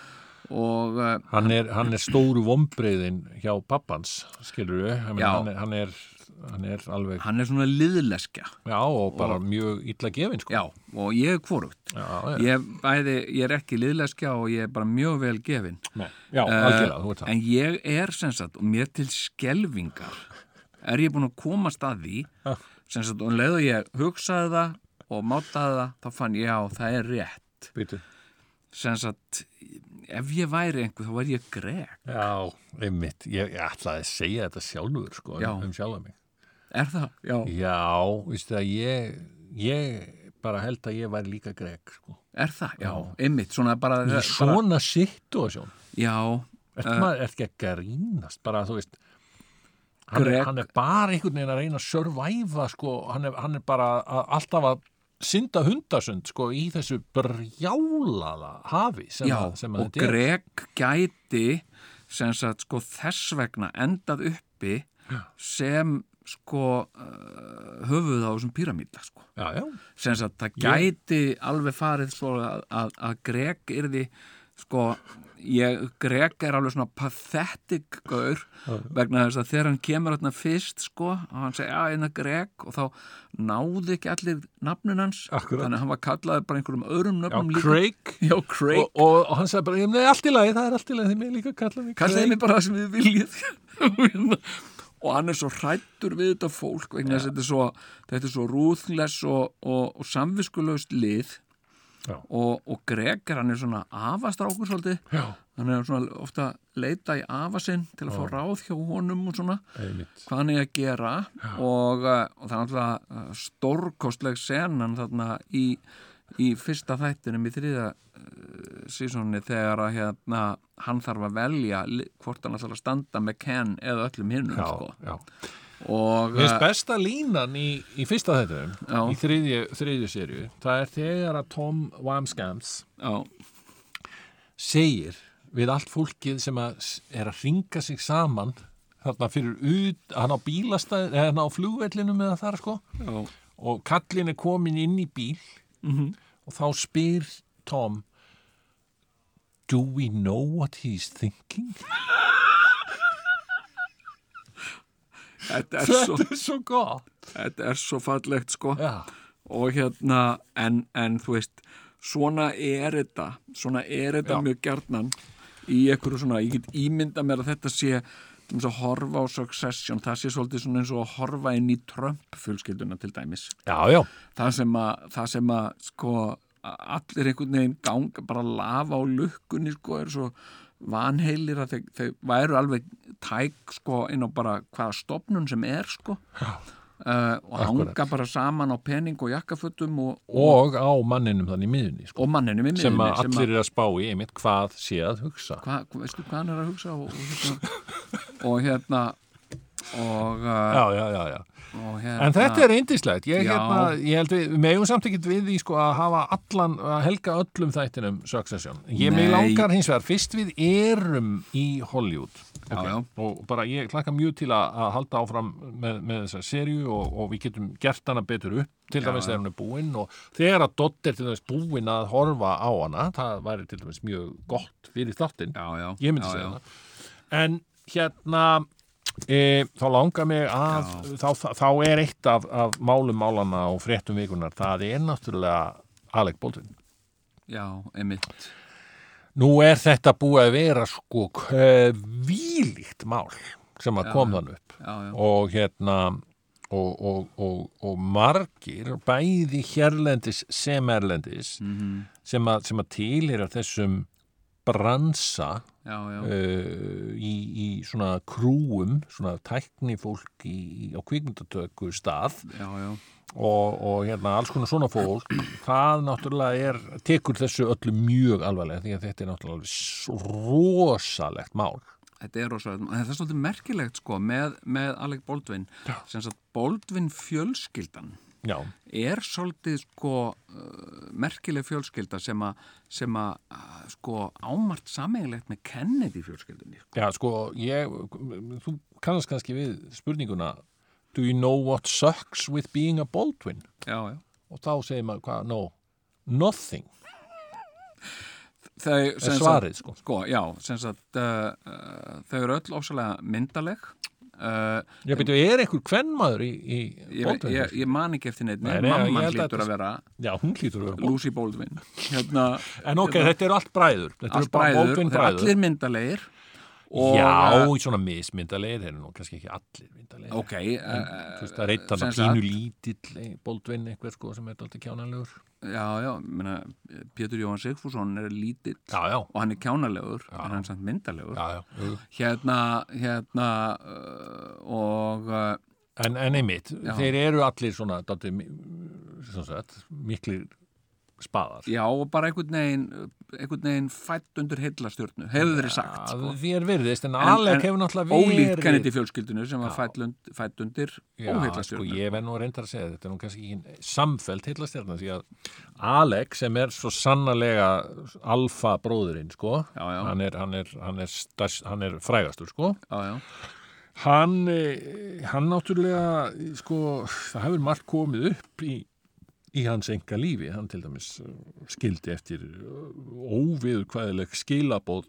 og eh,
Hann er, hann er stóru vombriðin hjá pappans, skilur við,
Já.
hann, er- hann, er, hann er alveg,
hann er svona liðleskja
já og bara mjög illa gefin sko.
já, og ég er kvorugt
já, já,
ég, bæði, ég er ekki liðleskja og ég er bara mjög vel gefin
Nei, já
Eh,
algjörlega, þú ert það.
en ég er sem sagt og mér til skelvingar er ég búin að komast að því sem sagt og um leið og ég hugsaði það og mátaði það þá fann ég á það er rétt
Býtu.
sem sagt ef ég væri einhver þá væri ég grek
Já, einmitt, ég, ég ætlaði að segja þetta sjálfur sko,
Já.
um, um sjálfa mig.
er það? Já,
Já, veistu að ég, ég bara held að ég væri líka grek sko.
er það? Já, einmitt svona Eh, bara,
Í
bara
svona situasjón,
já,
ert
Eh.
maður ert ekki að grínast, bara þú veist, hann er,
Grek-
hann er bara einhvern veginn að reyna að survive sko, hann er, hann er bara að, alltaf að synda hundasund sko í þessu brjálaða hafi sem,
já
að, sem að
og grek gæti sem sagt sko þess vegna endað uppi sem sko uh, höfuð á þessum píramíla sko
Já, já,
sem sagt það gæti alveg farið svo að, að, að Greg er því sko ég, Greg er alveg svona pathetic gaur vegna þess að þegar hann kemur hérna fyrst sko og hann segja að hérna Greg og þá náði ekki allir nafnin hans
Akkurat.
þannig að hann var kallaði bara einhverjum öðrum
já
nöfnum líka
Craig
Já, Craig
og, og, og hann sagði bara, "Nei, allt í lagi, það er allt í lagi, þið mig líka kalla mig
kallaði mig bara það sem þið viljið hérna, og hann er svo hrættur við þetta fólk vegna þess að þetta er svo, þetta er svo rúðles og, og, og samviskulegust lið
Já.
og, og Gregor hann er svona afastrákur svolítið
Já.
hann er svona ofta að leita í afasinn til að fá ráð hjá honum og svona
Einmitt.
hvað hann er að gera og, eh, og það er alltaf stórkostleg senan þarna í, í fyrsta þættinum í þriða eh, sísónni þegar að hérna, hann þarf að velja li- hvort hann ætlar að standa með Ken eða öllum hinnum sko.
já.
og eh,
Mér finnst besta línan í, í fyrsta þetta
Já.
í þriðju, þriðju serju það er þegar að Tom Wamsgams
já,
segir við allt fólkið sem að s- er að ringa sig saman þarna fyrir út, hann á bílastæð eða hann á flugvellinum eða þar sko
já,
og kallin er komin inn í bíl og þá spyr Tom Do we know what he's thinking?
þetta er svo
Þetta er svo gott
þetta er svo fallegt sko
Já,
og hérna en, en þú veist, svona er þetta svona er þetta
Já.
mjög gjarnan í einhverju svona, ég get ímynda mér að þetta sé til dæmis að horfa á Succession, það sé svolítið svona eins og að horfa inn í Trump fjölskylduna til dæmis
já, já.
það sem að, það sem að sko, a- allir einhvern veginn gang bara lafa á lukkunni sko, er svo vanheilir að þau, þau væru alveg tæk sko, inn á bara hvaða stofnun sem er sko Uh, og
Akkurat.
hanga bara saman á pening og jakkafötum og,
Og á manninum þannig í miðunni sko,
og manninu minni
sem að allir er að spá í einmitt hvað sé að hugsa
hva, hva- veistu hvað hann er að hugsa og, og, hérna- og hérna og, uh,
Já, já, já, já
og hérna
En þetta er eindislegt, ég,
Já.
hérna, ég held við, við megum samt ekkert við því sko að hafa allan, að helga öllum þættinum Succession. Ég mig
Nei.
langar hins vegar, fyrst við erum í Hollywood
Já, já.
og bara ég klakka mjög til að, að halda áfram með, með þessa serju og, og við getum gert hana betur upp, til dæmis þegar hún er búin og þegar að Dodd er til dæmis búin að horfa á hana, það væri til dæmis mjög gott fyrir þáttinn
já, já,
ég myndi
já,
segja
já.
það en hérna e, þá langar mig að þá, þá, þá er eitt af, af málum málana og fréttum vikunar, það er náttúrulega Alec Baldwin
já, einmitt
nú er þetta búið að vera sko kvílíkt mál sem að kom þann upp
já, já,
og hérna og, og, og, og margir bæði hérlendis sem erlendis
Mhm.
sem, að, sem að tilhera þessum bransa
já, já,
uh, í, í svona krúum, svona tæknifólk í, í, á kvikmyndatöku stað
já, já.
og, og hérna alls konar svona fólk, það náttúrulega er, tekur þessu öllu mjög alvarlega því að þetta er náttúrulega alveg s- rosalegt mál.
Þetta er rosalega, þetta er svolítið merkilegt sko með, með Alec Baldwin sem sagt Baldwin fjölskyldan
Já,
er svolítið sko uh, merkileg fjölskylda sem að sem að uh, sko ámart sameiglegt með Kennedy fjölskyldunni sko.
já sko, ég, þú kannast kannski við spurninguna Do you know what sucks with being a Baldwin?
Já, já.
Og þá segir maður, hvað, no, nothing er
Þau, sem sagt-
svarið, sko.
Sko, já, sem sagt uh, uh, þau eru öll ofsalega myndaleg uh,
Já, betur, er einhver kvennmaður í, í
ég,
Baldwin?
ég, ég man ekki eftir neitt
Nei, nei, ég
mamman
held að
hlýtur að vera
Já, hún hlýtur að vera Baldwin.
Lucy Baldwin hérna,
En ok, þetta eru allt bræður. Þetta eru
allt
bara
bræður,
Baldwin
þeir eru
bræður.
allir myndalegir
Já,
uh,
í svona mismyndalegir, þeir eru nú kannski ekki allir myndalegir.
ok
Þú
uh,
veist, það er eitt hann
sem
að
sagt-
pínu lítill eh, Baldwin eitthvað sko sem er alltaf kjánalegur.
já, já, minna, Pétur Jóhann Sigfússon er lítill
Já, já,
og hann er kjánalegur en hann er samt myndalegur
já, já. jú.
hérna, hérna uh, og uh,
En, en einmitt, þeir eru allir svona, dálítið, mi- sem sagt, miklir spaðar.
já, og bara einhvern veginn einhvern veginn fætt undur heillastjörnu hefur verið sagt
Að
sko.
því er virðist, en,
En-
Alec
en
hefur náttúrulega verið...
ólíkt Kennedy fjölskyldinu sem var fætt und, fætt undir
Já, sko,
óheillastjörnu
ég verð nú reyndar að segja þetta er nú kannski ekki samfelt heillastjarnar því að Alex sem er svo sannarlega alfa bróðurinn sko,
Já, já.
Hann, er, hann, er, hann, er stærst, hann er frægastur sko
já, já,
hann, eh, hann náttúrulega eh, sko, það hefur margt komið upp í, í hans enga lífi hann til dæmis eh, skildi eftir e, óviðkvæðileg skilabóð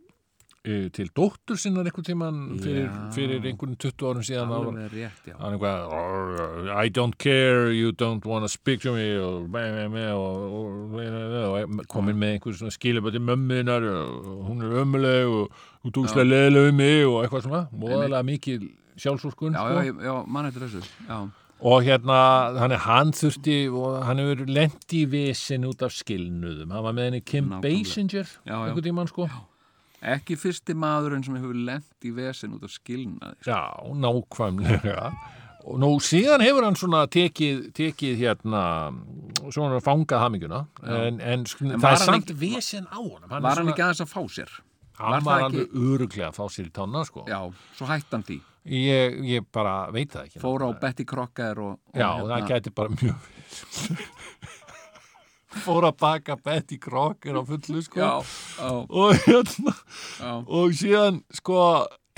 eh, til dóttur sinnar einhvern tíman fyrir, fyrir einhvern 20 árum síðan Það var-
alveg rétt, já
hann eitthvað "Oh, I don't care, you don't want to speak to me og, me, me, me, og, og, og komin með einhver svona skilabæti mömmunar og hún er ömuleg og hún tókslega leðilega um mig og eitthvað svona, móðalega mikil sjálfsúrkun
já,
sko.
já, já, mann eftir þessu já,
og hérna hann, er, hann þurfti og hann hefur lendi í vesin út af skilnuðum hann var með henni Kim
Nákvæmlega.
Basinger
Já, já.
einhvern tímann sko já.
ekki fyrsti maðurinn sem hefur lent í vesen út af skilnaði
Já, nákvæmlega
og nú síðan hefur hann svona tekið, tekið hérna svona fangað haminguna en, en, en
var
það er
hann
samt vesen á honum hann, er
Var hann
svona-
ekki aðeins að fá sér? var
Hann
það
var
ekki-
alveg öruglega að fá sér í tanna, sko.
Já, svo hætti hann því.
Ég, ég bara veit það ekki.
Fóra á Betty Crocker og... og
Já,
hérna-
það gæti bara mjög vel. Fór að baka Betty Crocker á fullu, sko.
Já, já,
Og hérna,
já.
og síðan, sko,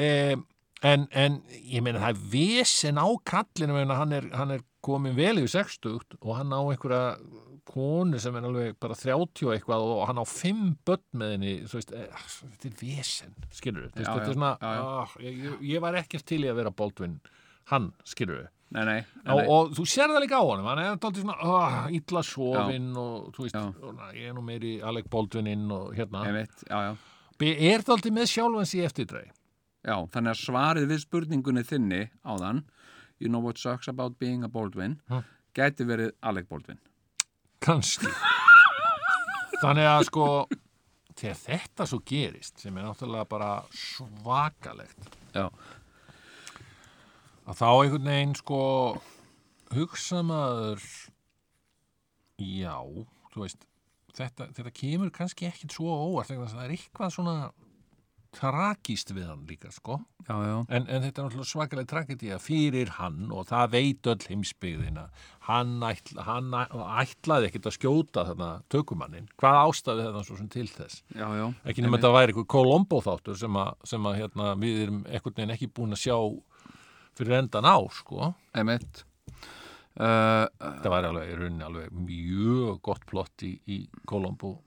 um, en, en ég meina það er vesen á kallinu, meina hann er, hann er komin vel yfir sextugt og hann á einhverja konu sem er alveg bara 30 og eitthvað og hann á fimm börn með henni, þú veist, eh, þetta er vesen, skilur við,
Já,
þetta
já,
er svona,
já, já.
ah, ég, ég- ég var ekkert til í að vera Baldwin, hann, skilur við.
Nei, nei, nei,
Og,
nei.
og þú sér það líka á honum, hann er alltaf svona oh, illa sofinn og þú veist,
Já.
og, na, ég er nú meiri Alec Baldwininn og hérna.
Einmitt, já, já.
Be- Er það alltaf með sjálfans í eftirdrei?
Já, þannig að svarið við spurningunni þinni á þann You know what sucks about being a Baldwin
Hm.
gæti verið Alec Baldwin
Kanski. Þannig að sko, þegar þetta svo gerist, sem er náttúrulega bara svakalegt,
Já,
að þá einhvern veginn sko hugsa maður, já, þú veist, þetta, þetta kemur kannski ekkit svo á óvart, vegna þess að það er eitthvað svona tragist við hann líka, sko.
já, já,
En, en þetta er náttúrulega svakalega tragedía fyrir hann og það veit öll heimsbyggðina. Hann, ætla, hann ætlaði ekkert að skjóta þarna tökumannin. Hvað ástæði þetta svo sem til þess?
já, já.
Ekki nema þetta væri eitthvað Colombo þáttur sem, að, sem að, hérna, við erum ekkert neginn ekki búin að sjá fyrir endan á, sko.
Einmitt uh,
Þetta væri alveg, í rauninni alveg mjög gott plott í, í Colombo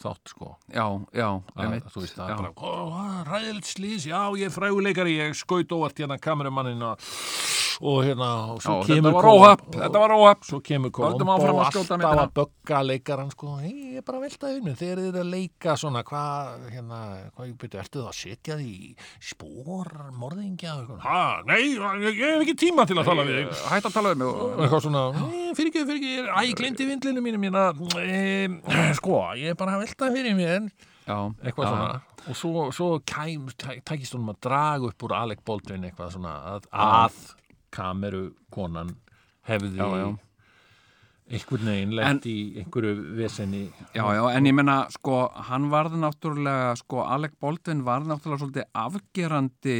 þátt, sko.
Já, já,
að,
einmitt
þú veist, það
já.
er bara "Ó, ræðilegt slís, já, ég er fræguleikari ég skaut óvart hérna kamerumannin og, og hérna, og svo
Já,
kemur
Þetta var
Colum-
óhapp,
og-
þetta var óhapp
svo kemur
Höldum
Kolombo
áfram að
og
skjóta
alltaf
myndina.
að bögga leikarann sko, hei, ég er bara að velta yfir mér þegar þið eru að leika svona, hvað hérna, hvað ég byrja, ertu það að setja því í spór, morðingja og eitthvað?" ha, nei, ég, ég hef ekki tíma til að tala við þig
Hætt að tala um mig og-
og eitthvað svona, fyrir ekki, fyrir ekki, ég er- æ, ég gleymdi vindlinu mínu mína, e, sko, ég er bara að velta fyrir mér,
Já,
eitthvað
já,
svona og svo, svo kæm, tæ- tækist honum að draga upp úr Alec Baldwin eitthvað svona að, að kameru konan hefði
Já, já.
einhvern veginn lent í einhverju vesenni
Já, já, en ég menna, sko, hann varði náttúrulega, sko, Alec Baldwin varði náttúrulega svolítið afgerandi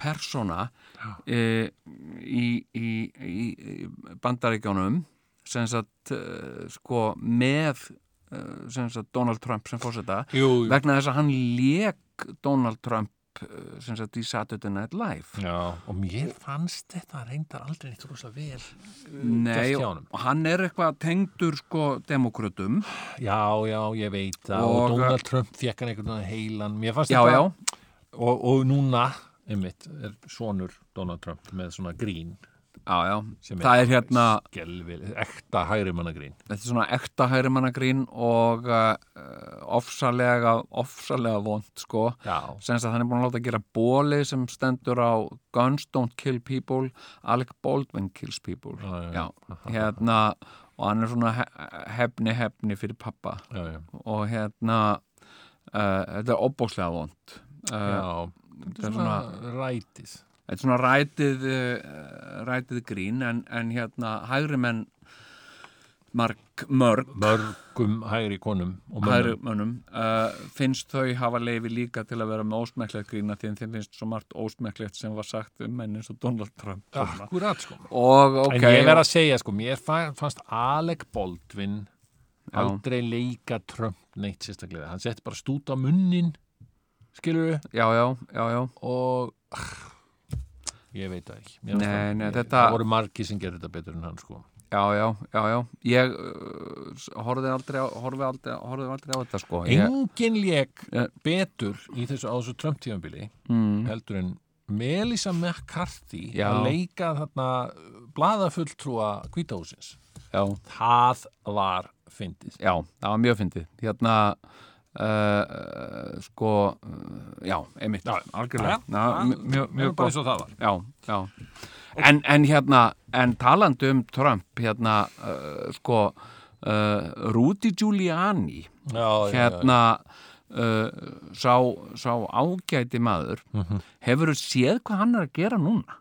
persóna e, í, í, í, í bandaríkjónum, sem sagt, e, sko, með, e, sem sagt, Donald Trump sem fórseta,
jú,
vegna þess að hann lék Donald Trump, eh, sem sagt, í Saturday Night Live.
já, og mér fannst þetta reyndar aldrei neitt rosa vel
Nei,
gert hjá honum.
og hann er eitthvað tengdur, sko, demokratum.
já, já, ég veit það og,
Og-
Donald Trump fekk hann einhvern veginn heilan mér fannst
Já,
þetta
já,
Og, og núna, einmitt, er sonur Donald Trump með svona grín
já, já,
sem
það er hérna...
skelvil, ekta hægri manna grín
þetta er svona ekta hægri manna grín og uh, ofsalega, ofsalega vond sko
já,
sem að hann er búin að láta að gera bóli sem stendur á Guns Don't Kill People Alec Baldwin Kills People
Já, já, já.
hérna og hann er svona he- hefni hefni fyrir pappa
já, já
og hérna uh, þetta er ofbókslega vond uh,
Já,
þetta er svona
rætis
Þetta er svona rætið, eh, rætið grín en, en hérna hægri menn mark, mörg
Mörgum hægri konum og
hægri
mönnum
mönnum uh, finnst þau hafa leifi líka til að vera með ósmekklegt grína því en þeim finnst svo margt ósmekklegt sem var sagt um menn eins og Donald Trump svona.
Akkurat sko
og ok
En ég verð að segja sko, mér fa- fannst Alec Baldwin aldrei leika Trump neitt sérstaklega Hann setti bara stút á munnin skilur
já, já, já, já,
og ah, ég veit það ekki Mér fannst
Nei,
það-
nei,
ég-
þetta-
Það voru margir sem gerði þetta betur en hann sko
já, já, já, já. ég uh, s- horfði aldrei á, horfði aldrei, horfði aldrei á þetta sko ég,
Engin lék
Ég-
betur í þessu á þessu Trump tíðanbili
mm,
heldur en Melissa McCarthy
Já.
að leika þarna uh, blaðafulltrúa kvítahúsins.
já,
Það var fyndið.
já, það var mjög fyndið hérna Uh, uh, sko uh, já, einmitt,
Já,
algjörlega
já,
Ná,
já,
mjög, mjög,
Mjög
mjög
bara
gott
eins og það var.
já, já. En, en hérna, en talandi um Trump, hérna, uh, sko, uh, Rudy Giuliani,
Já,
hérna, uh, sá, sá ágæti maður, hefur þú séð hvað hann er að gera núna?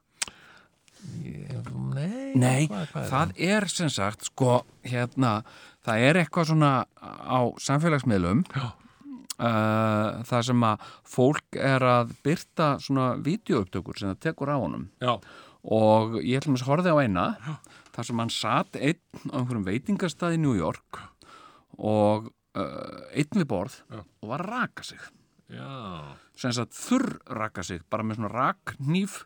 Ég- Nei,
Nei,
hvað, hvað er
það er sem sagt, sko, hérna, það er eitthvað svona á samfélagsmiðlum uh, það sem að fólk er að byrta svona vídeoupptökur sem það tekur á honum
Já,
og ég ætlum að horfið á eina þar sem hann satt einn á einhverjum veitingastað í New York og uh, einn við borð og var að raka sig
já,
sem sagt þurr raka sig bara með svona raknýf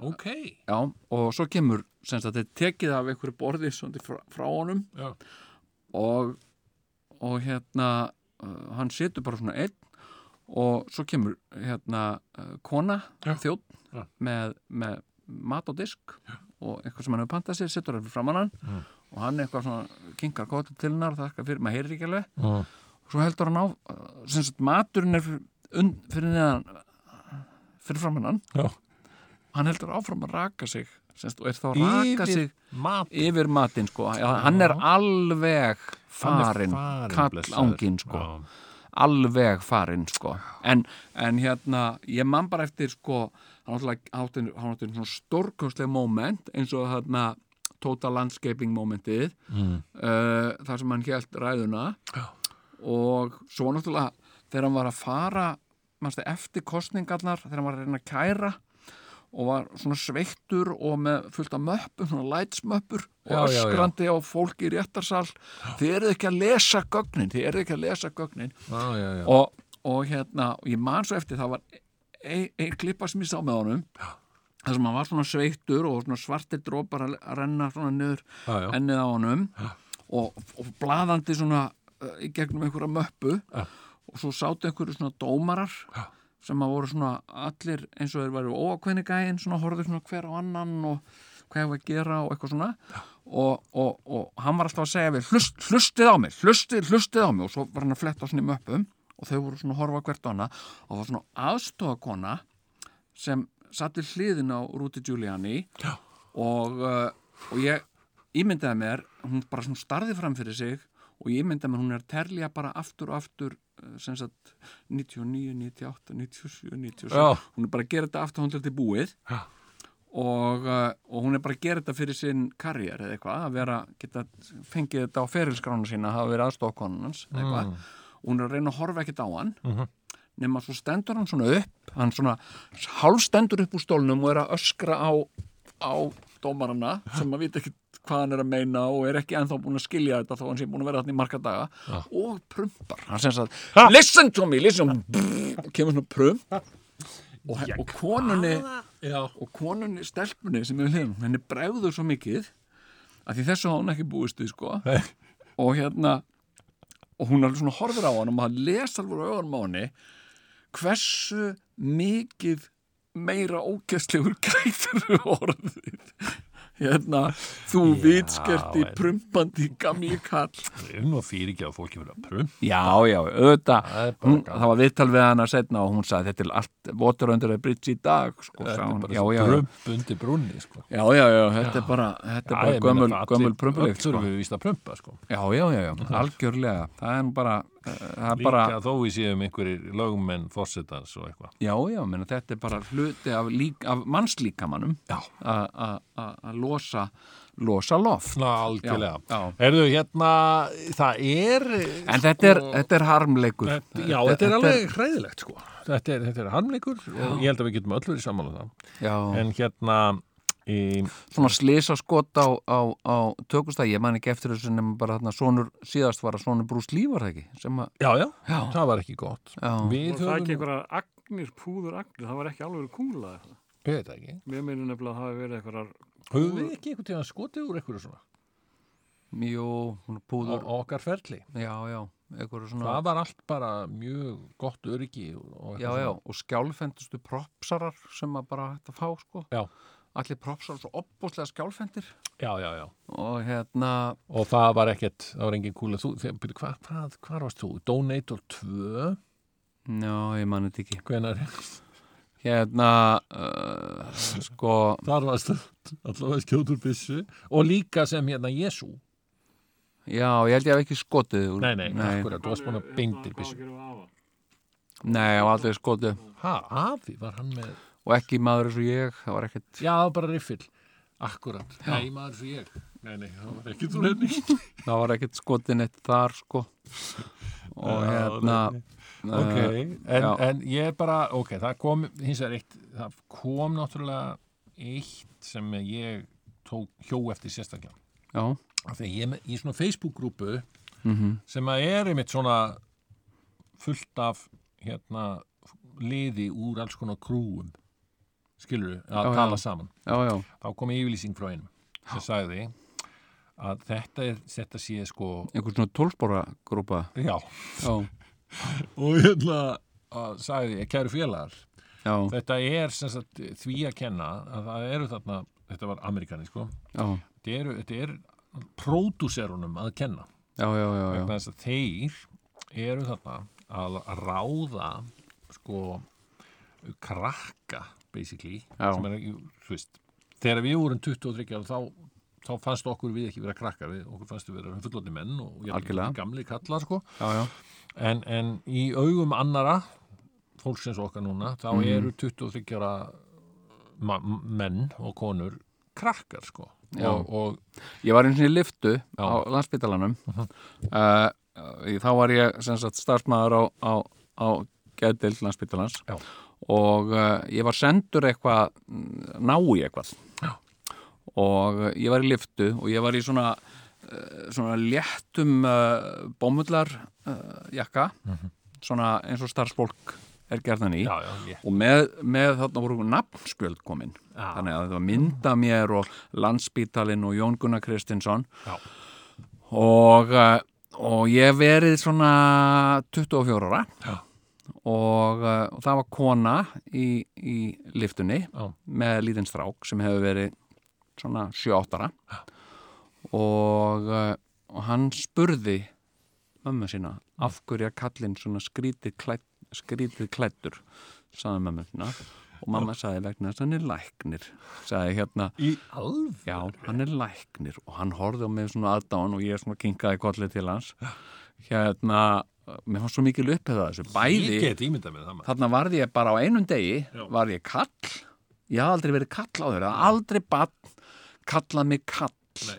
ok
Já, og svo kemur sem sagt þetta er tekið af einhverju borði svona frá, frá honum
Já.
og, og hérna uh, hann setur bara svona einn og svo kemur hérna uh, kona,
Já.
þjótt
Já.
með, með mat og disk og eitthvað sem hann hefur pantað sér, setur hann fyrir framann hann og hann eitthvað svona kinkar kóta til hennar, þakka fyrir, maður heyrir ekki alveg
Mm.
og svo heldur hann á uh, sem sagt maturinn er fyrir, und, fyrir neðan fyrir framann hann
Já.
hann heldur áfram að raka sig semst, og er þá að raka
Yfir
sig
Mat
yfir matinn sko. Já, hann er alveg farinn
farinn, blessaður.
kallanginn sko. alveg farinn sko. en, en hérna ég man bara eftir sko, hann átti- átti hann átti svona stórkostleg moment eins og þarna total landscaping momentið mm. þar sem hann hélt ræðuna
Já.
og svo náttúrulega þegar hann var að fara manstu, eftir kostningarnar þegar hann var að reyna að kæra og var svona sveittur og með fullt af möppum, svona lætsmöppur og
Já, já, já.
öskrandi á fólki í réttarsal þið eruð ekki að lesa gögnin þið eruð ekki að lesa gögnin
Já, já, já
og, og hérna, og ég man svo eftir það var ein, ein klippa sem ég sá með honum þar sem hann var svona sveittur og svona svartir drópar að að renna svona niður
Já, já.
ennið á honum og, og blaðandi svona uh, í gegnum einhverja möppu
Já.
og svo sátu einhverju svona dómarar
Já.
sem að voru svona allir eins og þeir væru óakveðni gæinn svona horfðu svona hver á annan og hvað hefur að gera og eitthvað svona og, og, og hann var alltaf að segja við hlust, hlustið á mig, hlustið, hlustið á mig og svo var hann að fletta svona í möppum og þau voru svona að horfa hvert á hana og það var svona aðstofakona sem satt við hliðin á Rúti Giuliani
Já.
og, uh, og ég ímyndaði mér, hún bara svona starði fram fyrir sig og ég ímyndaði mér hún er að terlja bara aftur og aftur uh, sem sagt 99, 98, 97, 97
Já.
hún er bara að gera þetta aftur hún til til búið
Já.
og, uh, og hún er bara að gera þetta fyrir sinn karriér eða eitthvað, að vera geta fengið þetta á ferilskránu sína að hafa verið aðstofkonunans eða eitthvað og hún er að reyna að horfa ekkert á hann nema svo stendur hann svona upp hann svona hálfstendur upp úr stólnum og er að öskra á, á dómarana sem maður veit ekki hvað hann er að meina og er ekki ennþá búin að skilja þetta þó hann sé búin að vera þarna í marga daga og prumpar, hann sem sagt listen to me, listen brrr, og kemur svona prump og, og konunni
Já,
og konunni, stelpunni sem er við hliðum henni bregður svo mikið að því þessu hafði hún ekki búist við sko og hérna og hún alveg svona horfir á hann og maður les alveg á öðrum á henni hversu mikið meira ógæstlegur gætur orðið hérna, þú
Já,
vitskerti
en-
prumpandi gamli kall
um og fyrir ekki að fólki verið að prum
Já, já, auðvitað
Það er bara
hún,
gaman.
það var viðtal við hana setna og hún sagði þetta er allt water under the bridge í dag sko,
Þetta
sagði
er
hún.
bara
já,
svo
já, já,
prump undir brunni sko.
já, já, já, þetta er bara, þetta er bara gömul, gömul prumpuleik
sko.
sko.
Öllur við víst að prumpa sko.
Já, já, já, já, algjörlega það er nú bara, eh, það er
Líka
bara
þó við séum einhverjir lögumenn fórsetans og eitthvað
Já, já, menna, þetta er bara hluti af, lík, af mannslíkamannum
Já.
að að- að- að losa, losa loft
Ná, algjörlega
Já, já.
Erðu, hérna, það er
En þetta er, þetta er harmleikur
Já, Sko- þetta er alveg hræðilegt sko Þetta er, þetta er harmleikur og ég held að við getum öllur í sammála um það
Já.
En hérna í,
svona slisa skot á, á, á tökustæð, ég man ekki eftir þessu nema bara þarna sonur, síðast var að sonur brús lífar það ekki, sem að
Já, já,
Já.
það var ekki gott
Já.
Við
Og það ekki
höfum,
einhverjar agnir, púður agnir, það var ekki alveg kúla. eða eitthvað.
við veit það ekki
Mér meina nefnilega að það hafi verið einhverjar,
Höfum við ekki einhvern tíðan skotið úr einhverju svona
Jú, hún er
á,
púður
á okkar ferli
Já, já, einhverju svona
Það var allt bara mjög gott öryggi og, og
Já, já, og skjálfendustu propsarar sem að bara hægt að fá, sko
Já.
Allir propsarar svo opbúslega skjálfendir
já, já, já
og hérna
Og það var ekkert, það var engin kúla Þú, þegar, byrju, hvað, hvað, hvað varst þú? Donator 2
Já, ég man þetta ekki
Hvenar,
Hérna, uh, sko
þar varst allavega skjótur byssu og líka sem hérna Jesú
Já, ég held ég hef ekki skotið úr-
Nei, nei,
nei,
akkurat, þú varst búin að beindir
hvað að
byssu
gera við afa?
nei, ég hef aldrei skotið
Ha, afi, var hann með
og ekki maður eins og ég, það var ekkert
Já, bara riffill. Akkurat. Nei, maður svo ég. Nei, nei, það var ekki þú henni.
það var ekkert skotin eitt þar sko og hérna
ok,
eh,
en,
já.
en ég er bara, ok, það kom hins vegar eitt, það kom náttúrulega eitt sem ég tók hjó eftir sérstaklega
já, mhm.
af því að ég er með- í svona Facebook-grúpu sem að er einmitt svona fullt af hérna liði úr alls konar krúum skilur að
Já, já.
tala saman
já, já,
þá kom yfirlýsing frá einum sem sagði að þetta, er, þetta sé sko
einhvern svona tólspóra grúpa
já,
já,
og hérna að sagði, "Eh, kæru félagar
já,
þetta er sem sagt, því að kenna að það eru þarna, þetta var amerikani sko,
já,
þetta, eru, þetta er pródúserunum að kenna
já, já, já, já.
vegna þess að þeir eru þarna að ráða sko krakka basically
Já.
sem er, jú, þú veist, þegar við vorum 23 ára þá, þá fannst okkur við ekki vera krakkar við, okkur fannst við vera fullotni menn og jafnvel
Algjörlega.
gamli kallar sko
já, já.
en, en í augum annara fólksins okkar núna þá
Mhm.
eru 23 ára ma- menn og konur krakkar sko
Já.
og, og
Ég var eins og í liftu á landsbytalanum uh
Mhm.
þá var ég sem sagt starfsmæður á, á, á geðdild landsbytalans
Já.
og uh, ég var sendur eitthvað mm, ná í eitthvað
Já.
og uh, ég var í liftu og ég var í svona uh, svona léttum uh, bómullar uh, jakka svona eins og starfsfólk er gerðan í
Mhm. já, já, ég,
og með, með þarna voru nafnskjöld komin
Já.
þannig að þetta var mynda mér og landsbítalinn og Jón Gunnar Kristinsson
Já.
og eh, og ég hef verið svona 24 ára
Já.
og, eh, og það var kona í, í liftunni
Já.
með lítinn strák sem hefur verið svona 7-8 ára og, eh, og hann spurði mömmu sína af hverju að kallinn svona skrítið, klætt, skrítið klættur sagði mömmu sína og mamma sagði vegna þess að hann er læknir sagði hérna
í alveg
já, hann er læknir og hann horfði á mig svona aðdáðan og ég svona kinkaði kollið til hans hérna, mér fannst svo mikil upphefða þessu
ég
bæði,
get ímyndað með það maður.
þarna varð ég bara á einum degi var ég kall ég hafði aldrei verið kall á þeirra, aldrei bann kallað mig kall
Nei.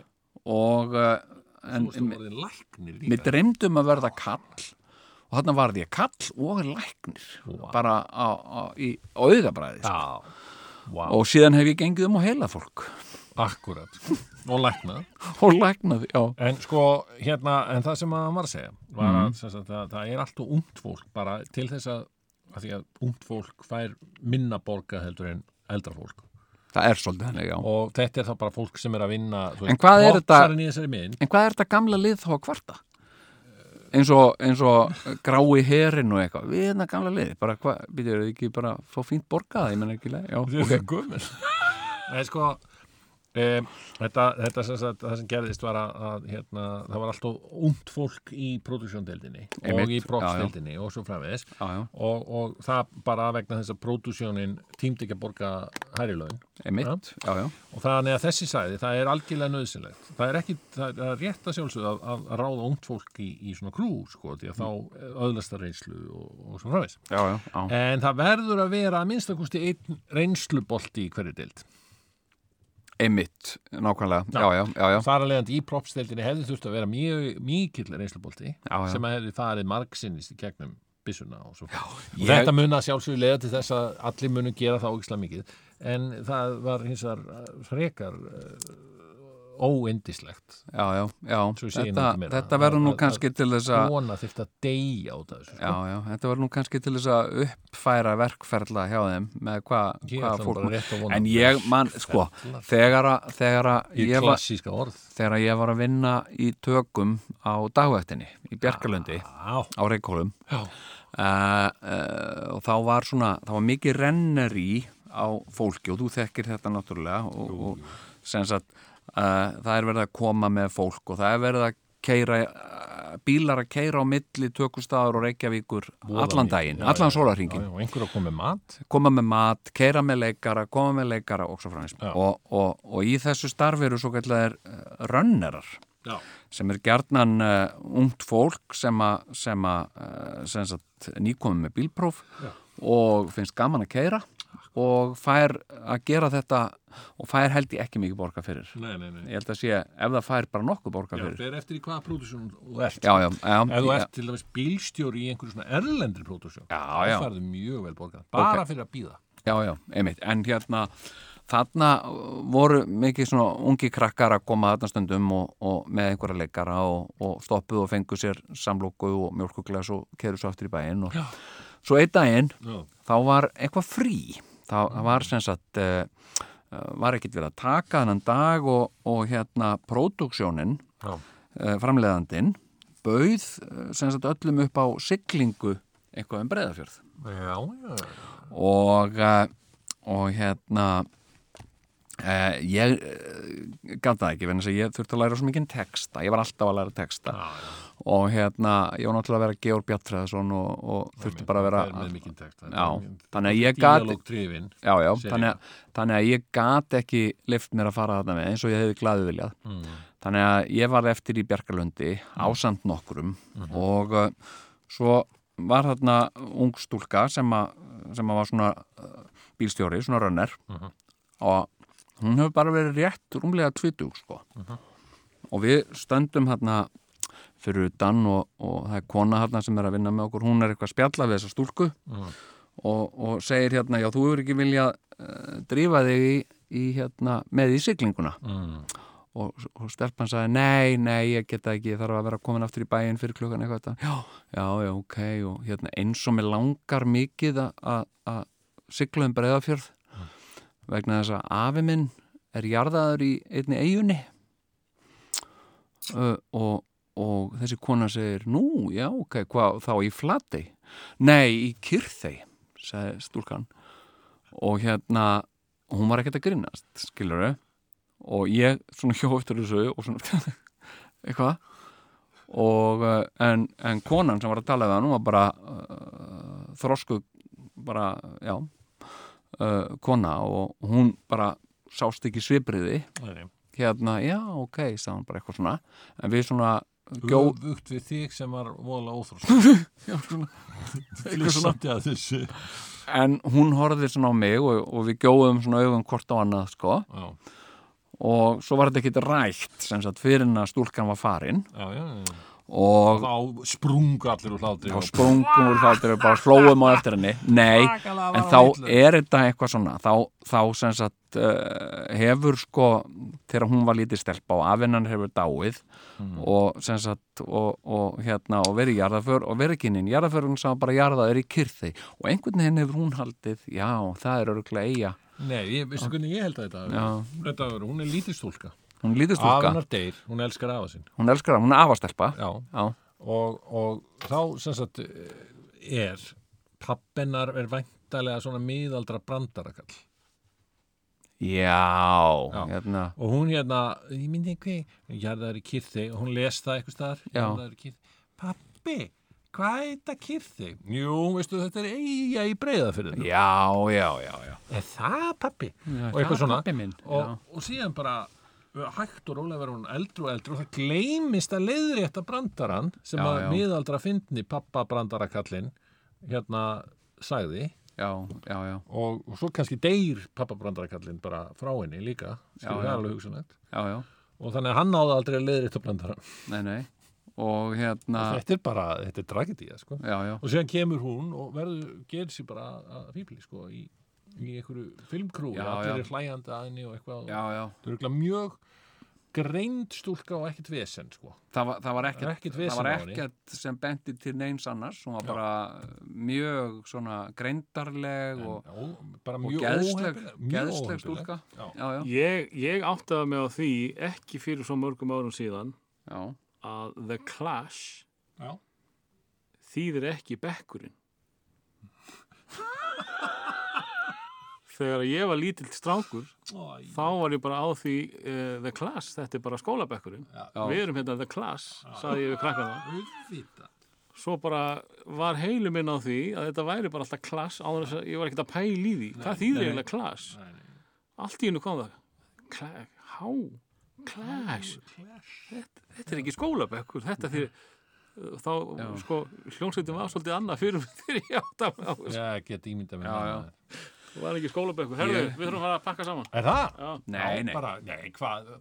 og eh, en,
þú veist þú voruð læknir
Mér
líka
dreymdum um að verða kall og þarna varði ég kall og læknir
Vá.
bara á, á, í, á auðabræði sko.
já, vá,
og síðan hef ég gengið um og heila fólk
akkurat sko. og læknað
og læknaði, já,
en sko, hérna, en það sem hann var að segja var
Mhm.
að, sem sagt, að það er alltaf ungt fólk bara til þess að, að því að ungt fólk fær minna borga heldur en eldra fólk
það er svolítið henni, já
og þetta er þá bara fólk sem er að vinna þú
En hvað er þetta-
boxarinn í þessari mynd
En hvað er þetta gamla lið þá að kvarta? Eins og, eins og grái herin og eitthvað, við erum það gamla lið bara hvað, býtur þau ekki bara fá fínt borgað, ég menn ekki leið, já,
okay. gömul Nei, sko um, þetta, þetta sem sagt, það sem gerðist var að, að hérna, það var alltaf ungt fólk í produksjóndeildinni og í
Einmitt,
brotsdeildinni og svo framvegis
já, já,
og, og það bara vegna þess að produksjónin tímdi ekki að borga hærri laun
emitt, já, já,
og þannig að þessi sæði, það er algjörlega nöðsynlegt það er ekki, það er rétt að sjálfsögð að, að, að ráða ungt fólk í, í svona krú sko, því að þá öðlast það reynslu og, og svo framvegis
já, já, já.
en það verður að vera að minnstakosti einn reynslubolti í hverju deild
emitt, nákvæmlega, já, já, já, já,
þar að leiðandi í propsdeildinni hefði þurft að vera mjög mikill reynslubolti
já, já.
sem að hefði farið margsinnist í gegnum byssuna og svo já, og þetta mun að sjálfsögur leiða til þess að allir munu gera það ógislega mikið en það var hins vegar uh, frekar uh, óindislegt
já, já, já.
Svo ég segi nú
Þetta,
ekki meira.
þetta verður nú
Það-
kannski til þess að
svona þyrfti að deyja út af þessu sko.
Já, já, þetta var nú kannski til þess að uppfæra verkferla hjá þeim með hvað
Ég
hva
ætla nú
fólk
bara rétt að vona.
en ég man, sko, þegar að þegar að
í
ég, var,
klassíska orð
þegar að ég var að vinna í tökum á dagvættinni í Bjarkalundi
já,
á Reykjólum
já,
uh, uh, og þá var svona þá var mikið renneri á fólki og þú þekkir þetta náttúrulega og, og sem sagt uh, það er verið að koma með fólk og það er verið að keira uh, bílar að keira á milli tökustafur og Reykjavíkur allan daginn, allan
já,
sólarhingin
og einhver að koma með mat
koma með mat, keira með leikara koma með leikara og svo fræmis
Já.
og, og, og í þessu starfi eru svo kallar rönnerar
já,
sem er gjarnan uh, ungt fólk sem að eh, sem að, uh, sem sagt, nýkomið með bílpróf og finnst gaman að keira og fær að gera þetta og fær held ég ekki mikið borga fyrir
Nei, nei, nei.
ég held að sé ef það fær bara nokkuð borga
Já,
fyrir
fer eftir í hvaða pródúsjón þú ert.
já, já, já,
Ef þú
já,
ert til dæmis bílstjóri í einhverju svona erlendri pródúsjón,
Já,
þá
já.
færðu mjög vel borgað. Bara fyrir að býða.
já, já, einmitt en hérna þarna voru mikið svona ungi krakkar að koma þarna stundum og, og með einhverja leikara og, og stoppuð og fengu sér samlóku og mjölkuglas og keru svo aftur í bæinn og
Já.
svo einn daginn
Já.
þá var eitthvað frí þá það var sem sagt uh, var ekkert verið að taka þennan dag og, og hérna próduksjónin
Já.
uh, framleiðandin bauð eh, sem sagt öllum upp á siglingu eitthvað um breyðafjörð
Já, já.
og eh, og hérna Uh, ég uh, gæti það ekki, vegna þess að ég þurfti að læra svo mikið texta, ég var alltaf að læra texta og hérna, ég var náttúrulega að vera Georg Bjartræðarsson og, og þurfti bara að vera
Það er með mikinn text.
Já, þannig að ég gat
Díalóg drifin.
Já, já,
Segir
þannig að, þannig að ég gat ekki lift mér að fara þarna með eins og ég hefði glaðið viljað. Þannig að ég var eftir í Bjarkalundi ásamt nokkrum og uh, svo var þarna ung stúlka sem að, sem að var svona uh, bílstjóri, svona rönner og hún hefur bara verið rétt rúmlega tvitug sko. Og við stöndum þarna fyrir utan og, og það er kona þarna sem er að vinna með okkur, hún er eitthvað að spjalla við þessa stúlku Mm, og, og segir hérna, já, þú hefur ekki viljað uh, drífa þig í, í hérna, með í siglinguna
Mm.
og, og stelpan sagði, nei, nei, ég geta ekki ég þarf að vera komin aftur í bæinn fyrir klukkan eitthvað þetta. já, já, já, ok og hérna, eins og mér langar mikið að- að að sigla um breiðafjörð vegna þess að afi minn er jarðaður í einni eigunni uh, og, og þessi kona segir, nú, já, ok hvað, þá í flatei nei, í kyrþei, sagði stúlkan og hérna hún var ekkert að grínast, skilur og ég svona hjó eftir þessu og svona eitthvað og eh, en, en konan sem var að tala við hann hún var bara uh, þrosku bara, já uh, kona og hún bara sást ekki svipriði hérna, já, ok, sagði hann bara eitthvað svona en við svona gjó,
Gjóðugt við þig sem var vola óþróst.
já, svona,
Þú samt ég að þessu.
en hún horfði svona á mig og, og við gjóðum svona augum hvort á annað sko
Já,
og svo var þetta ekkit rætt sem sagt fyrir en að stúlkan var farin
já, já. já.
og
Þá sprungu allir úr hlátri.
þá sprungum úr þáttir og bara hlóum á eftir henni nei, en þá er þetta eitthvað svona þá, þá sem sagt uh, hefur sko, þegar hún var lítið stelpa og afinnan hefur dáið og sem sagt og, og hérna og verið í jarðaför og verið kynnin jarðaförun sá bara jarðaður í kyrði og einhvern veginn hefur hún haldið já, það er öruglega eiga
Nei, ég, veistu hvernig ég held að þetta hafi verið? Þetta verið, hún er lítið stúlka.
hún lítið stúlka,
Afinar deyr, hún elskar afa sinn.
hún elskar hann, hún er afastelpa
Já,
já,
og, og þá sem sagt eh, er pappennar er væntalega svona miðaldra brandarakall.
já, hérna
Og hún hérna, ég myndi einhver, jarðaður í kyrþi og hún les það eitthvað staðar.
Já.
Jarðaður í kyrþi. Pappi, hvað er þetta kyrþi? Jú, veistu, þetta er eiga í breyða fyrir þetta.
já, já, já, já
Er það pappi?
Já,
og eitthvað
það er
svona.
pabbi minn,
og,
já.
og síðan bara uh, hægt og rólega verður hún eldri og eldri og það gleymist að leiðrétta brandaran sem
Já,
að
já.
miðaldra fyndni pappa brandarakallinn hérna sagði
já, já, já,
og, og svo kannski deyr pappa brandarakallinn bara frá henni líka skilur
já.
það alveg hugsanlegt
já, já.
og þannig að hann náði aldrei að leiðrétta brandaran
Nei, nei. Og hérna,
þetta er bara, þetta er tragedía sko.
já, já,
og síðan kemur hún og verður, gerir sér bara að fíbli sko, í, í einhverju filmkrúi
Já,
allir
já.
er hlæjandi að henni og eitthvað og-
já, já.
Það eru mjög greind stúlka og ekkert vesen, sko.
Það var, það var ekkert,
Ekkert vesen
það var
á henni.
ekkert sem bendi til neins annars, hún var bara mjög svona greindarleg og,
Ó, bara
og
mjög
geðsleg,
óheppileg- mjög óheppileg.
geðsleg stúlka.
Já.
Já, já,
Ég, ég áttaði mig á því ekki fyrir svo mörgum árum síðan
já.
að The Clash
Já.
þýðir ekki bekkurinn. Þegar ég var lítill strákur,
Æ,
þá var ég bara á því uh, The Class, þetta er bara skólabekkurinn. Við erum hérna The Class, sagði ég við krakkana.
auðvitað.
Svo bara var heilu minn á því að þetta væri bara alltaf Class, áður þess að ég var ekkert að pæla í því. Hvað þýðir eiginlega Class?
Nei, nei.
Allt í hennu kom það. Kla- Há, Clash. Þetta, þetta er ekki skólabekkur, þetta þýðir þá, sko, hljónsveitin var svolítið annað fyrir mig þegar ég átt að
Já, get ímynda með
Já, já.
Það var ekki skólabökkur. Herðu,
Ég-
við þurfum að fara að pakka saman.
Er það?
Já,
Nei,
Já,
nei,
Bara, nei, hvað,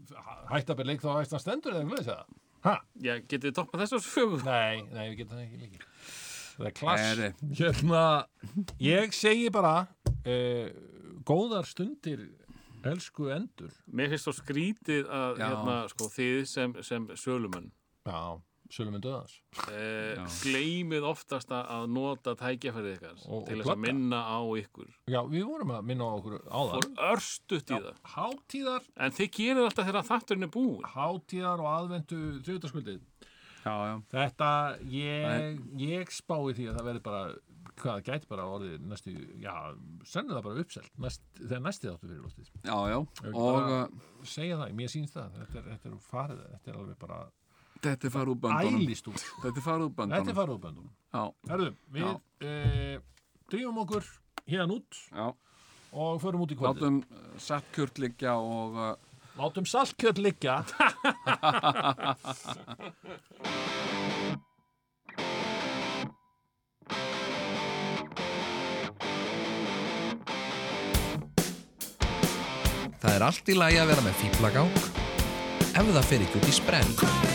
hætt að byrja leik þá að æstan stendur eða glöðis það? Hæ?
já getið þið toppað þessu fjögur?
Nei, nei, við getum það ekki líki. Það er
Nei,
klass. Hérna, ég segi bara, uh, góðar stundir, elsku endur.
Mér finnst þá skrítið að,
Já.
hérna, sko, þið sem, sem sölumenn
Já, sölum en döðans.
eh, gleymið oftast að- að nota tækjafærið ykkar
Og-
til
og
þess að
plugga.
minna á ykkur.
Já, við vorum að minna á okkur á
Fór
það.
örstutt í það.
Hátíðar,
En þið gerir alltaf þegar þátturinn er búin.
hátíðar og aðvendu þriðutaskvöldið.
já, já
Þetta, ég, ég spái því að það verði bara, hvað, gæti bara orðið næstu, já, sennilega bara uppselt, næst, þegar næsti þáttu fyrir lóttið.
Já, já,
ekki
og
bara-
uh,
Segja það, mér sýnst það, þetta er, þetta er farið, þetta er alveg bara
þetta er farið úr bandunum
ælist út.
Þetta er farið úr
Þetta er
bandunum
farið úr böndunum.
Já,
Herðu, við uh, drýjum okkur hérna út
já,
og förum út í kvöldið.
látum uh, satt kjört liggja og uh,
Látum, Látum saltkjöld liggja.
Það er allt í lagi að vera með fýblagák ef það fer ekki út í spreng.